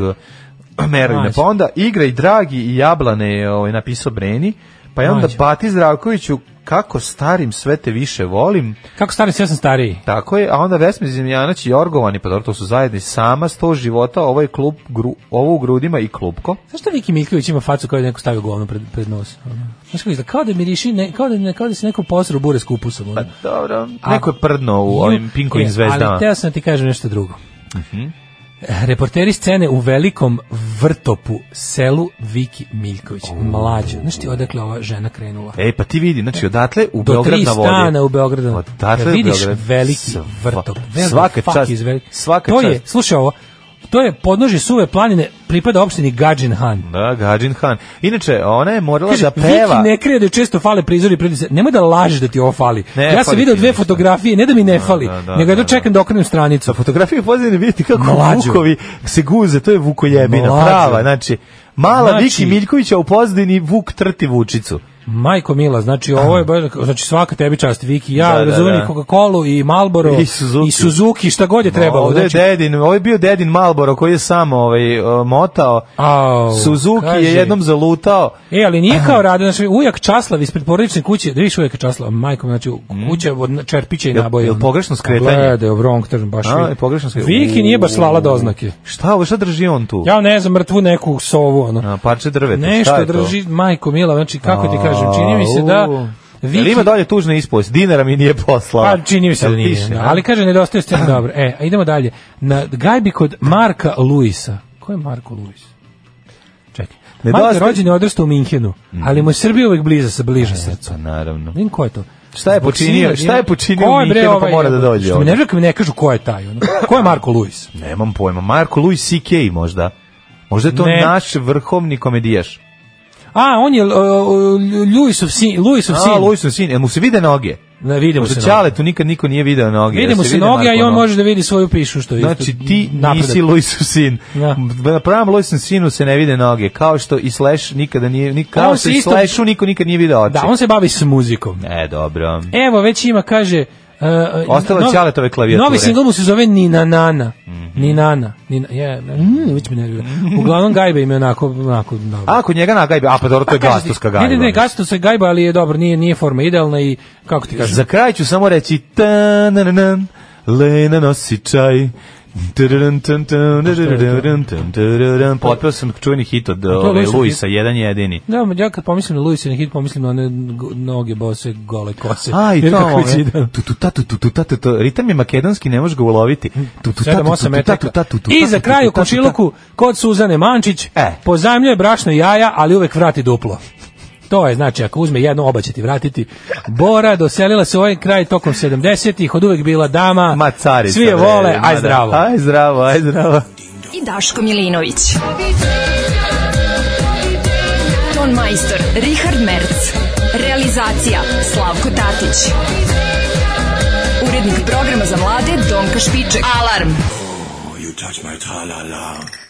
E: eh, Merlina.
F: Mlađo.
E: Pa onda Igra i Dragi i Jablane je ovaj, napisao Breni. Pa je onda
F: Mlađo.
E: Bati Zdravkoviću kako starim sve te više volim.
F: Kako stari si, ja sam stariji.
E: Tako je, a onda Vesmir Zemljanac i Jorgovani, pa dobro, to su zajedni, sama sto života, ovo je klub, gru, ovo u grudima i klupko.
F: Zašto Viki Mikljević ima facu kao da je neko stavio govno pred, pred nos? Ono. Znaš kako izgleda, kao da miriši, ne, kao, da, kao da se neko posro bure s kupusom. Ono.
E: Dobro, neko je prdno Pa, u ovim pinkovim
F: E,
E: zvezdama. Mhm.
F: Ali teo sam ti kažem nešto drugo. E, Reporteri scene u velikom vrtopu selu Viki Miljković. Mlađo. Znaš ti odakle ova žena krenula?
E: Ej, pa ti vidi, znači odatle u
F: Do
E: Beograd
F: tri
E: na vodi. Pa
F: stana u Beogradu.
E: Odatle
F: Kad
E: u
F: vidiš
E: Beograd.
F: veliki
E: Sva-
F: vrtop. Veliki
E: svaka
F: fuck
E: čast,
F: iz veliki-
E: svaka
F: to
E: čast.
F: je, slušaj ovo, to je podnožje suve planine, pripada opštini Gadžin Han.
E: Da, Gadžin Han. Inače, ona je morala
F: Kaže,
E: da peva.
F: Viki ne krije da joj često fale prizori i pritisak. Nemoj da lažeš da ti ovo fali.
E: Ne,
F: ja sam
E: fali
F: video
E: ti
F: dve
E: ništa.
F: fotografije, ne da mi ne fali,
E: da, da,
F: nego ja
E: da,
F: da čekam da okrenem stranicu.
E: Sa fotografije pozadine da vidite kako
F: Mlađo.
E: Vukovi se guze, to je Vukojebina,
F: Mlađo.
E: prava, znači Mala
F: Znači-
E: Viki Miljkovića u pozadini Vuk trti Vučicu.
F: Majko Mila, znači ovo je baš, znači svaka tebi čast Viki, ja
E: Da, da,
F: da,
E: da.
F: Coca-Colu i Marlboro
E: I Suzuki.
F: i Suzuki, šta god je trebalo.
E: Ovde je
F: Znači,
E: dedin, ovo je bio dedin Malboro koji je samo ovaj, uh, motao.
F: au,
E: Suzuki je
F: kaže.
E: jednom zalutao.
F: E, ali nije kao rade, znači ujak Časlav ispred porodične kuće, da vidiš ujak Časlava, majko, mi, znači kuća od čerpića i
E: Mm. Jel-
F: naboja.
E: jel pogrešno skretanje?
F: Gleda, je wrong turn, baš.
E: A,
F: vidi.
E: i pogrešno skre-
F: Viki nije baš slala doznake.
E: Šta ovo, šta drži on tu?
F: Ja ne znam, mrtvu neku sovu, ono.
E: A, parče drveta, šta
F: Nešto
E: je to?
F: drži, majko Mila, znači kako ti kažem, čini mi se
E: A, u.
F: da...
E: Jel ima dolje tužna ispovest? Dinara mi nije poslala.
F: Pa čini mi se
E: Jel
F: da nije.
E: piše,
F: Da,
E: a?
F: ali kaže nedostaje scena dobro. E, a idemo dalje. Na gajbi kod Marka Luisa. Ko je Marko Luis? Čekaj. Marko je
E: Nedostaje- Mhm.
F: rođen i odrastao u Minhenu, ali mu je Srbija uvek bliza, se bliža srcu.
E: Pa naravno.
F: Ne znam ko je to.
E: Šta je
F: Zbog
E: počinio-
F: sina-
E: šta je počinio
F: Ko
E: u
F: bre
E: Minhenu pa
F: ovaj,
E: mora da dođe
F: Što mi
E: ovde?
F: ne rekao mi ne kažu ko je taj. Ono. Ko je Marko Luis?
E: Nemam pojma. Marko Luis CK možda. Možda je to
F: Ne.
E: naš vrhovni komedijaš.
F: A, on je uh, Luisov sin. Luisov sin.
E: A, Luisov sin. Jel mu se vide noge?
F: Ne, vidimo se.
E: Pošto
F: noge.
E: Ćale tu nikad niko nije video noge. Jel
F: Vidimo se
E: vide
F: noge, a i
E: Marko
F: on
E: noge?
F: može da vidi svoju pišu. Što je
E: Znači,
F: isto
E: ti
F: napredak.
E: nisi Luisov sin.
F: Da.
E: Na pravom Luisov sinu se ne vide noge. Kao što i Slash nikada nije... Ni,
F: A
E: kao
F: on
E: što
F: se
E: i
F: isto-
E: Slashu niko nikad nije video oči.
F: Da, on se bavi s muzikom.
E: E, dobro.
F: Evo, već ima, kaže... Uh,
E: Ostale
F: novi-
E: Ćaletove klavijature. Mhm.
F: Novi singl mu se zove Nina Nana. Nina Nana. Nina, je, mm, već me nervira. Uglavnom, Gajba im je onako, onako, dobro.
E: A, kod njega na gajbe. A, pa dobro, to je
F: Kaže,
E: gastuska gajba.
F: Ne, ne, ne, Gastus je Gajba, ali je dobro, nije, nije forma idealna i, kako ti kažem,
E: Za kraj ću samo reći tanananan, Lena nosi čaj. Tararun, tan, tan, tararun, tan, tararun. Potpeo sam čuveni hit od ovaj,
F: Luisov hit?
E: Luisa, jedan jedini.
F: Da, ma ja kad pomislim na Luisin hit, pomislim na one go- noge bose, gole kose.
E: A, i
F: Jer
E: to
F: kako
E: ono,
F: već ide.
E: tu, tu, ta, tu, tu, tu, ta, tu, tu. Ritam je makedonski, ne možeš ga uloviti. Tu, tu, ta, tu,
F: 7
E: tu, tu,
F: 8
E: ta, tu, ta,
F: metaka.
E: tu, tu, ta,
F: I
E: tu,
F: za
E: tu,
F: kraj
E: tu, ta,
F: u
E: tu, ta.
F: komšiluku kod Suzane Mančić
E: E.
F: pozajmljuje brašno i jaja, ali uvek vrati duplo. To je znači ako uzme jedno oba će ti vratiti. Bora doselila se u ovaj kraj tokom 70-ih, od uvek bila dama.
E: Ma carica.
F: Svi je
E: bre,
F: vole,
E: ma
F: aj
E: da.
F: zdravo.
E: Aj zdravo, aj zdravo.
D: i Daško Milinović. Ton majstor Richard Merc. Realizacija Slavko Tatić. Urednik programa za mlade Donka Špiček. Alarm!
I: You touch my tra-la-la.